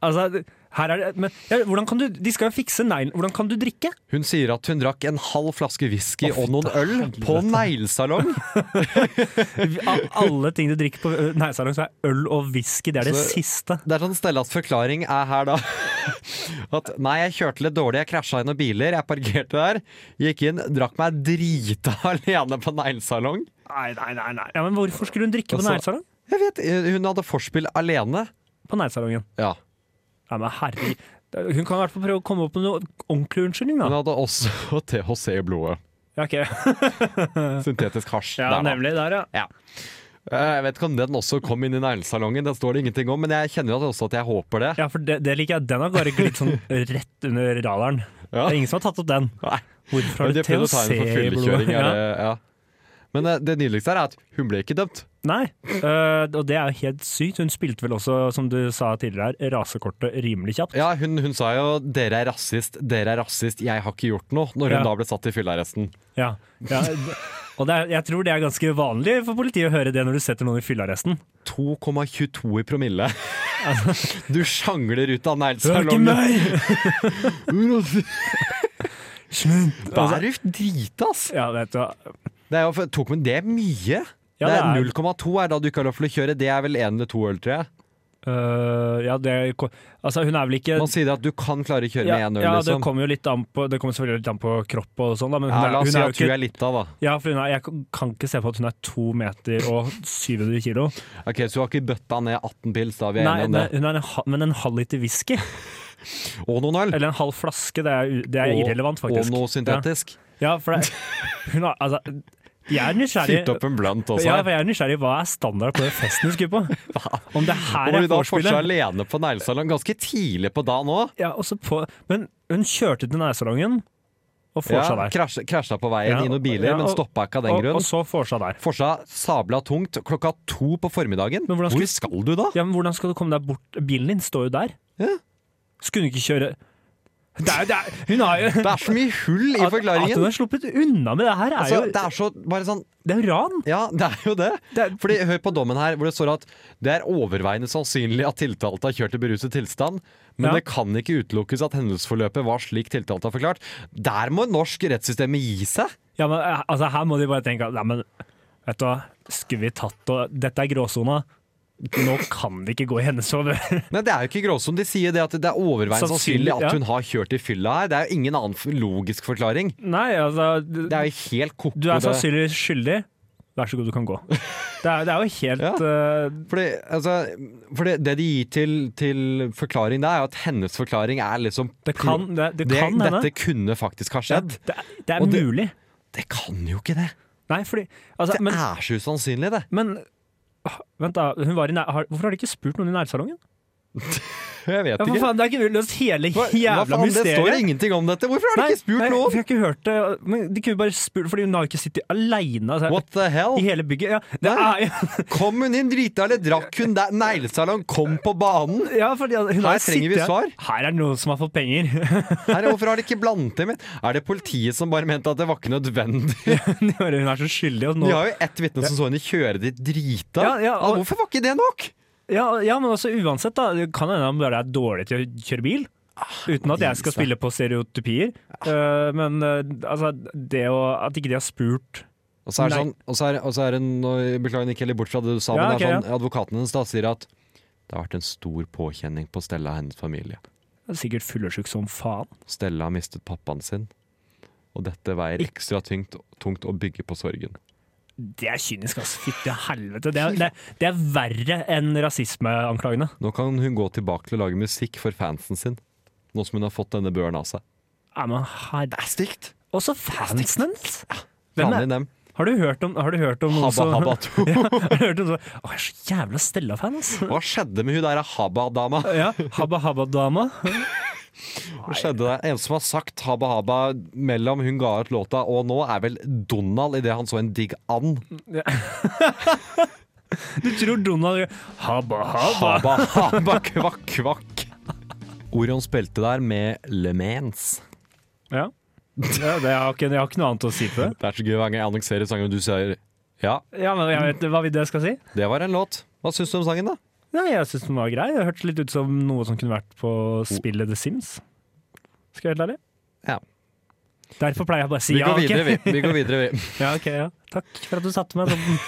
[SPEAKER 6] Altså, det- her er det, men, ja, hvordan kan du, de skal jo fikse neglen. Hvordan kan du drikke?
[SPEAKER 5] Hun sier at hun drakk en halv flaske whisky og noen øl på neglesalong.
[SPEAKER 6] Av alle ting du drikker på ø, neglesalong, så er øl og whisky det er det
[SPEAKER 5] Så-
[SPEAKER 6] siste.
[SPEAKER 5] Det er sånn Stellas forklaring er her da At nei, jeg kjørte litt dårlig Jeg krasja i noen biler, jeg parkerte der Gikk inn, drakk meg drita alene på neglesalong.
[SPEAKER 6] Nei, nei, nei. nei. Ja, men hvorfor skulle hun drikke på
[SPEAKER 5] Og så-
[SPEAKER 6] neglesalong?
[SPEAKER 5] Jeg vet, eh, hun hadde forspill alene
[SPEAKER 6] På neglesalongen.
[SPEAKER 5] Ja,
[SPEAKER 6] Nei, men herregud. Hun kan i hvert fall prøve å komme opp med noe ordentlig unnskyldning,
[SPEAKER 5] hun
[SPEAKER 6] da.
[SPEAKER 5] hadde også THC i blodet
[SPEAKER 6] Ja, ok.
[SPEAKER 5] Syntetisk hasj
[SPEAKER 6] ja
[SPEAKER 5] der da.
[SPEAKER 6] nemlig. Der, ja.
[SPEAKER 5] Eh, Jeg vet ikke om den også kom inn i neglesalongen Det står det ingenting om, men jeg kjenner jo også at jeg håper det
[SPEAKER 6] Ja, for det, det liker jeg. Den har bare glidd sånn rett under radaren.
[SPEAKER 5] Ja.
[SPEAKER 6] Det er ingen som har tatt opp den.
[SPEAKER 5] Nei.
[SPEAKER 6] Hvorfor har
[SPEAKER 5] De
[SPEAKER 6] du
[SPEAKER 5] prøvde å
[SPEAKER 6] THC
[SPEAKER 5] ta henne for
[SPEAKER 6] i blodet?
[SPEAKER 5] fyllekjøring er
[SPEAKER 6] Ja.
[SPEAKER 5] det- ja. Men eh, det nydeligste her er at hun ble ikke dømt
[SPEAKER 6] Nei, øh, og det er jo helt sykt. Hun spilte vel også, som du sa tidligere her, rasekortet rimelig kjapt.
[SPEAKER 5] Ja, hun, hun sa jo 'dere er rasist, dere er rasist, jeg har ikke gjort noe', når hun
[SPEAKER 6] Ja.
[SPEAKER 5] da ble satt i fyllearresten.
[SPEAKER 6] Ja. ja. Og det er, jeg tror det er ganske vanlig for politiet å høre det når du setter noen i fyllearresten.
[SPEAKER 5] 2,22 i promille. du sjangler ut av neglesalongen.
[SPEAKER 6] meg! Slutt!
[SPEAKER 5] Da er du drita, ass!
[SPEAKER 6] Altså, Ja, vet du hva.
[SPEAKER 5] Det er, jo, for- tok, men det er mye.
[SPEAKER 6] Ja,
[SPEAKER 5] det
[SPEAKER 6] det
[SPEAKER 5] er
[SPEAKER 6] er-
[SPEAKER 5] 0,2 er da du ikke har lov til å kjøre. Det er vel én eller to øl, tror jeg.
[SPEAKER 6] Øh, ja, det ko- Altså, hun er vel ikke
[SPEAKER 5] Man sier at du kan klare å kjøre
[SPEAKER 6] ja,
[SPEAKER 5] med én øl,
[SPEAKER 6] ja, det
[SPEAKER 5] liksom.
[SPEAKER 6] kommer jo litt an på Det kommer selvfølgelig litt an på kropp og sånn, da, men hun
[SPEAKER 5] Ja,
[SPEAKER 6] er,
[SPEAKER 5] la oss
[SPEAKER 6] hun
[SPEAKER 5] si at
[SPEAKER 6] er jo
[SPEAKER 5] hun
[SPEAKER 6] ikke
[SPEAKER 5] er lita, da.
[SPEAKER 6] Ja, for hun er, jeg kan ikke se på at hun er to meter og 700 kilo.
[SPEAKER 5] Ok, Så du har ikke bøtta ned 18 pils, da. Vi er
[SPEAKER 6] Nei,
[SPEAKER 5] enige om
[SPEAKER 6] nei,
[SPEAKER 5] det.
[SPEAKER 6] hun er en, ha- men en halv liter whisky.
[SPEAKER 5] Og noen øl.
[SPEAKER 6] Eller en halv flaske, det er, u- det er
[SPEAKER 5] Og-
[SPEAKER 6] irrelevant,
[SPEAKER 5] Og
[SPEAKER 6] faktisk.
[SPEAKER 5] noe syntetisk.
[SPEAKER 6] Ja, ja for det, hun har, altså, jeg er nysgjerrig.
[SPEAKER 5] Fyrt opp en blunt også.
[SPEAKER 6] Ja, for jeg er nysgjerrig Hva er standard på den festen du skulle på? Om det her
[SPEAKER 5] Og hun
[SPEAKER 6] er
[SPEAKER 5] da fortsatt
[SPEAKER 6] vorspielet?
[SPEAKER 5] alene på neglesalong ganske tidlig på dagen òg.
[SPEAKER 6] Ja, også på, men hun kjørte til nærsalongen og vorsa
[SPEAKER 5] Ja,
[SPEAKER 6] der.
[SPEAKER 5] krasja, krasja på veien
[SPEAKER 6] Ja,
[SPEAKER 5] i noen biler,
[SPEAKER 6] ja,
[SPEAKER 5] men
[SPEAKER 6] og-
[SPEAKER 5] stoppa ikke av den
[SPEAKER 6] og,
[SPEAKER 5] grunn.
[SPEAKER 6] og så vorsa der.
[SPEAKER 5] Forsa sabla tungt klokka to på formiddagen.
[SPEAKER 6] Men hvordan
[SPEAKER 5] Hvor
[SPEAKER 6] skulle-
[SPEAKER 5] skal du da?
[SPEAKER 6] Ja, men Hvordan skal du komme deg bort? Bilen din står jo der.
[SPEAKER 5] Ja.
[SPEAKER 6] Skulle hun ikke kjøre det er, jo- det er, Hun har jo
[SPEAKER 5] Det er så mye hull i
[SPEAKER 6] At- At hun
[SPEAKER 5] forklaringen!
[SPEAKER 6] har sluppet unna med det her, er
[SPEAKER 5] Altså,
[SPEAKER 6] jo
[SPEAKER 5] det er så bare sånn
[SPEAKER 6] Det er jo ran!
[SPEAKER 5] Ja, det er jo det.
[SPEAKER 6] Det er-
[SPEAKER 5] Fordi Hør på dommen her, hvor det står at det er overveiende sannsynlig at tiltalte har kjørt i beruset tilstand, men
[SPEAKER 6] Ja.
[SPEAKER 5] det kan ikke utelukkes at hendelsesforløpet var slik tiltalte har forklart. Der må norsk rettssystem gi seg!
[SPEAKER 6] Ja, men eh, altså, her må de bare tenke at, Nei, men vet du hva, skulle vi tatt og Dette er gråsona. Nå kan vi ikke gå i hennes favør.
[SPEAKER 5] Nei, Det er jo ikke gråsonen. De sier det at det er overveiende sannsynlig
[SPEAKER 6] Sannsynlig,
[SPEAKER 5] at
[SPEAKER 6] ja.
[SPEAKER 5] hun har kjørt i fylla her. Det er jo ingen annen f- logisk forklaring.
[SPEAKER 6] Nei, altså du,
[SPEAKER 5] Det er jo helt koko.
[SPEAKER 6] du er
[SPEAKER 5] det.
[SPEAKER 6] sannsynligvis skyldig. Vær så god, du kan gå. Det er, det er jo helt
[SPEAKER 5] Ja.
[SPEAKER 6] eh,
[SPEAKER 5] Fordi, altså, fordi det de gir til, til forklaring da, er jo at hennes forklaring er liksom
[SPEAKER 6] Det kan, det, det
[SPEAKER 5] Det-
[SPEAKER 6] kan hende.
[SPEAKER 5] Dette kunne faktisk ha skjedd.
[SPEAKER 6] det, er, det er
[SPEAKER 5] Og det-
[SPEAKER 6] mulig.
[SPEAKER 5] Det kan jo ikke det!
[SPEAKER 6] Nei, fordi altså,
[SPEAKER 5] Det
[SPEAKER 6] men,
[SPEAKER 5] er så usannsynlig, det.
[SPEAKER 6] men ah, Vent, da. Hun var i nær, har, hvorfor har de ikke spurt noen i nærsalongen?
[SPEAKER 5] Jeg vet
[SPEAKER 6] Ja, for
[SPEAKER 5] ikke.
[SPEAKER 6] faen, Det er ikke vi har løst hele
[SPEAKER 5] Hva, hva
[SPEAKER 6] jævla
[SPEAKER 5] faen, det står
[SPEAKER 6] mysteriet!
[SPEAKER 5] ingenting om dette! Hvorfor har de ikke spurt
[SPEAKER 6] nei, for
[SPEAKER 5] noen?
[SPEAKER 6] jeg har ikke hørt det. Men de kunne jo bare spurt, fordi hun har jo ikke sittet aleine altså,
[SPEAKER 5] What the hell?
[SPEAKER 6] i hele bygget. Ja, det
[SPEAKER 5] Nei.
[SPEAKER 6] er, jo-
[SPEAKER 5] Kom hun inn drita, eller drakk hun der? Neglesalong kom på banen!
[SPEAKER 6] ja, fordi hun
[SPEAKER 5] Her
[SPEAKER 6] har
[SPEAKER 5] trenger vi
[SPEAKER 6] sittet-
[SPEAKER 5] svar.
[SPEAKER 6] Her er det noen som har fått penger.
[SPEAKER 5] Her, hvorfor har de ikke blandet dem inn? Er det politiet som bare mente at det var ikke nødvendig?
[SPEAKER 6] hun er så skyldig. Og nå,
[SPEAKER 5] De
[SPEAKER 6] ja.
[SPEAKER 5] har jo ett vitne som så henne kjøre dit drita.
[SPEAKER 6] Ja, ja, og-
[SPEAKER 5] Ah, Hvorfor var ikke det nok?
[SPEAKER 6] Ja, men også uansett, da. Det kan hende han bare er dårlig til å kjøre bil. Uten at jeg skal spille på stereotypier. Eh, men eh, altså, det å At ikke de har spurt
[SPEAKER 5] Og så er det
[SPEAKER 6] Nei.
[SPEAKER 5] sånn, og så er, og så er det, nå beklager Nikke heller bort fra det du sa,
[SPEAKER 6] Ja,
[SPEAKER 5] men det er
[SPEAKER 6] ok,
[SPEAKER 5] sånn, advokaten hennes da sier at det har vært en stor påkjenning på Stella og hennes familie.
[SPEAKER 6] Han er sikkert fyllesyk som faen.
[SPEAKER 5] Stella har mistet pappaen sin, og dette veier ekstra tungt, tungt å bygge på sorgen.
[SPEAKER 6] Det er kynisk, altså. Fytti helvete. Det er, det, det er verre enn rasismeanklagene.
[SPEAKER 5] Nå kan hun gå tilbake til å lage musikk for fansen sin, nå som hun har fått denne børen av seg.
[SPEAKER 6] Ja, men her...
[SPEAKER 5] Det er stygt!
[SPEAKER 6] Også fansen hennes! Hvem
[SPEAKER 5] Faen
[SPEAKER 6] er-
[SPEAKER 5] i dem.
[SPEAKER 6] Har du hørt om, har du hørt om noen
[SPEAKER 5] Habba
[SPEAKER 6] som
[SPEAKER 5] Habba 2.
[SPEAKER 6] Har du hørt om noen som- Å, jeg er så jævla Stella-fan, altså.
[SPEAKER 5] Hva skjedde med hun der Habba-dama?
[SPEAKER 6] Ja, Habba Habba-dama.
[SPEAKER 5] Hva skjedde der? En som har sagt Habba Habba mellom hun ga ut låta og nå, er vel Donald idet han så en digg and.
[SPEAKER 6] Du tror Donald gjør Habba Habba.
[SPEAKER 5] Habba Habba kvakk kvakk. Orion spilte der med Le Mans.
[SPEAKER 6] Ja. ja det, jeg, har ikke, jeg har ikke noe annet å si på det.
[SPEAKER 5] Det er så gøy hver gang jeg annonserer sangen og du sier ja,
[SPEAKER 6] Ja, men jeg vet hva vil det jeg skal si.
[SPEAKER 5] det var en låt. Hva syns du om sangen, da?
[SPEAKER 6] Nei, jeg syns den var grei. Det hørtes litt ut som noe som kunne vært på spillet The Sims. Skal jeg være helt ærlig?
[SPEAKER 5] Ja.
[SPEAKER 6] Derfor pleier jeg bare å si
[SPEAKER 5] Vi
[SPEAKER 6] ja.
[SPEAKER 5] går
[SPEAKER 6] ok.
[SPEAKER 5] videre, vi. vi, går videre, vi.
[SPEAKER 6] ja, ok, ja. Takk for at du satte meg sånn.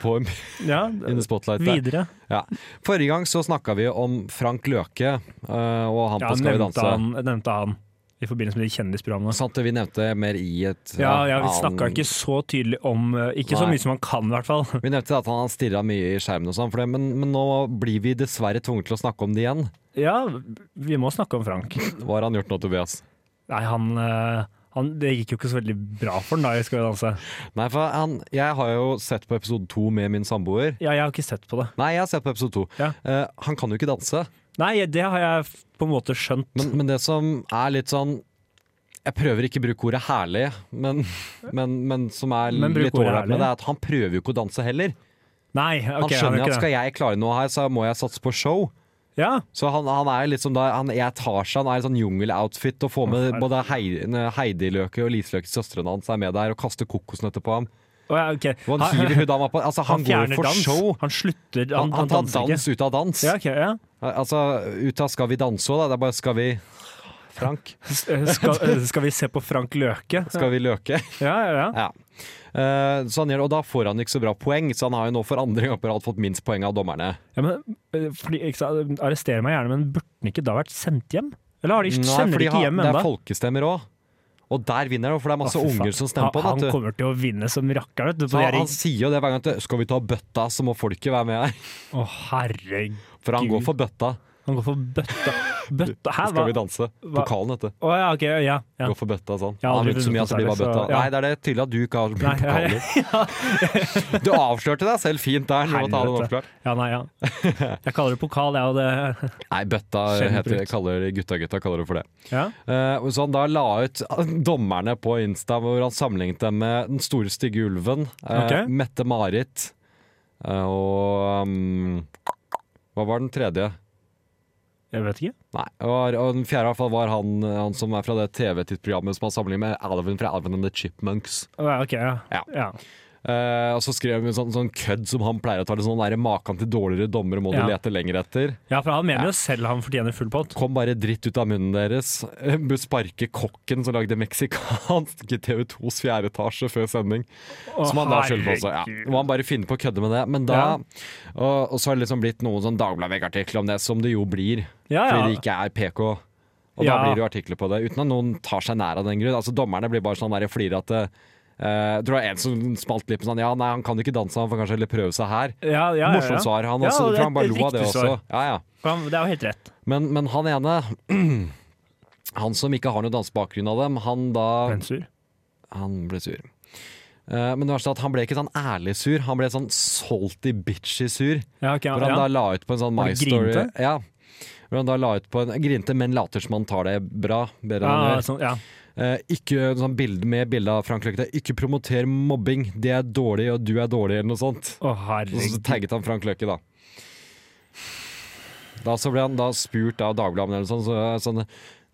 [SPEAKER 5] På en
[SPEAKER 6] Ja,
[SPEAKER 5] in the spotlight der.
[SPEAKER 6] videre.
[SPEAKER 5] Ja. Forrige gang så snakka vi om Frank Løke eh, og han
[SPEAKER 6] Ja,
[SPEAKER 5] på Skal vi
[SPEAKER 6] nevnte
[SPEAKER 5] danse.
[SPEAKER 6] han, nevnte han i forbindelse med de kjendisprogrammene.
[SPEAKER 5] Sant det Sånn vi nevnte mer i et
[SPEAKER 6] Ja, ja, vi
[SPEAKER 5] annen-
[SPEAKER 6] snakka ikke så tydelig om eh, Ikke så
[SPEAKER 5] Nei.
[SPEAKER 6] mye som man kan, i hvert fall.
[SPEAKER 5] Vi nevnte at han stirra mye i skjermen, og sånn for det, men, men nå blir vi dessverre tvunget til å snakke om det igjen.
[SPEAKER 6] Ja, vi må snakke om Frank.
[SPEAKER 5] Hva har han gjort nå, Tobias?
[SPEAKER 6] Nei, han, eh, han Det gikk jo ikke så veldig bra for han da i Skal vi danse.
[SPEAKER 5] Nei, for han, Jeg har jo sett på episode to med min samboer.
[SPEAKER 6] Ja, jeg har ikke sett på det.
[SPEAKER 5] Nei, jeg har sett på episode to.
[SPEAKER 6] Ja.
[SPEAKER 5] Eh, han kan jo ikke danse,
[SPEAKER 6] Nei, det har jeg f- på en måte skjønt.
[SPEAKER 5] men, men det som er litt sånn jeg prøver ikke å bruke ordet 'herlig', men, men, men som er
[SPEAKER 6] Men bruk
[SPEAKER 5] litt
[SPEAKER 6] ordet
[SPEAKER 5] ålreit med
[SPEAKER 6] herlig.
[SPEAKER 5] det, er at han prøver jo ikke å danse heller.
[SPEAKER 6] Nei, ok,
[SPEAKER 5] Han skjønner
[SPEAKER 6] har
[SPEAKER 5] at
[SPEAKER 6] ikke
[SPEAKER 5] skal
[SPEAKER 6] det.
[SPEAKER 5] jeg klare noe her, så må jeg satse på show.
[SPEAKER 6] Ja,
[SPEAKER 5] Så han, han er liksom da han, Jeg tar seg, han er i sånn jungeloutfit og får med både Heidi, Heidi Løke og Lise Løke, søstrene hans, er med der og kaster kokosnøtter på ham.
[SPEAKER 6] Å, ja, ok.
[SPEAKER 5] Og han hiver hun dama på Altså, han, går
[SPEAKER 6] fjerner
[SPEAKER 5] for
[SPEAKER 6] dans.
[SPEAKER 5] show.
[SPEAKER 6] Han slutter, han,
[SPEAKER 5] Han, han tar
[SPEAKER 6] danser
[SPEAKER 5] dans
[SPEAKER 6] ikke.
[SPEAKER 5] ut av dans.
[SPEAKER 6] Ja, ok, ja.
[SPEAKER 5] Altså ut av Skal vi danse òg, da. Det er bare Skal vi Frank?
[SPEAKER 6] S- eh, Skal, eh, skal vi se på Frank Løke?
[SPEAKER 5] Skal vi Løke?
[SPEAKER 6] Ja, ja, ja.
[SPEAKER 5] Ja. Eh, så han gjør, og da får han ikke så bra poeng, så han har jo nå for andre gang på rad fått minst poeng av dommerne.
[SPEAKER 6] ja men, eh, fordi, ikke, sant, arrester meg gjerne, men burde den ikke da vært sendt hjem? Eller har de, sender de
[SPEAKER 5] fordi
[SPEAKER 6] ikke
[SPEAKER 5] han-
[SPEAKER 6] hjem
[SPEAKER 5] det
[SPEAKER 6] ennå?
[SPEAKER 5] er folkestemmer òg. Og der vinner han, for det er masse unger som stemmer på
[SPEAKER 6] han.
[SPEAKER 5] vet du.
[SPEAKER 6] Han kommer til å vinne som rakker, vet du.
[SPEAKER 5] Så
[SPEAKER 6] på de
[SPEAKER 5] han,
[SPEAKER 6] her-
[SPEAKER 5] han sier jo det hver gang at skal vi ta bøtta, så må folket være med her.
[SPEAKER 6] Å, herregud.
[SPEAKER 5] For han
[SPEAKER 6] Gud.
[SPEAKER 5] går for bøtta.
[SPEAKER 6] Han går for bøtta. Bøtta? Hæ,
[SPEAKER 5] Skal
[SPEAKER 6] hva?
[SPEAKER 5] vi danse?
[SPEAKER 6] hva-
[SPEAKER 5] Pokalen, vet du.
[SPEAKER 6] Å ja, ok, ja. ja.
[SPEAKER 5] Går for bøtta sånn.
[SPEAKER 6] Jeg har
[SPEAKER 5] han
[SPEAKER 6] aldri
[SPEAKER 5] vet så mye at det blir bare
[SPEAKER 6] vunnet det,
[SPEAKER 5] bøtta.
[SPEAKER 6] så- ja.
[SPEAKER 5] Nei, det er det tydelig at du ikke har
[SPEAKER 6] Nei,
[SPEAKER 5] pokalen. Du avslørte deg selv fint der. Nå må ta den
[SPEAKER 6] Helvete.
[SPEAKER 5] oppklart.
[SPEAKER 6] Ja, nei, ja. Jeg kaller det pokal, jeg, og det
[SPEAKER 5] Nei, bøtta
[SPEAKER 6] Skjønt
[SPEAKER 5] heter,
[SPEAKER 6] brukt.
[SPEAKER 5] kaller gutta-gutta kaller det for det.
[SPEAKER 6] Ja.
[SPEAKER 5] Eh, og så han da la ut ah, dommerne på Insta hvor han sammenlignet dem med Den store stygge ulven, eh,
[SPEAKER 6] Ok.
[SPEAKER 5] Mette-Marit eh, og um, Hva var den tredje?
[SPEAKER 6] Jeg vet ikke.
[SPEAKER 5] Nei, og, og den fjerde i hvert fall var han, han som er fra det TV-tidsprogrammet som har sammenlignet med Alvin fra Alvin and the Chipmunks.
[SPEAKER 6] Å, ja, ok, ja.
[SPEAKER 5] Ja.
[SPEAKER 6] ja.
[SPEAKER 5] Eh, og så skrev hun sånn, sånn kødd som han pleier å ta, det sånn der maken til dårligere dommere må
[SPEAKER 6] Ja.
[SPEAKER 5] du lete lenger etter.
[SPEAKER 6] Ja, for han mener jo selv han fortjener full pott.
[SPEAKER 5] Kom bare dritt ut av munnen deres. Eh, Bør sparke kokken som lagde meksikansk i TV2s fjerde etasje før sending. Som han da skylder på også. Ja. Må han bare finne på å kødde med det. Men da,
[SPEAKER 6] Ja.
[SPEAKER 5] og, og så har det liksom blitt noen sånn Dagbladet-artikler om det, som det jo blir.
[SPEAKER 6] Ja, ja.
[SPEAKER 5] Fordi det ikke er PK. Og da
[SPEAKER 6] Ja.
[SPEAKER 5] blir det jo artikler på det, uten at noen tar seg nær av den grunn. Altså Dommerne blir bare sånn der flirete. Uh, tror det var en som smalt lippen sånn Ja, nei, han kan ikke danse, han får kanskje heller prøve seg her.
[SPEAKER 6] Ja, ja, ja, ja.
[SPEAKER 5] Morsomt svar, han
[SPEAKER 6] Ja,
[SPEAKER 5] også. for
[SPEAKER 6] det er
[SPEAKER 5] han bare
[SPEAKER 6] et
[SPEAKER 5] lo av det
[SPEAKER 6] riktig
[SPEAKER 5] også.
[SPEAKER 6] svar.
[SPEAKER 5] Ja, ja.
[SPEAKER 6] For han- Det er jo helt rett.
[SPEAKER 5] Men, men han ene Han som ikke har noen dansebakgrunn av dem, han da
[SPEAKER 6] Brensur.
[SPEAKER 5] Han ble sur. Eh, Men det verste er at han ble ikke sånn ærlig sur, han ble sånn salty bitchy sur.
[SPEAKER 6] Ja, ok, ja,
[SPEAKER 5] Hvor han da
[SPEAKER 6] ja.
[SPEAKER 5] la ut på en sånn
[SPEAKER 6] Var
[SPEAKER 5] My
[SPEAKER 6] det
[SPEAKER 5] Story
[SPEAKER 6] grinte?
[SPEAKER 5] ja. Hvor han da la ut på en Grinte, men later som han tar det bra. Bedre enn
[SPEAKER 6] Ja,
[SPEAKER 5] han gjør.
[SPEAKER 6] sånn, ja.
[SPEAKER 5] Eh, ikke sånn bilde med bilde av Frank Løkke. der, Ikke promoter mobbing, det er dårlig, og du er dårlig, eller noe sånt.
[SPEAKER 6] Å,
[SPEAKER 5] Og så
[SPEAKER 6] herregud.
[SPEAKER 5] tagget han Frank Løkke, da. Da så ble han da spurt av Dagbladet eller sånn, så, sånn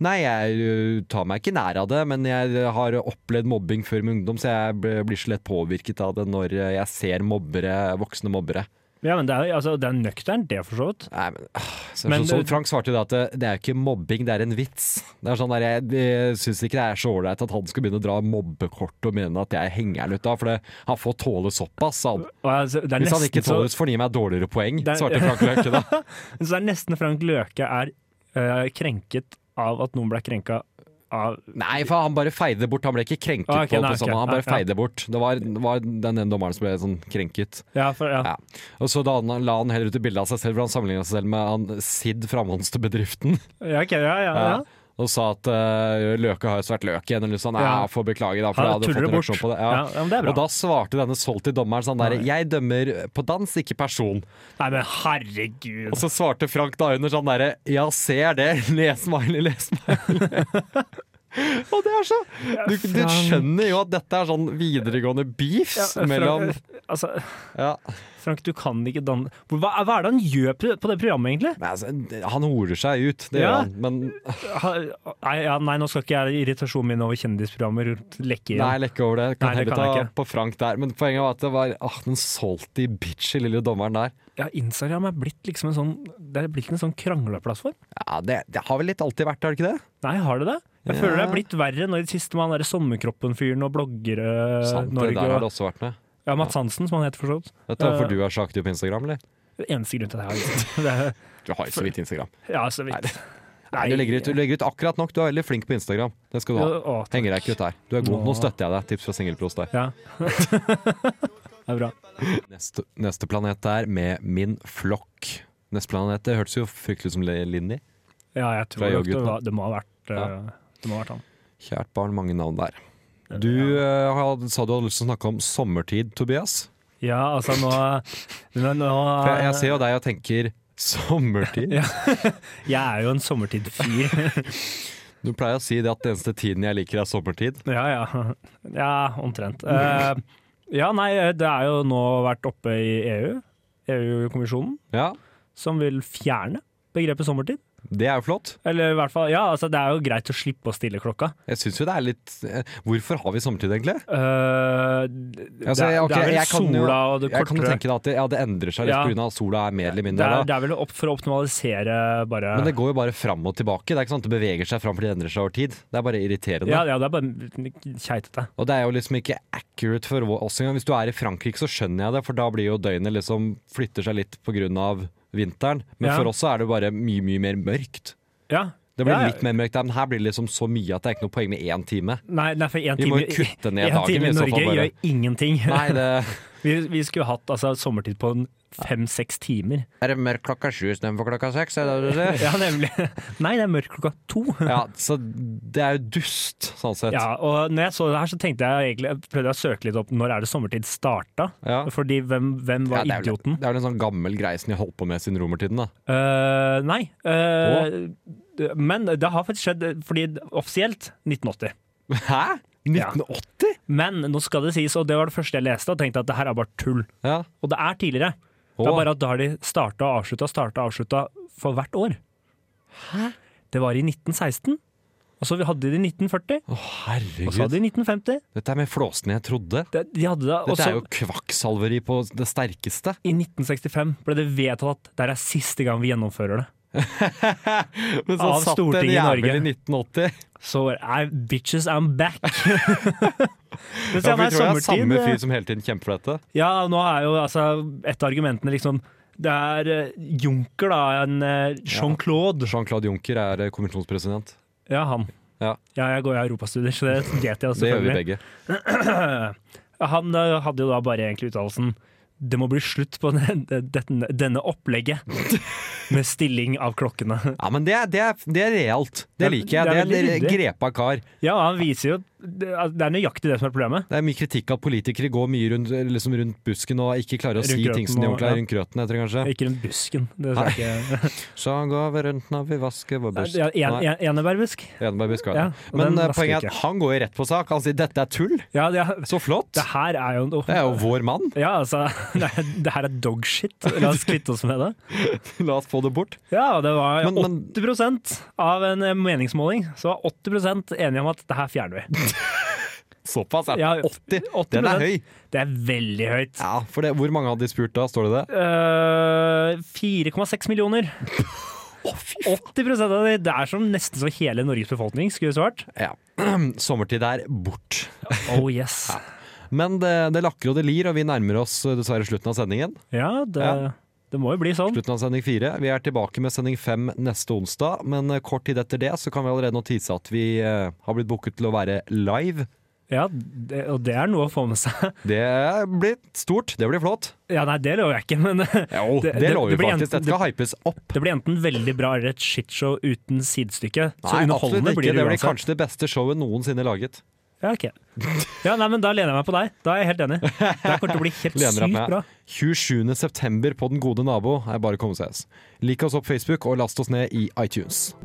[SPEAKER 5] Nei, jeg ø, tar meg ikke nær av det, men jeg eh, har opplevd mobbing før min ungdom, så jeg ble- blir så lett påvirket av det når eh, jeg ser mobbere, voksne mobbere.
[SPEAKER 6] Ja, men det er, altså, det er nøkternt, det, for så vidt.
[SPEAKER 5] Nei, men, ah, så,
[SPEAKER 6] Men eh,
[SPEAKER 5] så, så
[SPEAKER 6] du-
[SPEAKER 5] Frank svarte jo det at det, det er jo ikke mobbing, det er en vits. Det er sånn der, Jeg, jeg syns ikke det er så ålreit at han skal begynne å dra mobbekort og mene at jeg henger han ut av, for det, han får tåle såpass. sa Han.
[SPEAKER 6] Og altså, det, er
[SPEAKER 5] Hvis han
[SPEAKER 6] nesten
[SPEAKER 5] ikke
[SPEAKER 6] så,
[SPEAKER 5] tåler, så får han gi meg dårligere poeng,
[SPEAKER 6] Det er-
[SPEAKER 5] svarte Frank Løkke da.
[SPEAKER 6] så det er nesten Frank Løke er eh, krenket av at noen ble krenka av
[SPEAKER 5] Nei, for han bare feide bort. Han ble ikke krenket
[SPEAKER 6] Ah, ok,
[SPEAKER 5] på
[SPEAKER 6] nei,
[SPEAKER 5] det samme.
[SPEAKER 6] ok.
[SPEAKER 5] Han bare
[SPEAKER 6] Ja, ja.
[SPEAKER 5] feide bort. Det var, var den ene dommeren som ble sånn krenket.
[SPEAKER 6] Ja, for, ja.
[SPEAKER 5] Ja. Og så da han, la han heller ut et bilde av seg selv, for han sammenligna seg selv med han Sid fra Monsterbedriften.
[SPEAKER 6] ja, ok, ja, ja, ja.
[SPEAKER 5] Ja. Og sa at uh, løka har jo svært løk igjen. Eller noe sånt. Ja,
[SPEAKER 6] Ja.
[SPEAKER 5] får beklage, da. For
[SPEAKER 6] Han
[SPEAKER 5] jeg hadde
[SPEAKER 6] tuller
[SPEAKER 5] fått en
[SPEAKER 6] bort.
[SPEAKER 5] reaksjon på det.
[SPEAKER 6] Ja, ja, men det er bra.
[SPEAKER 5] og da svarte denne solgte dommeren sånn derre
[SPEAKER 6] Nei.
[SPEAKER 5] Jeg dømmer på dans, ikke person.
[SPEAKER 6] Nei, men herregud.
[SPEAKER 5] Og så svarte Frank da under sånn derre Ja, ser det. Les smiley, les smiley. og det er så du, du
[SPEAKER 6] Frank.
[SPEAKER 5] skjønner jo at dette er sånn videregående beefs
[SPEAKER 6] Ja,
[SPEAKER 5] mellom
[SPEAKER 6] Frank, altså,
[SPEAKER 5] ja.
[SPEAKER 6] Frank, du kan ikke danne Hvor- hva, hva er det han gjør på på det programmet, egentlig?
[SPEAKER 5] Nei, altså, Han horer seg ut, det
[SPEAKER 6] Ja.
[SPEAKER 5] gjør han. Men
[SPEAKER 6] Ha, nei, ja, nei, nå skal ikke jeg irritasjonen min over kjendisprogrammer lekke
[SPEAKER 5] nei,
[SPEAKER 6] igjen.
[SPEAKER 5] lekke over det. Kan
[SPEAKER 6] Nei,
[SPEAKER 5] heller
[SPEAKER 6] det kan
[SPEAKER 5] ta
[SPEAKER 6] jeg ikke.
[SPEAKER 5] på Frank der. Men poenget var at det var ah, den salty bitchy lille dommeren der.
[SPEAKER 6] Ja, Instagram er blitt liksom en sånn Det er blitt en sånn krangleplattform.
[SPEAKER 5] Ja, det, det har vel litt alltid vært, har det ikke det?
[SPEAKER 6] Nei, har det det? Jeg
[SPEAKER 5] Ja.
[SPEAKER 6] føler det er blitt verre nå i det siste med han derre Sommerkroppen-fyren og bloggere
[SPEAKER 5] Sant, det
[SPEAKER 6] Eh, Norge
[SPEAKER 5] der har
[SPEAKER 6] og
[SPEAKER 5] det også vært med.
[SPEAKER 6] Ja, Mads Hansen, som han heter for så vidt.
[SPEAKER 5] Vet du hvorfor
[SPEAKER 6] Eh,
[SPEAKER 5] du er så aktiv på Instagram, eller?
[SPEAKER 6] Eneste grunn til at jeg har gjort det. er-
[SPEAKER 5] Du har jo så vidt Instagram.
[SPEAKER 6] Ja, så vidt.
[SPEAKER 5] Nei, du legger, ut, du legger ut akkurat nok. Du er veldig flink på Instagram. Det skal du ha.
[SPEAKER 6] Å, å,
[SPEAKER 5] Henger deg ikke ut der. Du er god. Nå
[SPEAKER 6] Nå.
[SPEAKER 5] støtter jeg deg. Tips fra Singelpros der.
[SPEAKER 6] Ja. det er bra.
[SPEAKER 5] Neste, neste planet er med Min flokk. Neste planet, det hørtes jo fryktelig ut som Linni.
[SPEAKER 6] Ja,
[SPEAKER 5] Fra
[SPEAKER 6] jeg tror nok det,
[SPEAKER 5] yoghurten.
[SPEAKER 6] var, det må ha vært eh,
[SPEAKER 5] Ja.
[SPEAKER 6] Det må ha vært han.
[SPEAKER 5] Kjært barn, mange navn der. Du eh, had- sa du hadde lyst til å snakke om sommertid, Tobias.
[SPEAKER 6] Ja, altså nå, nå, nå
[SPEAKER 5] For jeg,
[SPEAKER 6] Eh.
[SPEAKER 5] jeg ser jo deg og tenker sommertid.
[SPEAKER 6] Jeg er jo en sommertid-fyr.
[SPEAKER 5] Du pleier å si det at den eneste tiden jeg liker, er sommertid.
[SPEAKER 6] ja, ja. ja, omtrent. Eh, ja, nei, eh, det er jo nå vært oppe i E EU, EU-kommisjonen,
[SPEAKER 5] Ja,
[SPEAKER 6] som vil fjerne begrepet sommertid.
[SPEAKER 5] det er jo flott.
[SPEAKER 6] Eller i hvert fall, ja, altså det er jo greit å slippe å stille klokka.
[SPEAKER 5] Jeg syns jo det er litt eh, Hvorfor har vi sommertid, egentlig?
[SPEAKER 6] Eh, det,
[SPEAKER 5] Altså,
[SPEAKER 6] det er-
[SPEAKER 5] jeg- ok,
[SPEAKER 6] det er vel
[SPEAKER 5] jeg kan jo-
[SPEAKER 6] sola og det
[SPEAKER 5] Jeg kan jo
[SPEAKER 6] kortere.
[SPEAKER 5] tenke deg at det, ja, det endrer seg litt
[SPEAKER 6] Ja.
[SPEAKER 5] pga. at sola er mer eller
[SPEAKER 6] Det
[SPEAKER 5] mindre
[SPEAKER 6] er,
[SPEAKER 5] der.
[SPEAKER 6] det er vel opp, for å optimalisere bare
[SPEAKER 5] Men det går jo bare fram og tilbake. Det er ikke sant, det beveger seg fram fordi det endrer seg over tid. Det er bare irriterende.
[SPEAKER 6] ja, ja, det er bare keitete.
[SPEAKER 5] Og det er jo liksom ikke accurate for oss engang. Hvis du er i Frankrike, så skjønner jeg det, for da blir jo døgnet liksom flytter seg litt pga. vinteren. Men
[SPEAKER 6] Ja.
[SPEAKER 5] for oss så er det bare mye, mye mer mørkt.
[SPEAKER 6] Ja.
[SPEAKER 5] Det blir
[SPEAKER 6] ja, ja.
[SPEAKER 5] litt mer mørkt der, men her blir det liksom så mye at det er ikke noe poeng med én time.
[SPEAKER 6] Nei, nei for én
[SPEAKER 5] Vi må
[SPEAKER 6] time,
[SPEAKER 5] jo kutte ned
[SPEAKER 6] en
[SPEAKER 5] dagen,
[SPEAKER 6] time
[SPEAKER 5] i
[SPEAKER 6] i
[SPEAKER 5] så fall,
[SPEAKER 6] Norge
[SPEAKER 5] bare.
[SPEAKER 6] gjør ingenting.
[SPEAKER 5] Nei, det
[SPEAKER 6] Vi, vi skulle hatt altså, sommertid på en fem-seks timer.
[SPEAKER 5] er det mørkt klokka sju istedenfor klokka seks, er det det du sier?
[SPEAKER 6] Ja, nemlig. Nei, det er mørkt klokka to.
[SPEAKER 5] Ja, så det er jo dust, sånn sett.
[SPEAKER 6] Ja, og når jeg så det her, så tenkte jeg egentlig, jeg prøvde jeg å søke litt opp når er det sommertid starta.
[SPEAKER 5] Ja.
[SPEAKER 6] Fordi hvem, hvem
[SPEAKER 5] Ja,
[SPEAKER 6] var
[SPEAKER 5] det, er vel,
[SPEAKER 6] idioten?
[SPEAKER 5] det er vel en sånn gammel greie som de har holdt på med siden romertiden. da
[SPEAKER 6] Eh, nei. eh, det- men det har faktisk skjedd, fordi offisielt 1980.
[SPEAKER 5] Hæ? 1980?
[SPEAKER 6] Men nå skal det sies, og det var det første jeg leste, og tenkte at det her er bare tull.
[SPEAKER 5] Ja.
[SPEAKER 6] Og det er tidligere. Det
[SPEAKER 5] Å.
[SPEAKER 6] er bare at da har de starta og avslutta, starta og avslutta for hvert år. Det var i 1916, og så hadde de 1940,
[SPEAKER 5] Å,
[SPEAKER 6] og så
[SPEAKER 5] herregud.
[SPEAKER 6] hadde de 1950.
[SPEAKER 5] Dette er mer flåsende enn jeg trodde.
[SPEAKER 6] Det, de hadde det, og
[SPEAKER 5] Dette
[SPEAKER 6] så
[SPEAKER 5] er jo kvakksalveri på det sterkeste.
[SPEAKER 6] i 1965 ble det vedtatt at det er siste gang vi gjennomfører det.
[SPEAKER 5] Men
[SPEAKER 6] Av Stortinget i Norge.
[SPEAKER 5] jævel i 1980.
[SPEAKER 6] Så er bitches, I'm back! Mens
[SPEAKER 5] Ja, for
[SPEAKER 6] ja, nei,
[SPEAKER 5] jeg tror det er samme
[SPEAKER 6] sommertid eh,
[SPEAKER 5] fyr som hele tiden kjemper for dette.
[SPEAKER 6] Ja, nå er jo altså et av argumentene liksom Det er eh, Juncker, da. En eh, Jean-Claude.
[SPEAKER 5] Jean-Claude Juncker er eh, kommisjonspresident.
[SPEAKER 6] Ja, han.
[SPEAKER 5] Ja.
[SPEAKER 6] jeg går i europastudier, så det vet jeg også,
[SPEAKER 5] Det gjør vi begge.
[SPEAKER 6] selvfølgelig. Han eh, hadde jo da bare egentlig uttalelsen Det må bli slutt på den, denne, denne opplegget med stilling av klokkene.
[SPEAKER 5] Ja, men det er, det er, det er realt. Det
[SPEAKER 6] Ja,
[SPEAKER 5] liker jeg.
[SPEAKER 6] det er
[SPEAKER 5] Det er,
[SPEAKER 6] veldig
[SPEAKER 5] en grepa kar.
[SPEAKER 6] Ja, han viser jo Det at det er nøyaktig det som er problemet.
[SPEAKER 5] Det er mye kritikk av politikere går mye rundt, liksom rundt busken og ikke klarer å
[SPEAKER 6] Rundt
[SPEAKER 5] si ting
[SPEAKER 6] grøten
[SPEAKER 5] som de
[SPEAKER 6] og-
[SPEAKER 5] ordentlig er
[SPEAKER 6] ja.
[SPEAKER 5] rundt grøten etter, kanskje.
[SPEAKER 6] Ikke den busken. Det sa jeg ikke.
[SPEAKER 5] Så går vi rundt når vi vasker vår busk.
[SPEAKER 6] Ja, en,
[SPEAKER 5] Nei,
[SPEAKER 6] en, enebærbusk.
[SPEAKER 5] Eneberg busk var det.
[SPEAKER 6] Ja, og
[SPEAKER 5] Men
[SPEAKER 6] den
[SPEAKER 5] eh, poenget
[SPEAKER 6] vasker vi
[SPEAKER 5] er
[SPEAKER 6] ikke.
[SPEAKER 5] at han går jo rett på sak. Han sier 'dette er tull'.
[SPEAKER 6] Ja, det,
[SPEAKER 5] Så flott!
[SPEAKER 6] det her er jo
[SPEAKER 5] Det er jo vår mann.
[SPEAKER 6] Ja, altså. Det, er- det her er dogshit. La oss kvitte oss med det.
[SPEAKER 5] La oss få det bort.
[SPEAKER 6] Ja, det var
[SPEAKER 5] Men- men-
[SPEAKER 6] 80 av en eh, meningsmåling. Så var 80 enige om at det her fjerner vi.
[SPEAKER 5] Såpass er det.
[SPEAKER 6] Ja,
[SPEAKER 5] 80. Den er høy.
[SPEAKER 6] Det er veldig høyt.
[SPEAKER 5] Ja, for det, Hvor mange hadde de spurt da? Står det det?
[SPEAKER 6] Eh, 4,6 millioner. 80 av de. Det er som nesten så hele Norges befolkning skulle svart.
[SPEAKER 5] Ja. Sommertid er bort.
[SPEAKER 6] Oh yes.
[SPEAKER 5] Men det, det lakker og det lir, og vi nærmer oss eh, dessverre slutten av sendingen.
[SPEAKER 6] Ja, det,
[SPEAKER 5] Ja.
[SPEAKER 6] Det må jo bli sånn.
[SPEAKER 5] Slutten av sending fire. Vi er tilbake med sending fem neste onsdag, men eh, kort tid etter det så kan vi allerede nå tise at vi eh, har blitt booket til å være live.
[SPEAKER 6] Ja, det, og det er noe å få med seg.
[SPEAKER 5] Det blir stort. Det blir flott.
[SPEAKER 6] Ja, nei, det lover jeg ikke, men
[SPEAKER 5] Jo, det,
[SPEAKER 6] det-
[SPEAKER 5] lover
[SPEAKER 6] det
[SPEAKER 5] vi
[SPEAKER 6] blir
[SPEAKER 5] faktisk.
[SPEAKER 6] enten-
[SPEAKER 5] Dette skal hypes opp.
[SPEAKER 6] det blir enten veldig bra eller et shitshow uten sidestykke.
[SPEAKER 5] Nei,
[SPEAKER 6] Så
[SPEAKER 5] absolutt
[SPEAKER 6] underholdende
[SPEAKER 5] ikke.
[SPEAKER 6] blir det
[SPEAKER 5] Det blir
[SPEAKER 6] uansett.
[SPEAKER 5] kanskje det beste showet noensinne laget.
[SPEAKER 6] Ja, ok. ja, nei, men da lener jeg meg på deg. Da er jeg helt enig. Det her kommer til å bli helt
[SPEAKER 5] Lener
[SPEAKER 6] sykt
[SPEAKER 5] deg
[SPEAKER 6] bra.
[SPEAKER 5] med 27. september på Den gode nabo er bare å komme og se oss. Lik oss opp på Facebook, og last oss ned i iTunes.